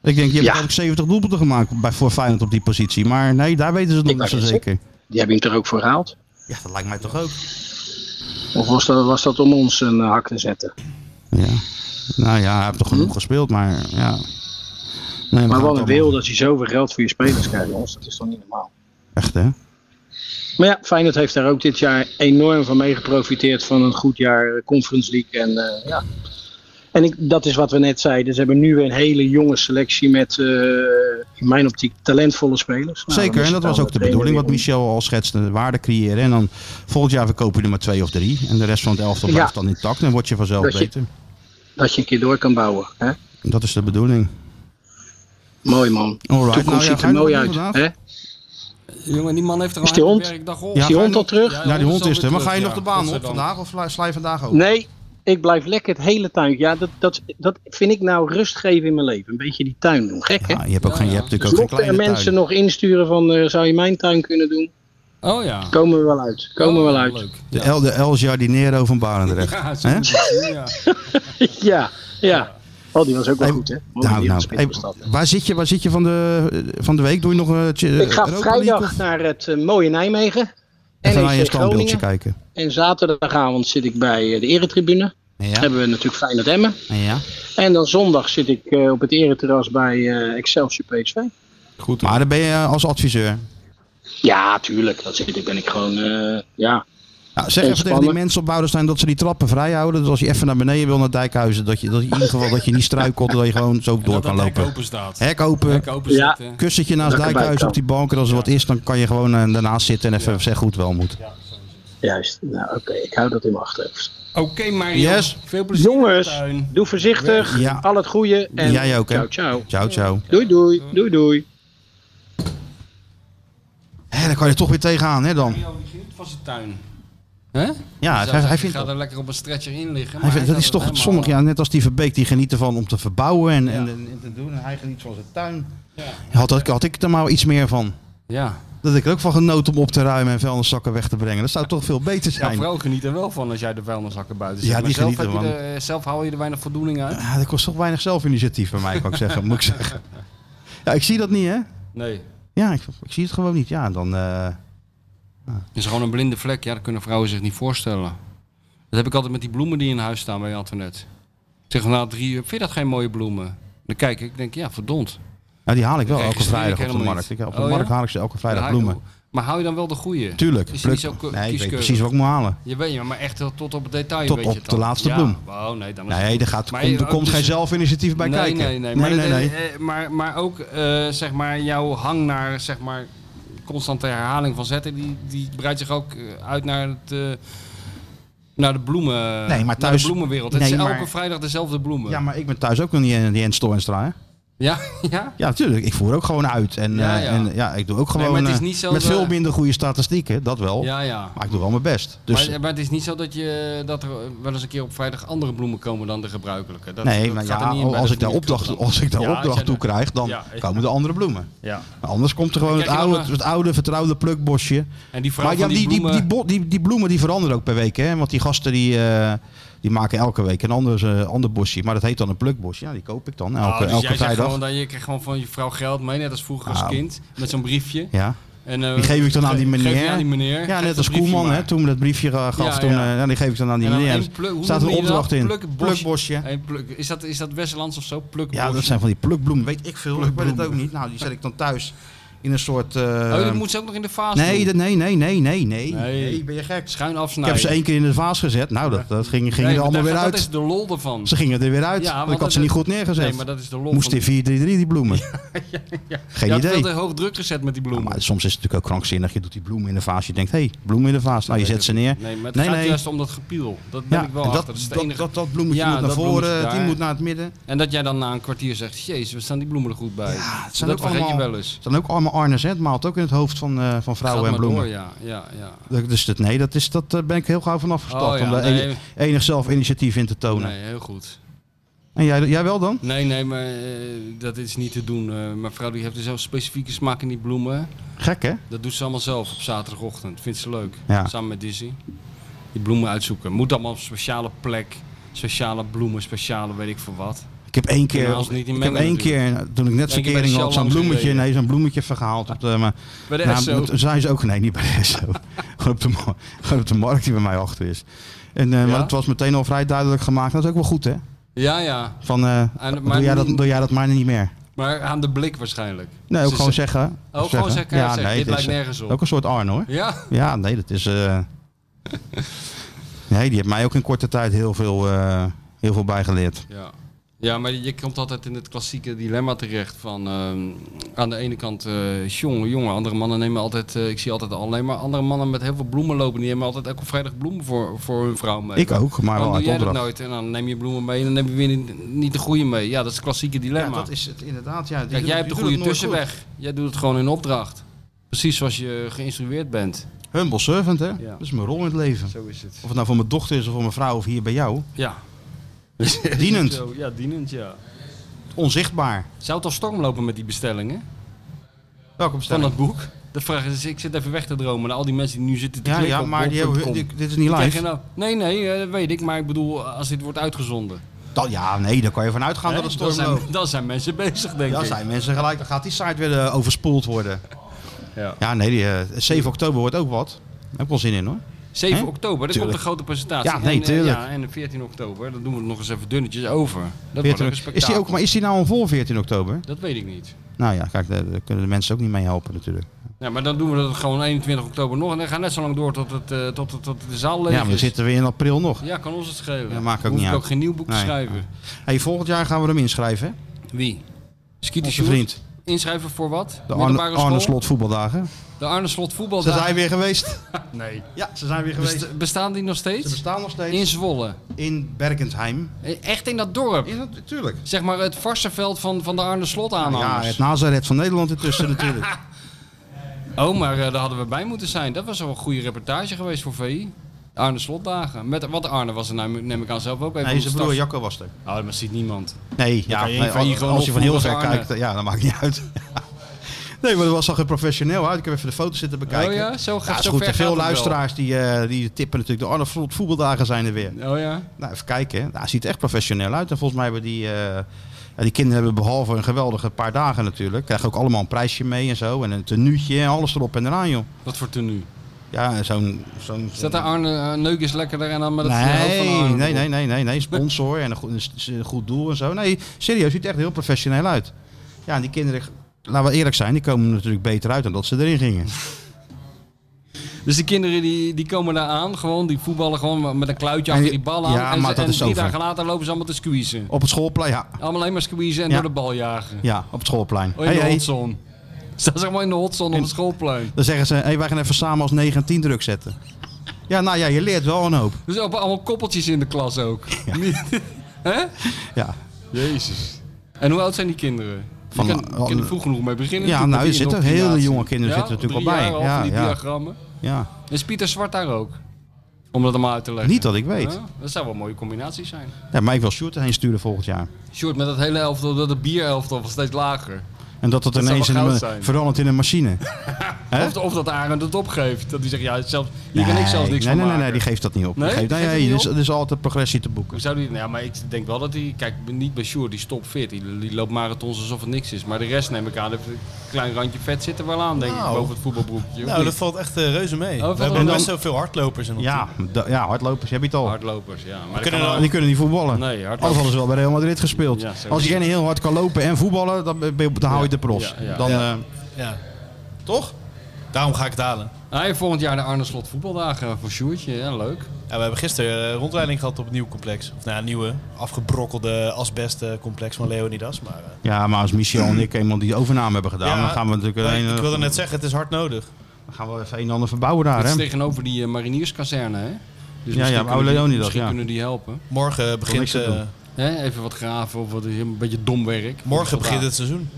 Ik denk, je hebt
Ja.
eigenlijk 70 doelpunten gemaakt bij, voor Feyenoord op die positie. Maar nee, daar weten ze het nog
Ik
niet zo
wou net
zeker.
Die hebben hem er ook voor gehaald.
Ja, dat lijkt mij toch ook.
Of was dat, was dat om ons een eh, hak te zetten?
Ja. Nou ja, hij heeft toch genoeg gespeeld, maar ja. Nee,
Hm?
gaan
Maar wat
het
een
allemaal-
wil dat je zoveel geld voor je spelers krijgt, jongens. Dat is toch niet normaal?
Echt, hè?
Maar ja, Feyenoord heeft daar ook dit jaar enorm van mee geprofiteerd van een goed jaar eh, Conference League. En, eh, ja. en ik, dat is wat we net zeiden. Ze hebben nu weer een hele jonge selectie met, eh, in mijn optiek, talentvolle spelers. Nou, dan
Zeker,
is
en dat
het
was
aan
ook de
trainer
bedoeling wat
weer om-
Michel al schetste. de Waarde creëren en dan volgend jaar verkopen je er maar twee of drie. En de rest van het elftal blijft
Ja.
dan intact en word je vanzelf
Dat je-
beter.
Dat je een keer door kan bouwen. Hè?
Dat is de bedoening.
Mooi man.
Alright,
toekomst
nou ja,
ziet
ga
er
je nog
mooi
doen
uit.
vandaag?
Hè?
Jongen, die man heeft er
Is
al
die
een
hond-
werkdag op.
Ja,
Is die hond al terug?
Ja, die hond eh, is er. Maar ga je
Ja,
nog de baan op
godzijdank.
vandaag of sla je vandaag ook?
Nee, ik blijf lekker het hele tuin. Ja, dat, dat, dat vind ik nou rust geven in mijn leven. Een beetje die tuin doen. Gek hè?
Ja, Ah, je hebt, ook
Ja,
geen, je
ja.
hebt natuurlijk
Dus
ook geen
mochten er
kleine
mensen
tuin.
nog insturen van eh, zou je mijn tuin kunnen doen?
Oh ja.
Komen we wel uit. Komen we
Oh,
wel uit.
Leuk.
De El, de El Jardinero van Barendrecht.
Ja, zo
Hè?
moet je het doen, ja.
ja, ja. Oh, die was ook wel
Hey,
goed, hè? Oh,
Nou,
die
nou,
spits
hey,
was dat.
waar, zit je, waar zit je van de, van de week? Doe je nog eh, een
Ik ga vrijdag naar het eh, mooie Nijmegen.
en ga je een
NEC
standbeeldje
Groningen.
kijken.
En zaterdagavond zit ik bij eh, de eretribune.
Ja,
Hebben we natuurlijk Feyenoord Emmen.
ja.
En dan zondag zit ik eh, op het ereterras bij eh, Excelsior PSV.
Goed, maar dan ben je eh, als adviseur.
Ja, tuurlijk. Dat zit ik. Ben ik gewoon, eh, ja.
Ja, Nou, zeg even tegen die
Ontspannen.
mensen op Boudestein dat ze die trappen vrij houden. Dus als je even naar beneden wil naar Dijkhuizen, dat je, dat je in ieder geval dat je niet struikelt, dat je gewoon zo door
Dat
kan
dat hek
lopen.
open staat.
Hek open,
Hek open
Ja.
zitten.
kussentje naast
Dat ik erbij
Dijkhuizen
kan.
op die bank. En als er wat is, dan kan je gewoon eh, daarnaast zitten en even zeggen hoe het wel moet.
Juist. Nou, oké. Ik hou dat in mijn achterhoofd.
Oké, Mario.
Yes.
Veel plezier
Jongens,
in de tuin.
doe voorzichtig.
Ja.
Al het goede. En
Jij ook, hè?
Ciao, ciao.
Ciao, ciao.
Doei, doei. Doei, doei.
Hé, daar kan je toch weer tegenaan, hè dan?
Mario, die geniet van zijn tuin. Hè?
Ja, hij, hij vindt
gaat er lekker op een stretcher in liggen.
Hij
maar
vindt, dat
gaat
is
er
toch
helemaal-
sommige, ja, net als die Verbeek, die genieten van om te verbouwen en, en, en te doen. En hij geniet van zijn tuin. Had, dat- had ik er maar iets meer van.
Ja.
Dat ik er ook van genoten om op te ruimen en vuilniszakken weg te brengen. Dat zou toch veel beter
ja,
zijn. Ja,
vrouw geniet er wel van als jij de vuilniszakken buiten zet.
Ja,
Maar
die
zelf,
genieten
heb je er- zelf haal je er weinig voldoening uit.
dat Ah, kost toch weinig zelfinitiatief bij mij, kan ik zeggen. Moet ik zeggen. Ja, ik zie dat niet, hè?
Nee.
Ja, ik, ik zie het gewoon niet. Ja, dan... eh,
Het is gewoon een blinde vlek. Ja, dat kunnen vrouwen zich niet voorstellen. Dat heb ik altijd met die bloemen die in huis staan bij Antoinette. Ik zeg na drie uur, vind je dat geen mooie bloemen? Dan kijk ik, denk ja, verdomd.
ja, nou, die haal ik wel
Kijk,
elke
dat zie ik
vrijdag op de
helemaal
markt.
niet.
Ik- op de
Oh, ja?
markt haal ik ze elke vrijdag
Maar-
bloemen.
Maar hou je dan wel de goede?
Tuurlijk.
Is
pluk-
het niet zo
nee,
ke-
ik weet
eh, kieskeurig?
precies wat ik moet halen.
Je weet je, maar echt heel tot op het detail.
Tot
weet je
op
het
de
dan.
laatste
ja.
bloem.
Oh, nee, dan is het
Nee,
goed.
er, gaat,
Maar
komt, er
ook
komt
dus-
geen zelfinitiëf bij
nee,
kijken.
Nee, nee, maar, dat- eh, maar, maar ook eh, zeg maar, jouw hang naar zeg maar, constante herhaling van zetten, die, die breidt zich ook eh, uit naar het. eh, naar de bloemen.
maar
naar
thuis-
de bloemenwereld.
nee,
het is
maar-
elke vrijdag dezelfde bloemen.
Ja, maar ik ben thuis ook nog niet in die Jens Toornstra, hè?
ja, ja?
Ja, natuurlijk. Ik voer ook gewoon uit. En
Ja,
ja,
ja.
En, ja ik doe ook gewoon
maar het is
eh,
niet zo
met
dat-
veel minder goede statistieken, dat wel.
Ja, ja.
Maar ik doe wel mijn best. Dus
maar, maar het is niet zo dat, je, dat er wel eens een keer op vrijdag andere bloemen komen dan de gebruikelijke. Dat,
nee,
dat
maar
gaat
ja, oh,
er niet in bij
als
de
ik daar
familieclub
opdracht,
dan.
als ik daar
Ja, als
opdracht
jij
toe
daar-
krijg, dan
Ja, is-
komen de andere bloemen.
Ja.
Anders komt er gewoon
En
het
kijk je dan
oude,
naar-
het oude vertrouwde plukbosje.
En die vrouw
Maar ja,
van
die,
die,
die, die,
bloemen...
bo- die, die bloemen die veranderen ook per week. Hè? Want die gasten die, eh, die maken elke week een ander, eh, ander bosje. Maar dat heet dan een plukbosje. Ja, die koop ik dan elke,
Oh, dus
elke
jij zegt
vrijdag.
gewoon dat je krijgt gewoon van je vrouw geld mee, net als vroeger als
Nou.
kind, met zo'n briefje.
Ja.
En, eh,
Die geef ik dan aan die
geef je
meneer.
aan die meneer.
Ja,
Geef
net
dat
als
briefje
Koeman,
maar.
hè, toen we dat briefje eh, gaf.
Ja,
toen,
ja.
eh, ja, die geef ik dan aan die
En dan
meneer.
één
Er
pluk- hoe
staat een
noemen jullie dat?
opdracht in.
Plukbosje.
Plukbosje.
Hey, pluk- is, dat, is dat Westlands of zo? Pluk
Ja, dat zijn van die plukbloemen. Weet ik veel. Ik weet het ook niet. Nou, die zet ik dan thuis in een soort... eh,
Oh, dat moet ze ook nog in de fase
nee,
doen.
dat- nee, nee, nee, nee, nee.
Nee.
Nee, ben je gek.
Schuin
Ik
afsnijden.
heb ze één keer in de vaas gezet. Nou, dat, dat ging, gingen
Nee,
er
maar
allemaal
daar
weer
gaat-
uit.
Dat is de lol ervan.
Ze gingen er weer uit.
Ja,
ik
want
had ze
dat-
niet goed neergezet.
Nee, maar dat is de lol
Moest
van...
in 4-3-3 die bloemen. Geen
Je had
idee.
veel te hoog druk gezet met die
Ja,
bloemen.
maar soms is het natuurlijk ook krankzinnig. Je doet die bloemen in de vaas. Je denkt, hé, hey, bloemen in de vaas. Nou, je
weet
zet ze neer.
Nee, maar het
Nee,
gaat
nee.
juist om dat gepiel. Dat ben
Ja,
ik wel
en dat,
achter. Dat is het
dat,
enige.
dat, dat bloemetje
Ja,
moet naar
dat bloemetje
voren, die
daar.
moet naar het midden. Het
En dat jij dan na een kwartier zegt, jezus, we staan die bloemen er goed bij.
Ja, het zijn
dat
ook
vergeet je
allemaal-
wel eens.
zijn ook allemaal Arnes, hè? het maalt ook in het hoofd van, eh, van
Gaat
vrouwen en
maar
bloemen.
Door, ja, ja, ja.
Dat- Dus dat, nee, dat, is, dat eh, ben ik heel gauw van afgestapt.
Oh, ja,
om daar
nee.
enig, enig zelf initiatief in te tonen.
Nee, heel goed.
En jij, jij wel dan?
Nee, nee, maar eh, dat is niet te doen. Eh, mijn vrouw die heeft er zo'n specifieke smaak in die bloemen.
Gek hè?
Dat doet ze allemaal zelf op zaterdagochtend. Vindt ze leuk.
Ja.
Samen met Dizzy. Die bloemen uitzoeken. Moet allemaal op een speciale plek. Speciale bloemen, speciale weet ik voor wat.
Ik heb één keer,
Kunnen we ons niet in
ik heb
mengen
één keer toen ik net
Eén keer bij de
verkering had, zo'n
Shell langs
bloemetje,
gereden.
nee, zo'n bloemetje vergehaald. Op de, maar,
Bij de
nou,
SO.
dat zijn ze ook, nee, niet bij de SO. gewoon, op de, mar- gewoon op de markt die bij mij achter is. En, eh, Maar
Ja?
het was meteen al vrij duidelijk gemaakt. Dat is ook wel goed hè?
Ja, ja.
Van, eh,
En- maar
doe, jij dat,
niet-
doe jij dat maar niet meer.
Maar aan de blik waarschijnlijk.
Nee, ook
Ze-
gewoon
ze- Oh,
zeggen.
gewoon zeggen, ja, zeg, dit
het
lijkt nergens op.
Ook een soort Arno hoor.
Ja,
Ja, nee, dat is. eh, nee, die heeft mij ook in korte tijd heel veel, eh, heel veel bijgeleerd.
Ja. ja, maar je komt altijd in het klassieke dilemma terecht van ehm, aan de ene kant eh jongen, jongen, andere mannen nemen altijd, eh, ik zie altijd alleen maar andere mannen met heel veel bloemen lopen, die nemen altijd elke vrijdag bloemen voor, voor hun vrouw mee.
Ik ook, maar wel
dan doe
uit
jij dat nou
opdracht.
nooit en dan neem je bloemen mee en dan neem je weer niet, niet de goede mee. Ja, dat is het klassieke dilemma.
is het inderdaad. Ja,
Kijk, jij hebt de goede tussenweg. Jij doet het gewoon in opdracht. Precies zoals je geïnstrueerd bent.
Humble servant, hè?
Ja.
Dat is mijn rol in het leven.
Zo is het.
Of het nou voor mijn dochter is of voor mijn vrouw of hier bij jou.
Ja.
Dienend,
Zo, ja, dienend, ja.
onzichtbaar.
Zou het al storm lopen met die bestellingen?
Welke
van dat boek. De vraag is, ik zit even weg te dromen naar al die mensen die nu zitten te
Ja,
klikken
ja,
op
maar die
bol.com.
hebben, dit, dit is niet
Tegen,
live.
nou, nee, nee, eh, dat weet ik, maar ik bedoel, als dit wordt uitgezonden.
Dan- ja, nee, daar kan je van uitgaan
Hè?
Nou, dat het storm
dan,
loopt.
zijn, dan zijn mensen bezig, denk
Dan
ik.
zijn mensen gelijk, dan gaat die site weer eh, overspoeld worden.
Ja.
Ja, nee, die, eh, 7 oktober wordt ook wat. Daar heb ik wel zin in hoor.
7
Hè?
oktober, dat komt
Tuurlijk.
een grote presentatie.
Ja, nee,
en, eh,
tuurlijk.
ja, en 14 oktober, dan doen we het nog eens even dunnetjes over. Dat wordt
14
ook een spektakel.
is die ook, maar is die nou al vol 14 oktober?
Dat weet ik niet.
Nou ja, kijk, daar daar kunnen de mensen ook niet mee helpen natuurlijk.
Ja, maar dan doen we dat gewoon 21 oktober nog. En dan gaan we net zo lang door tot, het, eh, tot, tot, tot de zaal leeg
Ja, maar we
is.
zitten weer in april nog.
Ja, kan ons het schelen.
Ja, maakt ook
Hoef
niet
ik
uit.
ook geen nieuw boek
Nee.
te schrijven.
Hey, volgend jaar gaan we hem inschrijven, hè?
Wie? Skeeter
Onze
Sjoerd?
vriend.
Inschrijven voor wat?
De Arne,
Middelbare
Arne
school?
Slot voetbaldagen.
De Arne Slot
Ze
voetbaldagen.
zijn weer geweest.
Nee.
Ja, ze zijn weer
Best- bestaan die nog
Ze
steeds?
bestaan nog steeds
In Zwolle.
in Berkentheim.
Eh, Echt in dat dorp.
Is dat natuurlijk?
Zeg maar het varsenveld van, van de Arne Slot
Ja,
aanhangers.
het Nazareth van Nederland ertussen natuurlijk.
Oh, maar eh, daar hadden we bij moeten zijn. Dat was wel een goede reportage geweest voor VI. De Arne Slotdagen. Met, want Arne was er nou, neem ik aan zelf ook even.
Nee,
op
zijn
de
broer
staf.
Jacco was er.
Oh, dat ziet niemand.
Nee, ja,
kan je
nee,
van hier
als-
gewoon
als je van heel ver
opvoeren als Arne.
kijkt, eh, ja, dat maakt niet uit. Nee, maar dat was al heel professioneel uit. Ik heb even de foto's zitten bekijken.
Oh ja, zo
Ja,
gaat
het is
zo
goed.
ver
En veel
gaat het wel.
luisteraars die, eh, die tippen natuurlijk. De Arne Vlot voetbaldagen zijn er weer.
Oh ja.
Nou, even kijken. Nou, het ziet er echt professioneel uit. En volgens mij hebben die, eh, ja, die kinderen hebben behalve een geweldige paar dagen natuurlijk. Krijgen ook allemaal een prijsje mee en zo. En een tenuutje en alles erop en eraan, joh.
Wat voor tenue?
Ja, en zo'n... zo'n
Zet daar Arne uh, Neukens lekkerder en dan met het hoofd van
Nee,
Arne
nee,
erop?
nee, nee, nee, nee. Sponsor en een goed, een s- een goed doel en zo. Nee, serieus, ziet er echt heel professioneel uit. Ja, en die kinderen, laten we eerlijk zijn, die komen er natuurlijk beter uit dan dat ze erin gingen.
Dus die kinderen die, die komen daar aan, gewoon, die voetballen gewoon met een kluitje
En
achter
die-
die bal aan.
ja,
en
maar
ze-
dat
en
is
drie
over.
dagen later lopen ze allemaal te squeezen.
Op het schoolplein, ja.
Allemaal alleen maar squeezen en
Ja.
door de bal jagen.
Ja, op het schoolplein.
Oh, in
Hey,
de
hey.
hotzone. Staan ze allemaal in de hotzone op
In-
het schoolplein.
Dan zeggen ze, hey, wij gaan even samen als 9 en 10 druk zetten. Ja, nou ja, je leert wel een hoop.
Dus ook allemaal koppeltjes in de klas ook. Niet- Hè?
Ja,
Jezus. En hoe oud zijn die kinderen?
Van- eh,
Van, je kan, kan er vroeg genoeg mee beginnen.
Ja,
natuurlijk,
nou,
met die
er zitten hele
indoctrinatie.
jonge kinderen
Ja,
zitten er natuurlijk
drie
al bij.
jaar al
Ja,
van die
ja.
diagrammen.
ja.
Is Pieter Zwart daar ook? Om dat allemaal uit te leggen.
Niet dat ik weet.
Ja, dat zou wel een mooie combinatie zijn.
Ja, maar ik wil Sjoerd erheen sturen volgend jaar.
Short met dat hele elftal, dat de bierelftal was steeds lager.
En dat het
Dat zou
ineens in
wel
een,
goud zijn.
verandert in een machine. Hè?
Of, of dat Arend het opgeeft. Dat hij zegt, ja, zelfs, hier kan ik
Nee,
zelfs niks
nee, nee,
van
nee,
maken.
nee, die geeft dat niet op. Die
Nee?
geeft- nee,
Geeft
nee,
hij
er
niet
is,
op?
er is altijd progressie te boeken.
Hoe zou die, nou ja, maar ik denk wel dat hij, kijk, niet bij Sjoerd, die stopt fit. Die, die loopt marathons alsof het niks is. Maar de rest neem ik aan, heeft een klein randje vet zit er wel aan, denk ik,
Nou.
boven het voetbalbroekje. of
Nou, dat
niet?
valt echt eh, reuze mee.
valt
We
wel
hebben
mee.
best zoveel hardlopers in ons
Oh, Ja, da- ja, hardlopers, heb je het al.
Hardlopers, ja. Maar
kunnen
dat kan
En die kunnen niet voetballen.
wel- Nee,
Anders
hardlopers.
hadden ze wel bij Real Madrid gespeeld.
Ja, zo
Als
is
je heel hard kan lopen en voetballen, dan, ben je- dan hou je de pros.
Ja, ja.
Dan,
Ja.
eh,
team. Ja. Toch? Daarom ga ik het halen.
Hij Nou, volgend jaar de Arne Slot voetbaldagen voor Sjoerdje, ja, leuk.
Ja, we hebben gisteren eh, rondleiding gehad op het nieuwe complex. Of nou ja, nieuwe, afgebrokkelde asbestcomplex van Leonidas. Maar, eh,
ja, maar als Michel en ik eenmaal die overname hebben gedaan,
Ja,
dan gaan we natuurlijk
maar ik-
een,
ik wilde net zeggen, het is hard nodig.
dan gaan we even een en ander verbouwen daar.
Dat is
Hè?
tegenover die eh, marinierskazerne, hè? Dus
Ja,
misschien
ja,
kunnen
oude
die-
Leonidas,
Misschien
ja.
kunnen die helpen.
Morgen
niks
begint,
te
eh,
doen.
Hè? Even wat graven of wat een beetje dom werk.
morgen
Vandaag.
begint het seizoen.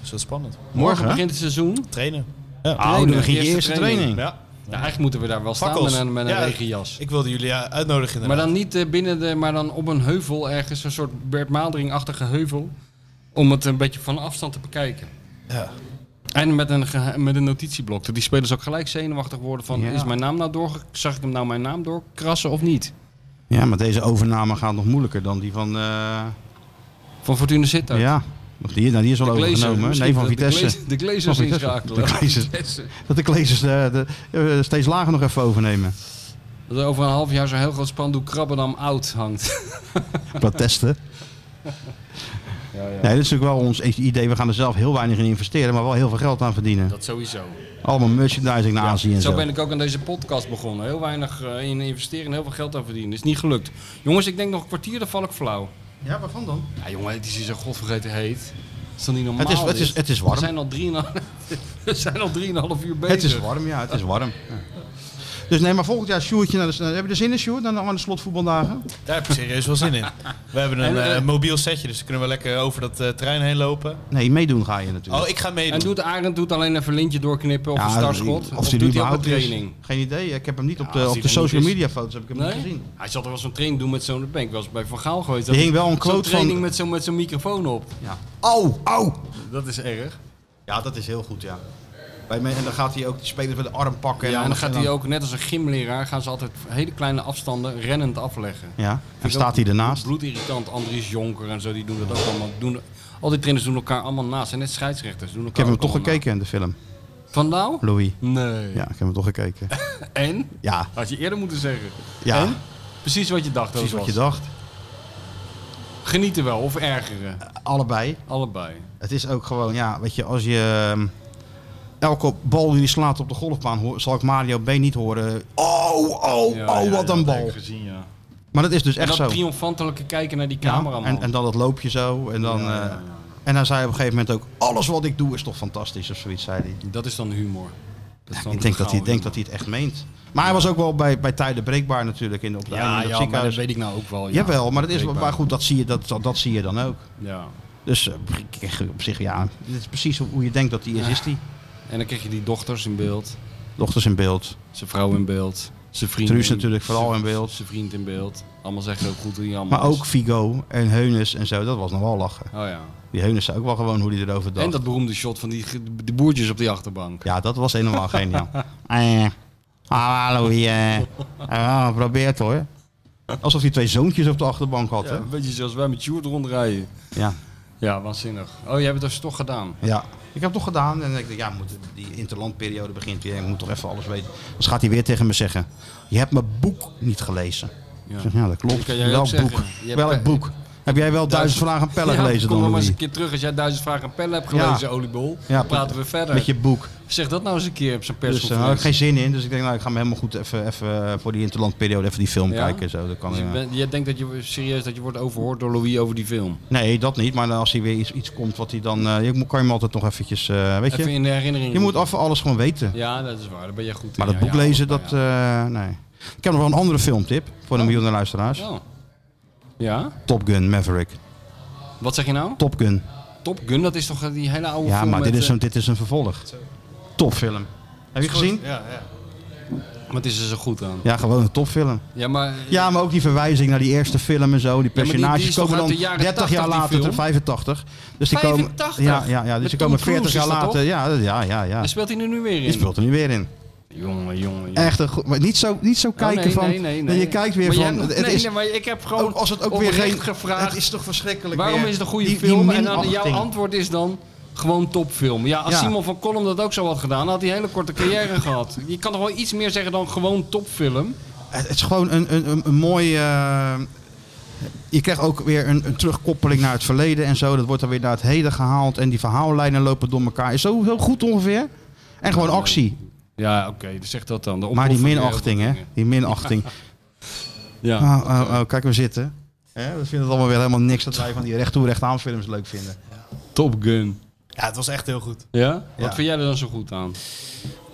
Dus dat is spannend.
Morgen,
Morgen
hè?
begint het seizoen.
Trainen.
Oh, dan
Trainen,
begin je
eerste
eerste
training.
training.
Ja.
Ja, eigenlijk moeten we daar wel staan
Fakkels.
met een, met een
Ja,
regenjas.
Ik wilde jullie eh, uitnodigen
Maar
inderdaad.
dan niet eh, binnen de, maar dan op een heuvel ergens, een soort Bert Maldering-achtige heuvel. Om het een beetje van afstand te bekijken.
Ja.
En met een, gehe- met een notitieblok. Dat die spelers ook gelijk zenuwachtig worden van,
Ja.
is mijn naam nou door? Zag ik hem nou mijn naam doorkrassen of niet?
Ja, maar deze overname gaat nog moeilijker dan die van... eh,
Van Fortuna Sittard.
ja, of die, nou, die is al
De Glazers.
overgenomen.
Misschien
Nee, van
de-
Vitesse. Van
De Glazers
Vitesse.
inschakelen.
De Glazers.
Vitesse.
Dat de Glazers eh, de, eh, steeds lager nog even overnemen.
Dat er over een half jaar zo'n heel groot spandoek Krabbendam oud hangt.
Protesten. Nee, dat is natuurlijk wel ons idee. We gaan er zelf heel weinig in investeren, maar wel heel veel geld aan verdienen.
Dat sowieso.
Allemaal merchandising naar Azië en
Zo
zo.
ben ik ook aan deze podcast begonnen. Heel weinig eh, in investeren en heel veel geld aan verdienen. Is niet gelukt. Jongens, ik denk nog een kwartier, dan val ik flauw.
Ja, waarvan dan?
Ja, jongen, het is hier zo godvergeten heet. Is dat niet normaal?
Het is, het is,
dit?
het is
We
warm.
zijn al 3,5 we zijn al 3,5 uur
Het
bezig.
is warm, ja, het is warm. Ja. Dus nee, maar volgend jaar Sjoertje naar de... s- Heb je er zin in, Sjoerd, aan de, aan de slotvoetbaldagen?
Daar heb ik serieus wel zin in. We hebben een
En, eh,
eh, mobiel setje, dus dan kunnen we lekker over dat eh, terrein heen lopen.
Nee, meedoen ga je natuurlijk.
Oh, ik ga meedoen.
En doet Arend doet alleen even lintje doorknippen Oh, of
Ja,
een starschot?
Of die nu
doet hij ook een
überhaupt is,
training?
Geen idee. Ik heb hem niet op de,
als
op
die
de
er niet
social
is.
media foto's heb ik hem
Nee?
niet gezien.
Hij zat er wel zo'n training doen met zo'n... Ben ik wel eens bij Van Gaal geweest.
Er
Dat
hing
hij
wel een
zo'n
quote van-
training met zo'n met zo'n microfoon op.
Ja. Au, au!
Dat is erg.
Ja, dat is heel goed, ja. Bij me- en dan gaat hij ook de spelers met de arm pakken.
Ja, en dan gaat
en
hij ook, net als een gymleraar, gaan ze altijd hele kleine afstanden rennend afleggen.
Ja, en
Vind ik
staat
ook
hij ernaast.
Bloedirritant, Andries Jonker en zo, die doen dat ook allemaal. Doen, al die trainers doen elkaar allemaal naast. En net scheidsrechters doen
Ik
elkaar
heb hem
ook
toch
allemaal
gekeken in de film,
naast. Van nou?
Louis.
Nee.
Ja, ik heb hem toch gekeken.
En?
Ja,
Had je eerder moeten zeggen.
ja.
En? Precies wat je dacht.
precies wat je
dacht.
dacht.
Genieten wel of ergeren.
Allebei.
Allebei.
Het is ook gewoon, ja, weet je, als je ehm, elke bal die je slaat op de golfbaan, hoor, zal ik Mario B niet horen. Oh, oh,
Ja,
oh,
ja,
wat een bal.
Gezien, ja.
Maar dat is dus
En
echt
dat
zo.
triomfantelijke kijken naar die
Ja,
cameraman.
en, en dan dat loopje zo. En dan, eh, en dan zei hij op een gegeven moment ook, alles wat ik doe is toch fantastisch of zoiets, zei hij.
Dat is dan humor. Dat is dan
Ik denk dat hij
gauw
denkt dat hij het echt meent. Maar hij was ook wel bij, bij tijden breekbaar natuurlijk in, op de
humor.
in
Ja,
het
ja maar dat
ziekenhuis.
weet ik nou ook wel. Ja.
Jawel, maar, dat is,
Breekbaar.
maar goed, dat zie, je, dat, dat, dat zie je dan ook.
Ja.
Dus eh, ik- ik- op zich, ja, dit is precies hoe- hoe je denkt dat hij is, is hij.
En dan krijg je die dochters in beeld,
Dochters in beeld.
zijn vrouw in beeld, zijn vriend.
Truus
in-
natuurlijk vooral in beeld.
Zijn vriend in beeld. Allemaal zeggen ook goed hoe die allemaal
Maar ook
is.
Figo en Heunes en zo, dat was nog wel lachen.
Oh ja.
Die Heunes zei ook wel gewoon hoe hij erover dacht.
En dat beroemde shot van die ge- de boertjes op die achterbank.
Ja, dat was helemaal geniaal. Eh, hallo, eh, ah, probeer het hoor. Alsof hij twee zoontjes op de achterbank had, hè?
Ja, weet je, zoals wij met Sjoerd rondrijden.
Ja.
Ja, waanzinnig. Oh, jij hebt het dus toch gedaan.
ja. Ik heb het toch gedaan en ik dacht, ja, we moeten- die interlandperiode begint weer. Ik moet toch even alles weten. Dus gaat hij weer tegen me zeggen, je hebt mijn boek niet gelezen.
Ja.
Ik zeg, ja, dat klopt.
Dat kan jij ook
Welk
zeggen.
boek?
Je hebt-
Welk boek? Heb jij wel duizend vragen aan Pelle gelezen
kom
dan,
nog maar eens
Louis?
een keer terug als jij duizend vragen aan Pelle hebt gelezen,
Ja.
oliebol.
Ja,
dan praten we verder.
Met je boek.
Zeg dat nou eens een keer op zijn
Dus eh, daar had ik
persconferentie.
geen zin in. Dus ik denk, nou, ik ga me helemaal goed even, even eh, voor die interlandperiode even die film
Ja?
kijken. en Zo. Dat kan,
Dus je
eh,
bent- jij denkt dat je serieus dat je wordt overhoord door Louis over die film.
Nee, dat niet. Maar als hij weer iets, iets komt wat hij dan... eh, je moet- kan je hem altijd nog eventjes... eh, weet
Even
je?
in de herinnering.
Je moet af alles gewoon weten.
Ja, dat is waar. Daar ben jij goed
maar
in.
dat
Ja,
boek
ja,
lezen,
alles
dat...
wel,
eh, nee. Ik heb nog wel een andere filmtip voor de miljoenen luisteraars.
ja. Oh. Ja?
Top Gun Maverick.
Wat zeg je nou?
Top Gun.
Top Gun, dat is toch eh, die hele oude
Ja,
film
maar dit
met,
is,
eh,
een, dit is een vervolg. Topfilm. Heb je gezien?
Ja, ja.
Wat is er zo goed aan?
Ja, gewoon een topfilm.
Ja, maar... eh,
Ja, maar ook die verwijzing naar die eerste film en zo. Die
maar die- die is
personages
toch
komen
uit
dan
de jaren
30 jaar
80, die
later,
film?
85. Dus die komen,
85?
ja, ja, ja, dus
Met
die
Tom
komen
Cruise
40 jaar
is dat
later. Ja, ja, ja, ja.
Daar speelt hij er nu weer in.
Die speelt er nu weer in.
Jongen, jongen, jongen.
Echt een goed, maar niet zo, niet zo kijken
Oh, nee,
van.
nee, nee,
dat
nee.
Je kijkt weer
Maar jij
van.
hebt-
het
nee,
is,
nee, maar ik heb gewoon
ook als het ook weer
oprecht
geen-
gevraagd.
het is toch verschrikkelijk.
Waarom
weer,
is het een goede
die- die
film? en dan,
minachting.
jouw antwoord is dan gewoon topfilm. Ja, als
Ja.
Simon van Kolm dat ook zo had gedaan, dan had hij een hele korte carrière gehad. Je kan toch wel iets meer zeggen dan gewoon topfilm?
Het is gewoon een, een, een, een mooi. eh, je krijgt ook weer een, een terugkoppeling naar het verleden en zo. Dat wordt dan weer naar het heden gehaald. En die verhaallijnen lopen door elkaar. Is zo, zo goed ongeveer. En gewoon actie.
Ja, oké, dus zeg dat dan. De
Maar die
opoffering,
minachting, hè?
opofferingen.
Die minachting.
Ja.
Oh, oh, oh, kijk, we zitten. Hè, we vinden het allemaal weer helemaal niks dat wij van die recht toe recht aan films leuk vinden.
Top Gun.
ja, het was echt heel goed.
Ja?
Ja.
Wat vind jij er dan zo goed aan?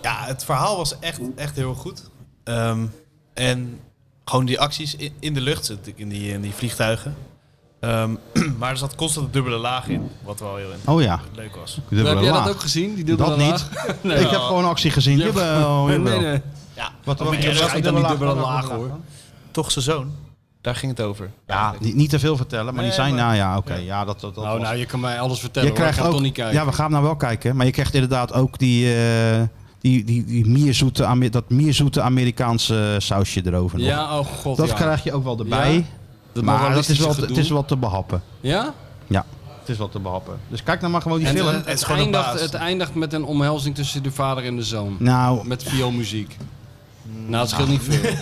Ja, het verhaal was echt, echt heel goed. Ehm, en gewoon die acties in, in de lucht, zit ik in die, in die vliegtuigen. Ehm, maar er zat constant een dubbele laag in, wat wel heel
Oh ja,
leuk was.
dubbele
Heb jij
laag.
dat ook gezien? Die dubbele
Dat niet.
laag? nee.
Ik heb gewoon actie gezien.
Je hebt-
Jawel,
Nee,
jawel.
nee, nee.
Ja,
Wat
maar
er
er zat
was
niet
dubbele laag,
dubbele
wel
laag,
dubbele
hoor.
laag,
toch zijn zoon. Daar ging het over.
Ja, niet, niet te veel vertellen, maar die
Nee,
zijn,
maar-
nou ja, oké, ja, dat, dat, dat
Nou,
was-
nou, je kan mij alles vertellen.
je
hoor. Ik
krijgt
ga toch
ook,
niet kijken.
ja, we gaan nou wel kijken, maar je krijgt inderdaad ook die, eh, die, die, die mierzoete, Amer- dat mierzoete Amerikaanse sausje erover nog.
Ja, oh god,
dat
ja.
krijg je ook wel erbij,
Ja, dat
maar dat is
moralistische
wel, te-
gedoe.
het is wel te behappen.
Ja?
Ja, het is wel te behappen. Dus kijk nou maar gewoon die
En eh,
film.
het,
is gewoon een
eindigt,
baas.
het eindigt met een omhelzing tussen de vader en de zoon.
nou,
Met vioolmuziek. Nou, het scheelt niet veel.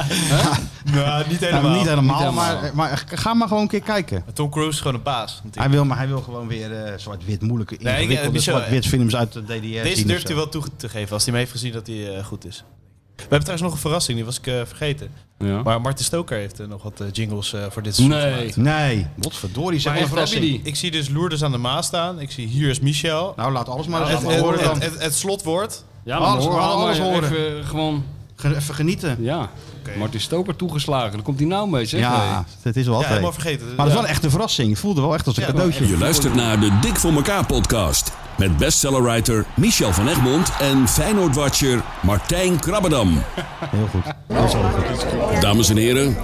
Nou,
niet
niet helemaal.
helemaal,
Niet helemaal.
Maar, maar ga maar gewoon een keer kijken.
Tom Cruise is gewoon een baas.
Hij wil, maar hij wil gewoon weer eh, zwart-wit moeilijke,
Nee, ik- eh,
ingewikkelde
Michel,
zwart-wit films uit de DDR. zien
Deze
of
durft
zo.
u wel toe te geven als hij hem heeft gezien dat hij eh, goed is. We hebben trouwens nog een verrassing, die was ik eh, vergeten.
Ja.
Maar Martin Stoker heeft eh, nog wat eh, jingles eh, voor dit seizoen
Nee.
gemaakt.
Nee, godverdorie, zeg
Maar
maar een
echt, heb je
verrassing.
die?
Ik zie dus Loerders aan de Maas staan. Ik zie hier is Michel.
Nou, laat alles maar
het,
eens
het-
laten horen dan.
het- het- het slotwoord.
Ja,
Alles-
hoor
alles
allemaal
horen.
Even, gewoon,
Ge- Even genieten.
ja. Martin Stoker toegeslagen. Dan komt hij nou mee, zeg.
Ja,
Hey.
dat is wel
Ja,
wat.
helemaal
hè.
vergeten.
Maar dat is
Ja.
wel echt een verrassing. Ik voelde wel echt als een
Ja,
cadeautje.
Je luistert naar de Dik voor elkaar podcast met bestsellerwriter Michel van Egmond en Feyenoordwatcher Martijn Krabbedam.
Heel goed.
Dames en heren,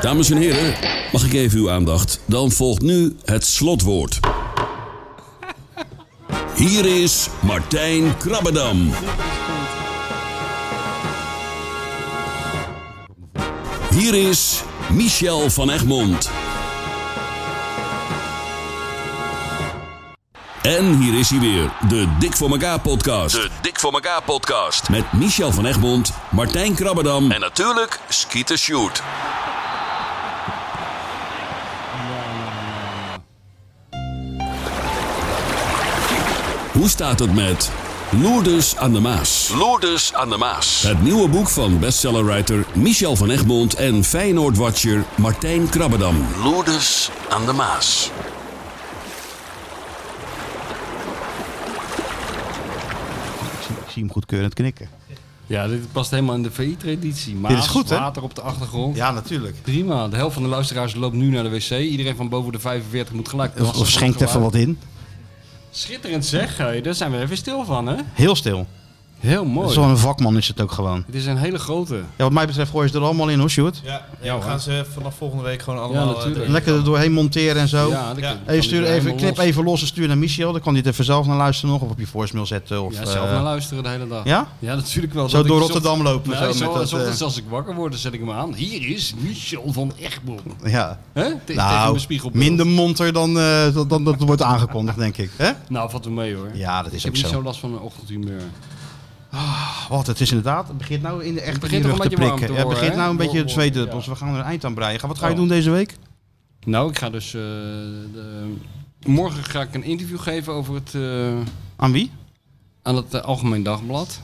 dames en heren, mag ik even uw aandacht? Dan volgt nu het slotwoord. Hier is Martijn Krabbedam. Hier is Michel van Egmond. En hier is hij weer, de Dik voor elkaar podcast. De Dik voor elkaar podcast. Met Michel van Egmond, Martijn Krabberdam en natuurlijk Skeeter Shoot. Hoe staat het met Loerders aan de Maas? Loerders aan de Maas. Het nieuwe boek van bestsellerwriter Michel van Egmond en Feyenoord-watcher Martijn Krabbedam. Loerders aan de Maas.
Ik zie, ik zie hem goedkeurend knikken.
ja, dit past helemaal in de VI-traditie. Maar
Dit is goed, hè?
water op de achtergrond.
Ja, natuurlijk.
Prima. De helft van de luisteraars loopt nu naar de wc. Iedereen van boven de 45 moet gelijk
Of,
plassen.
of schenkt even wat in.
Schitterend zeg, hé. daar zijn we even stil van, hè?
Heel stil.
Heel mooi.
Zo'n vakman is het ook gewoon.
Het is een hele grote.
Ja, wat mij betreft gooi je ze er allemaal in hoor, Sjoerd.
Ja, ja, we
hoor.
gaan ze vanaf volgende week gewoon allemaal... eh,
natuurlijk.
erin.
Lekker er doorheen monteren en zo.
Ja, dat
Ja.
kan-
Hey,
kan
stuur
ik
even,
helemaal
knip
los.
even los en stuur naar Michel. Dan kan hij het even zelf naar luisteren nog. Of op je voicemail zetten. Of,
Ja, zelf
eh,
naar luisteren de hele dag.
Ja?
Ja, natuurlijk wel.
Zo
Dat
door
ik zocht-
Rotterdam lopen.
Nee,
zo,
zo,
met dat,
zo-
eh,
als ik wakker word, dan zet ik hem aan. Hier is Michel van Egmond.
ja.
Hè? Te- tegen mijn
Nou,
spiegelbeeld.
minder monter dan, eh, dan, dan dat wordt aangekondigd, denk ik. hè?
Nou, valt er mee hoor.
Ja, dat is
ik heb
ook
niet
zo.
zo last van mijn ochtendhumeur.
Wat, Ah, het is inderdaad, het begint nou in de echt
begint
in je
toch
rug
een
te
beetje warm te
prikken. Ja, het
worden,
begint
hè?
nou een beetje het
Worden, worden,
zweetduppels. We gaan er een eind aan breien. Wat ga je
Oh.
doen deze week?
Nou, ik ga dus... eh, de- morgen ga ik een interview geven over het... eh,
Aan wie?
aan het eh, Algemeen Dagblad.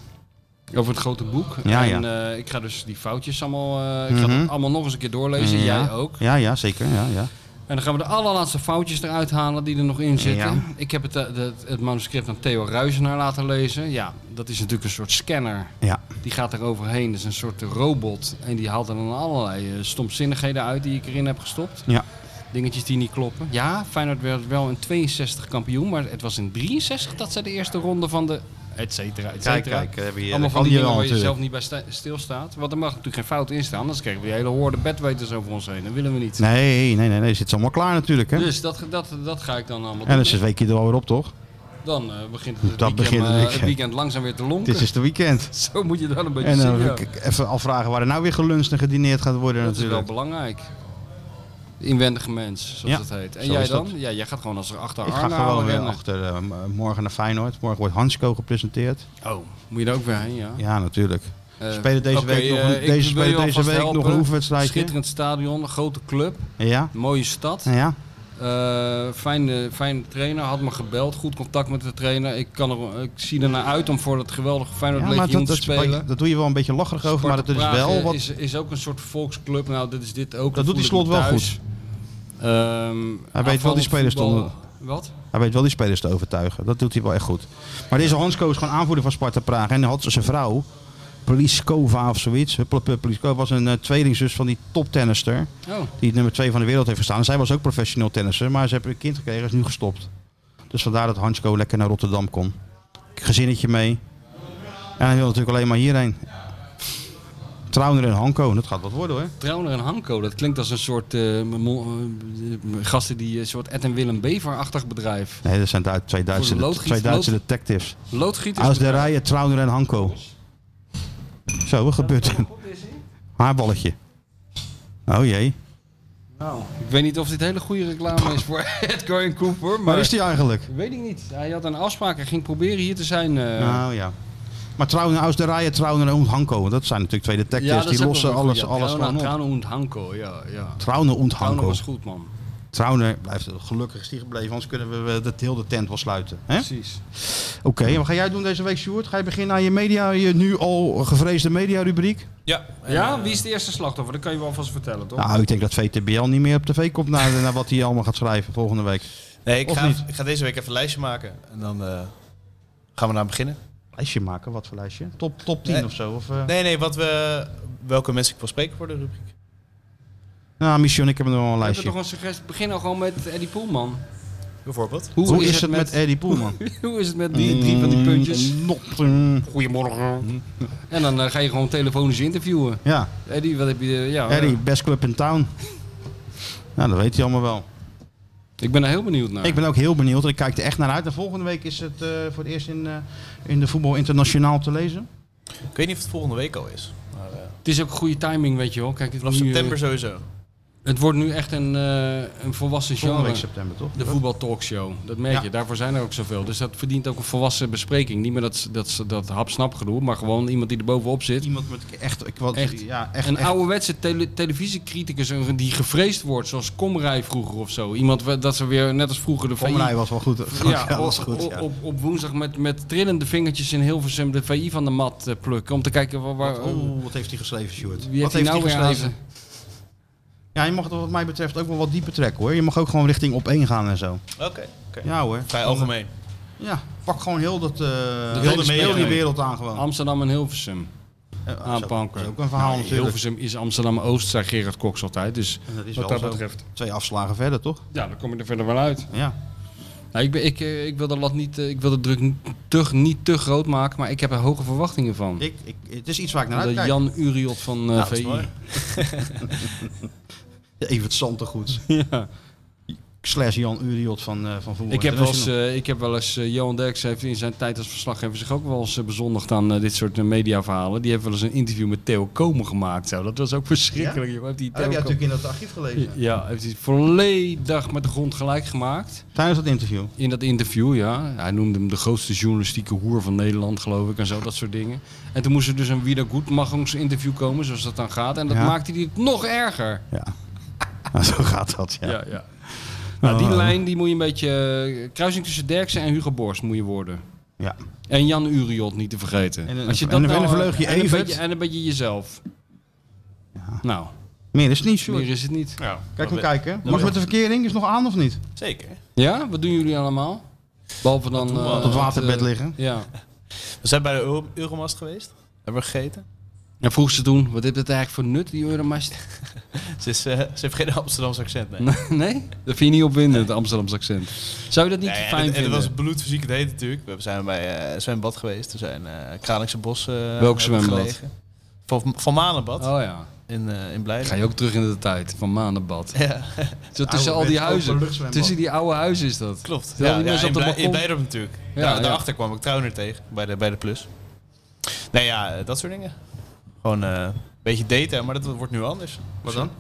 Over het grote boek.
Ja,
en eh, ik ga dus die foutjes allemaal, eh, ik ga
Mhm.
dat allemaal nog eens een keer doorlezen.
Ja.
Jij ook.
Ja, ja, zeker. Ja, ja.
En dan gaan we de allerlaatste foutjes eruit halen die er nog in zitten.
Ja.
Ik heb het, eh, het, het manuscript aan Theo Ruizenaar laten lezen. Ja, dat is natuurlijk een soort scanner.
ja.
Die gaat er overheen. Dat is een soort robot. En die haalt er dan allerlei eh, stomzinnigheden uit die ik erin heb gestopt.
Ja.
Dingetjes die niet kloppen. Ja, Feyenoord werd wel in 62 kampioen. Maar het was in 63 dat ze de eerste ronde van de... Et cetera, et cetera.
Kijk, kijk. daar Heb je,
Allemaal
daar kan
van die dingen
je
waar
wel
je zelf
natuurlijk.
niet bij sta- stilstaat. Want er mag natuurlijk geen fout in staan. Anders krijgen we die hele hoorde bedweters over ons heen. Dat willen we niet.
Nee, nee, nee, nee. Zit ze allemaal klaar natuurlijk, hè?
Dus dat, dat, dat ga ik dan allemaal
En
doen.
dat is het weekje er alweer op, toch?
Dan eh, begint
Dat
het, weekend,
begint het
eh,
weekend.
weekend langzaam weer te lonken.
Dit is de weekend.
Zo moet je dat een beetje
En
zien.
dan
ja.
wil ik even afvragen waar er nou weer geluncht en gedineerd gaat worden
Dat is wel
natuurlijk.
belangrijk. De inwendige mens, zoals
Ja,
dat heet. En
zo
jij
is
dan?
dat.
Ja, jij gaat gewoon als er achter
Ik ga
Arnhem
gewoon weer
rennen.
achter eh, m- morgen naar Feyenoord. Morgen wordt Hansco gepresenteerd.
Oh, moet je daar ook weer heen, ja.
Ja, natuurlijk.
Eh,
spelen deze
oké,
week nog een-
eh, ik
deze
wil
spelen
je
deze
alvast
week nog een
helpen.
oefenwedstrijdje.
Schitterend stadion, een grote club,
Ja,
mooie stad.
ja.
Eh, fijne, fijne trainer, had me gebeld, goed contact met de trainer. Ik, kan er, ik zie ernaar uit om voor dat geweldige Feyenoord
ja
Legioen
dat,
te
dat,
spelen.
dat doe je wel een beetje lacherig over, maar dat
Sparta
is
Praag,
wel
eh,
wat...
Is, is ook een soort volksclub. Nou, dat is dit ook.
Dat doet die
voel
Slot
ik me
wel
thuis. Ehm,
wel
aanvallend
die spelers
voetbal-
te onder-
Wat?
Hij weet wel die spelers te overtuigen. Dat doet hij wel echt goed. Maar deze Hansco is gewoon aanvoerder van Sparta Praag. En dan had ze zijn vrouw, Pliskova of zoiets. Huppelepup, Pliskova was een eh, tweelingzus van die toptennister.
Oh.
Die nummer 2 van de wereld heeft gestaan. En zij was ook professioneel tennisser. Maar ze hebben een kind gekregen en is nu gestopt. Dus vandaar dat Hansco lekker naar Rotterdam kon. Gezinnetje mee. En hij wil natuurlijk alleen maar hierheen. Trouwner en Hanko. Dat gaat wat worden hoor.
Trouwner en Hanko, dat klinkt als een soort eh, mo- eh, gasten die een soort Ed en Willem Bever-achtig bedrijf.
Nee, dat zijn Duit- twee Duitse,
Voor de loodgiet-
twee Duitse
lood-
detectives.
Loodgieters.
Als de rijen, Trouwner en Hanko. Zo, wat gebeurt er? Haarballetje. Oh jee.
Nou, ik weet niet of dit hele goede reclame is voor Edgar en Cooper, maar
Waar is die eigenlijk?
weet ik niet. Hij had een afspraak en ging proberen hier te zijn. eh,
Nou ja. Maar Trouwner, als de rijen Trouwner en Hanko, want dat zijn natuurlijk twee detectives.
dat is
die
ook
lossen
wel een
alles,
goeie.
alles
Trouwna,
gewoon op.
Trouwna und Hanko, ja. ja.
Trouwner en
Trouwna
Hanko.
was goed, man.
Trouwner blijft gelukkig is die gebleven, anders kunnen we dat heel de tent wel sluiten. Hè?
Precies.
Oké, en wat ga jij doen deze week, Sjoerd? Ga je beginnen aan je media, je nu al gevreesde mediarubriek?
Ja, en,
Ja,
eh,
wie is de eerste slachtoffer? Dat kan je wel alvast vertellen, toch?
Nou, ik denk dat VTBL niet meer op tv komt naar, naar wat hij allemaal gaat schrijven volgende week.
Nee, ik
Of
ga,
niet?
ik ga deze week even een lijstje maken. En dan eh, gaan we naar beginnen.
Lijstje maken, wat voor lijstje? Top, top 10
Nee.
of zo? Of, eh?
Nee, nee, wat we, welke mensen ik wil spreken voor de rubriek.
Nou, Michel, ik heb er wel een
We hebben
lijstje.
toch een suggestie. Begin al gewoon met Eddie Poelman.
Bijvoorbeeld.
Hoe, is, het met, Mm. Eddie Poelman?
Hoe is het met die drie van die puntjes? Goedemorgen. En dan eh, ga je gewoon telefonisch interviewen.
Ja,
Eddie, wat heb je... eh, ja,
Eddie,
ja.
best club in town. Nou, dat weet hij allemaal wel.
Ik ben er heel benieuwd naar.
Ik ben ook heel benieuwd. Ik kijk er echt naar uit. En volgende week is het eh, voor het eerst in, eh, in de Voetbal Internationaal te lezen.
Ik weet niet of het volgende week al is. Maar, eh,
Het is ook goede timing, weet je wel. Kijk, het,
vanaf
nu, eh,
september sowieso.
het wordt nu echt een, eh, een volwassen
Volgende
genre.
week september, toch?
De voetbaltalkshow, dat merk
Ja.
je. Daarvoor zijn er ook zoveel. Dus dat verdient ook een volwassen bespreking. Niet meer dat, dat, dat hap-snap gedoe, maar gewoon iemand die er bovenop zit.
Iemand met echt, ik wou-
Echt.
Ja, echt,
een
echt.
ouderwetse tele- televisiecriticus een- die gevreesd wordt, zoals Komrij vroeger of zo. Iemand wa- dat ze weer, net als vroeger de
Van mij
VI
was wel goed.
Ja,
Ja, was
op-
goed.
op,
Ja.
op, op woensdag met, met trillende vingertjes in Hilversum de VI van de mat eh, plukken. Om te kijken waar... waar
Oeh, wat heeft hij geschreven, Sjoerd?
wie
wat
heeft hij nou weer aan
geschreven? Ja, je mag er wat mij betreft ook wel wat dieper trekken hoor. Je mag ook gewoon richting op één gaan en zo.
Oké. oké.
Ja hoor.
Vrij algemeen.
Ja, pak gewoon heel, dat, eh heel,
hele
de
speler
heel die
mee.
wereld aan gewoon.
Amsterdam en Hilversum
Eh, ah, zo-
aanpakken.
Dat is ook een verhaal
Nou,
natuurlijk.
Hilversum is Amsterdam-Oost, zei Gerard Koks altijd. Dus
Dat is
wat
wel
dat
zo.
betreft.
Twee afslagen verder toch?
Ja, dan kom je er verder wel uit.
Ja.
Nou, ik, ben, ik, eh, ik wil de lat niet, eh, ik wil de druk niet te, niet te groot maken, maar ik heb er hoge verwachtingen van.
Ik, ik, het is iets waar ik naar
de
uitkijk.
Jan Uriot van eh
Nou, dat is
VI.
mooi. Evert Santegoed.
Ja.
Slash Jan Uriot van, eh van Voetbal
Ik heb wel eens,
International.
eh, ik heb wel eens eh, Johan Derks heeft in zijn tijd als verslaggever zich ook wel eens eh, bezondigd aan eh, dit soort eh, mediaverhalen. Die heeft wel eens een interview met Theo Komen gemaakt. Zo. Dat was ook verschrikkelijk. joh. Heeft die
Dat heb
Theo
jij
Komen-
Oh, natuurlijk in dat archief gelezen.
ja, heeft hij volledig met de grond gelijk gemaakt.
Tijdens dat interview.
In dat interview, ja. Hij noemde hem de grootste journalistieke hoer van Nederland, geloof ik. En zo, dat soort dingen. En toen moest er dus een Wiedergoedmachungs-interview komen, zoals dat dan gaat. En dat
Ja.
maakte hij het nog erger.
Ja. Nou, zo gaat dat, ja. Oh.
Ja, ja. Nou, die lijn die moet je een beetje... eh, kruising tussen Derksen en Hugo Borst moet je worden.
Ja.
En Jan Uriot niet te vergeten.
En een-
Als je
en
dat
een- en een
nou-
vleugje
en een
Evert.
beetje, en een beetje jezelf. Nou,
Meer is het niet, Sjoerd.
meer is het niet.
Ja,
Kijk maar
dat-
kijken. Hoe is het met de verkering? Is het nog aan of
Oh,
niet?
Zeker.
Ja, wat doen jullie allemaal? Behalve dan...
doen we
eh,
al?
Op het
wat,
waterbed
eh,
liggen.
Ja.
We zijn bij de Euro- Euromast geweest. Hebben we gegeten.
En vroeg ze toen, wat heeft het eigenlijk voor nut, die Euromast?
Ze, is, eh, ze heeft geen Amsterdamse accent, nee.
nee? Dat vind je niet opwindend, het Amsterdamse accent. Zou je dat niet
Nee, en,
fijn
het- en
vinden?
het was bloedfysiek het heet natuurlijk. We zijn bij eh, een zwembad geweest. We zijn eh Kralingse Bos. eh, hebben
zwembad?
gelegen. Van, van Manenbad
Oh ja,
in, eh, in Blijden.
ga je ook terug in de tijd, van maandenbad.
Ja,
Zo tussen al die
Ouderwets
huizen.
openluchtzwembad.
Tussen die oude huizen is dat.
klopt.
Ja,
Ja,
die
ja,
mensen
in,
op de
Blij- in
balkon.
Blijden natuurlijk.
Ja,
Daar,
ja.
Daarachter kwam ik Trouwner tegen, bij de, bij de Plus. Nee, ja, eh, dat soort dingen. Gewoon eh, een beetje daten, maar dat wordt nu anders.
Wat dan?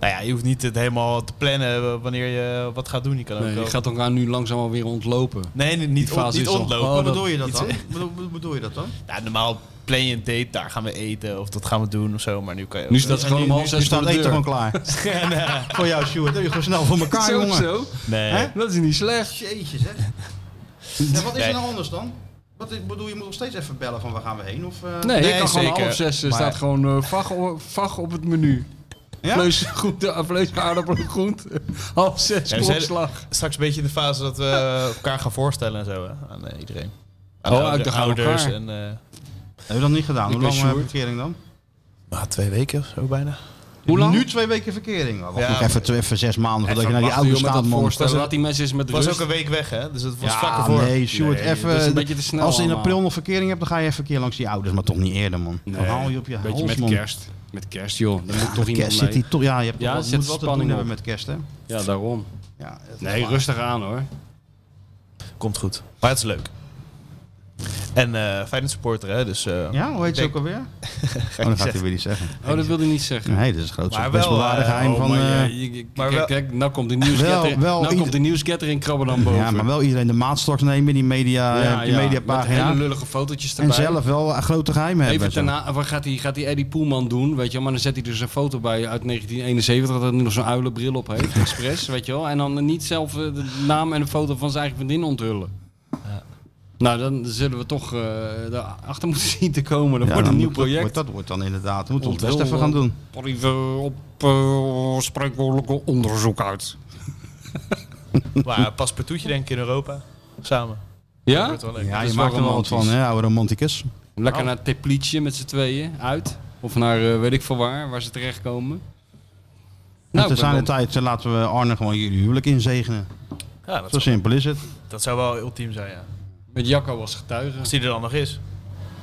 Nou ja, je hoeft niet het helemaal te plannen eh, wanneer je wat gaat doen. Je kan ook
Nee, je
wel-
gaat elkaar nu langzaam alweer ontlopen.
Nee, nee, niet,
Die fase
on- niet
is al- Oh,
ontlopen.
Hoe bedoel je dat
Iets-
dan? Bedoel- Hoe bedoel je dat dan?
Ja, normaal plan je een date, daar gaan we eten of dat gaan we doen of zo. Maar nu kan je ook-
Nu staat ze
En
gewoon
nu-
om half
nu
zes voor
staat
de
eten gewoon
deur.
klaar. Voor jou, Sjoerd. Doe je gewoon snel voor elkaar,
Zo,
jongen.
zo.
Nee.
Hè?
Dat is niet slecht.
Jeetje, zeg. Ja, wat is er
Nee.
nou anders dan? Wat ik bedoel, je moet nog steeds even bellen van waar gaan we heen? Of, eh,
Nee,
Nee,
ik kan gewoon
zeker.
half zes. Er
Maar-
staat gewoon eh, vag, o- vag op het menu.
Ja?
Vlees, groente, eh, vlees, aardappelen, groente. Half zes,
Ja, we zijn-
opslag.
Straks een beetje in de fase dat we elkaar gaan voorstellen en zo hè, aan eh, iedereen. Aan
Oh,
de oude-
uit de gang
ouders
elkaar.
en... eh,
Hebben we dat niet gedaan?
Ik
Hoe
ben
lang eh,
Sjoerd.
verkering dan?
nou, twee weken of zo bijna.
Hoe lang?
Nu twee weken verkering. Wacht
Ja,
nog
maar-
even, twee- even zes maanden voordat je naar die
Wacht,
oude
joh, met
staat, man.
voorstel. Laat die mensen eens met
Het was
rust.
ook een week weg, hè? Dus het was vlak
Ja,
ervoor.
nee, Sjoerd, even... eh,
dat is een beetje te snel
als je in
allemaal.
april nog verkering hebt, dan ga je even een keer langs die ouders. Maar toch niet eerder, man. Dan
Nee,
haal je op je
Beetje
hals,
met
man.
kerst. Met kerst, joh. Dan moet toch
Kerst
iemand
zit
mee.
die toch... Ja, je hebt
Ja,
ja,
er
wat,
zit
moet wat te
spanning
doen
op.
hebben met kerst, hè?
Ja, daarom.
Ja, het is
Nee,
waar.
rustig aan, hoor.
Komt goed. Maar het is leuk. En eh Feyenoord supporter, hè, dus... eh,
Ja, hoe heet ze
denk-
ook alweer? Oh, dat gaat hij weer niet zeggen.
Oh, dat wilde hij niet zeggen.
Nee, dat is het grootste
Maar
best
wel,
bewaarde
eh,
geheim
oh,
van...
maar,
eh,
Je- je-
Maar
kijk,
wel-
kijk, nou komt de nieuwsgetter,
Wel- wel
nou komt
ieder-
de nieuwsgetter in Krabbenam boven.
ja, maar wel iedereen de maatstort nemen in die, media, eh, die
Met
mediapagina.
hele lullige fotootjes
En
erbij.
zelf wel een grote geheim hebben.
Even
zo.
daarna, wat gaat hij, gaat hij Eddie Poelman doen, weet je wel? Maar dan zet hij dus een foto bij uit 1971 dat hij nu nog zo'n uilenbril op heeft, expres, weet je wel? En dan niet zelf eh, de naam en de foto van zijn eigen vriendin onthullen. Nou, dan zullen we toch eh daarachter moeten zien te komen.
Ja,
Dat wordt
dan
een nieuw
moet- wordt-
project.
Dat wordt dan inderdaad, moeten we ons best
Onthul-
even gaan doen.
Tot even op eh spreekwoordelijke onderzoek uit.
Maar paspartoutje denk ik in Europa. Samen. Dat
Ja?
wordt wel leuk.
Ja,
dat
je
is wel
maakt er wel wat van,
romantisch. Nou,
hè, oude romanticus.
Lekker naar Teplice met z'n tweeën uit. Of naar eh, weet ik van waar, waar ze terechtkomen.
Nou,
ik ben
te zijn de
wel-
tijd eh, laten we Arne gewoon jullie huwelijk inzegenen.
Ja, dat,
Zo
zou,
simpel is het.
dat zou wel ultiem zijn, ja.
Met Jacco als getuige.
Als die er dan nog is.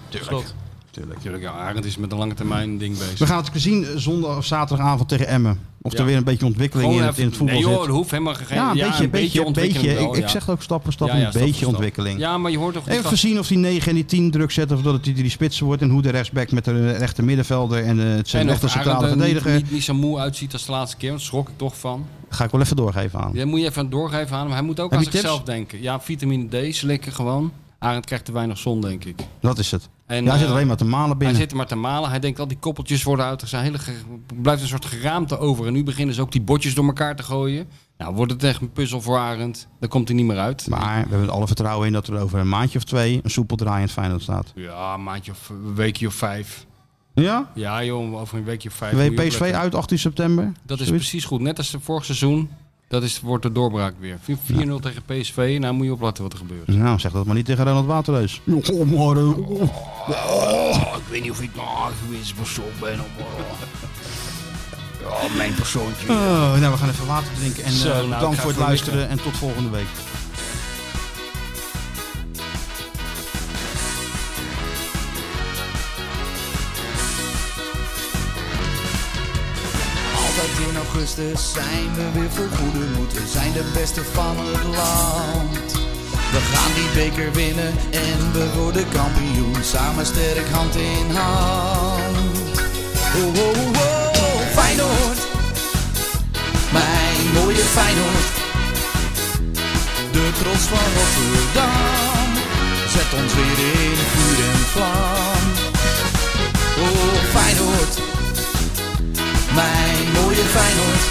Slot.
Tuurlijk, tuurlijk. Ja, Arend is met een lange termijn ding
We
bezig.
gaan het zien eh, zondag of zaterdagavond tegen Emmen. Of
Ja.
er weer een beetje ontwikkeling in het,
even-
in het voetbal
nee, joh,
zit.
dat hoeft helemaal geen...
Ja, een beetje, een beetje, een beetje.
ontwikkeling
Ik,
wel,
ik
ja.
zeg het ook stap voor stap,
Ja, ja,
een
stap voor
beetje
stap.
ontwikkeling.
Ja, maar je hoort toch... die
Even
gast-
zien of die 9 en die 10 druk zetten. Of dat het die drie spitsen wordt. En hoe de rechtsback met de rechte middenvelder en de, het
en
zijn
of
echte centrale
Arend er niet-
verdediger.
Niet, niet zo moe uitziet als de laatste keer, want daar schrok ik toch van.
Ga ik wel even doorgeven aan.
Daar moet je even doorgeven aan hem. Hij moet ook
Heb
aan
je tips?
zichzelf denken. Ja, vitamine D slikken gewoon. Arend krijgt te weinig zon, denk ik.
Dat is het.
En,
ja, hij zit
eh,
alleen maar te malen binnen.
Hij zit er maar te malen. Hij denkt al die koppeltjes worden uit. Er zijn hele ge- blijft een soort geraamte over. En nu beginnen ze ook die botjes door elkaar te gooien. Nou, wordt het echt een puzzel voor Arend. Daar komt hij niet meer uit.
Maar we hebben er alle vertrouwen in dat er over een maandje of twee een soepel draaiend Feyenoord staat.
Ja, een maandje of een weekje of vijf.
Ja?
Ja, joh, over een weekje of vijf.
We
moet je
PSV
opletten.
uit 18 september.
Dat is
Zoiets.
precies goed. Net als de vorig seizoen. Dat is, wordt de doorbraak weer. 4-0 tegen PSV. Nou, moet je opletten wat er gebeurt.
Nou, zeg dat maar niet tegen Ronald Waterreus. Oh.
ik weet niet of ik mijn
Ah,
aangewezen persoon ben. Of, ja, mijn persoontje.
Oh, nou, we gaan even water drinken. En eh,
Zo, nou, ik
bedankt
ga
voor het
even
luisteren. En tot volgende week.
Altijd in augustus zijn we weer voor goede moed. We zijn de beste van het land. We gaan die beker winnen en we worden kampioen. Samen sterk hand in hand. Oh, oh, oh, oh, Feyenoord. Mijn mooie Feyenoord. De trots van Rotterdam. Zet ons weer in vuur en vlam. Oh, Feyenoord mijn mooie Feyenoord.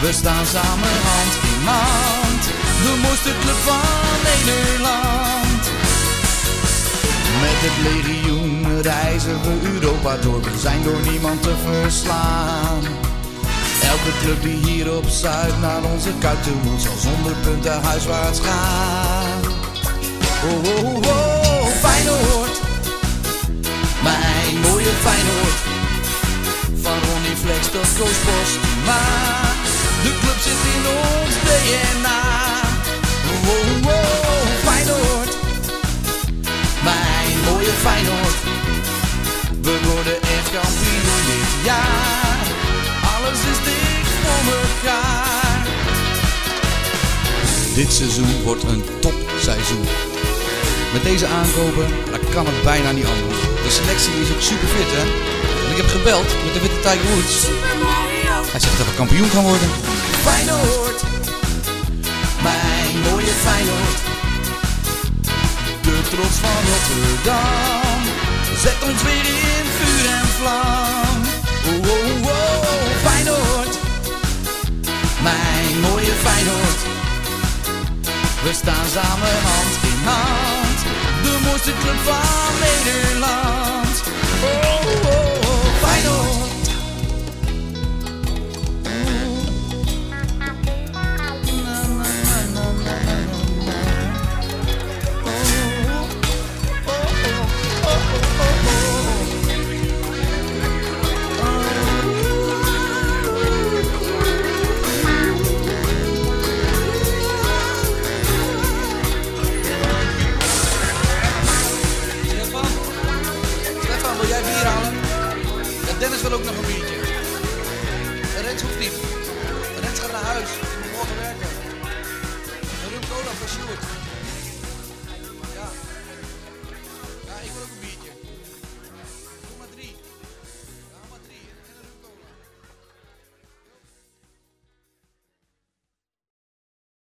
We staan samen hand in hand, de mooiste club van Nederland. Met het legioen reizen we Europa door, we zijn door niemand te verslaan. Elke club die hier op Zuid naar onze kuiten moet, zal zonder punten huiswaarts gaan. Oh, oh, oh, oh, Feyenoord, mijn mooie Feyenoord. Van Ronnie Flex tot Koos Bos. Maar de club zit in ons DNA. Wow, wow, Feyenoord. Mijn mooie Feyenoord. We worden echt kampioen dit jaar. Alles is dik voor elkaar. Dit seizoen wordt een topseizoen. Met deze aankopen, dan kan het bijna niet anders. De selectie is ook super fit, hè? Want ik heb gebeld met de witte Tiger Woods. Hij zegt dat we kampioen gaan worden. Feyenoord, mijn mooie Feyenoord. De trots van Rotterdam, zet ons weer in vuur en vlam. Oh, oh, oh, Feyenoord, mijn mooie Feyenoord. We staan samen hand in hand, de mooiste club van Nederland. Oh, oh, oh Feyenoord. Stefan? Stefan, wil jij bier halen? Ja, Dennis wil ook nog een biertje. En Rens hoeft niet. Rens gaat naar huis. Die moet morgen werken. En Ruud Cola voor Sjoerd.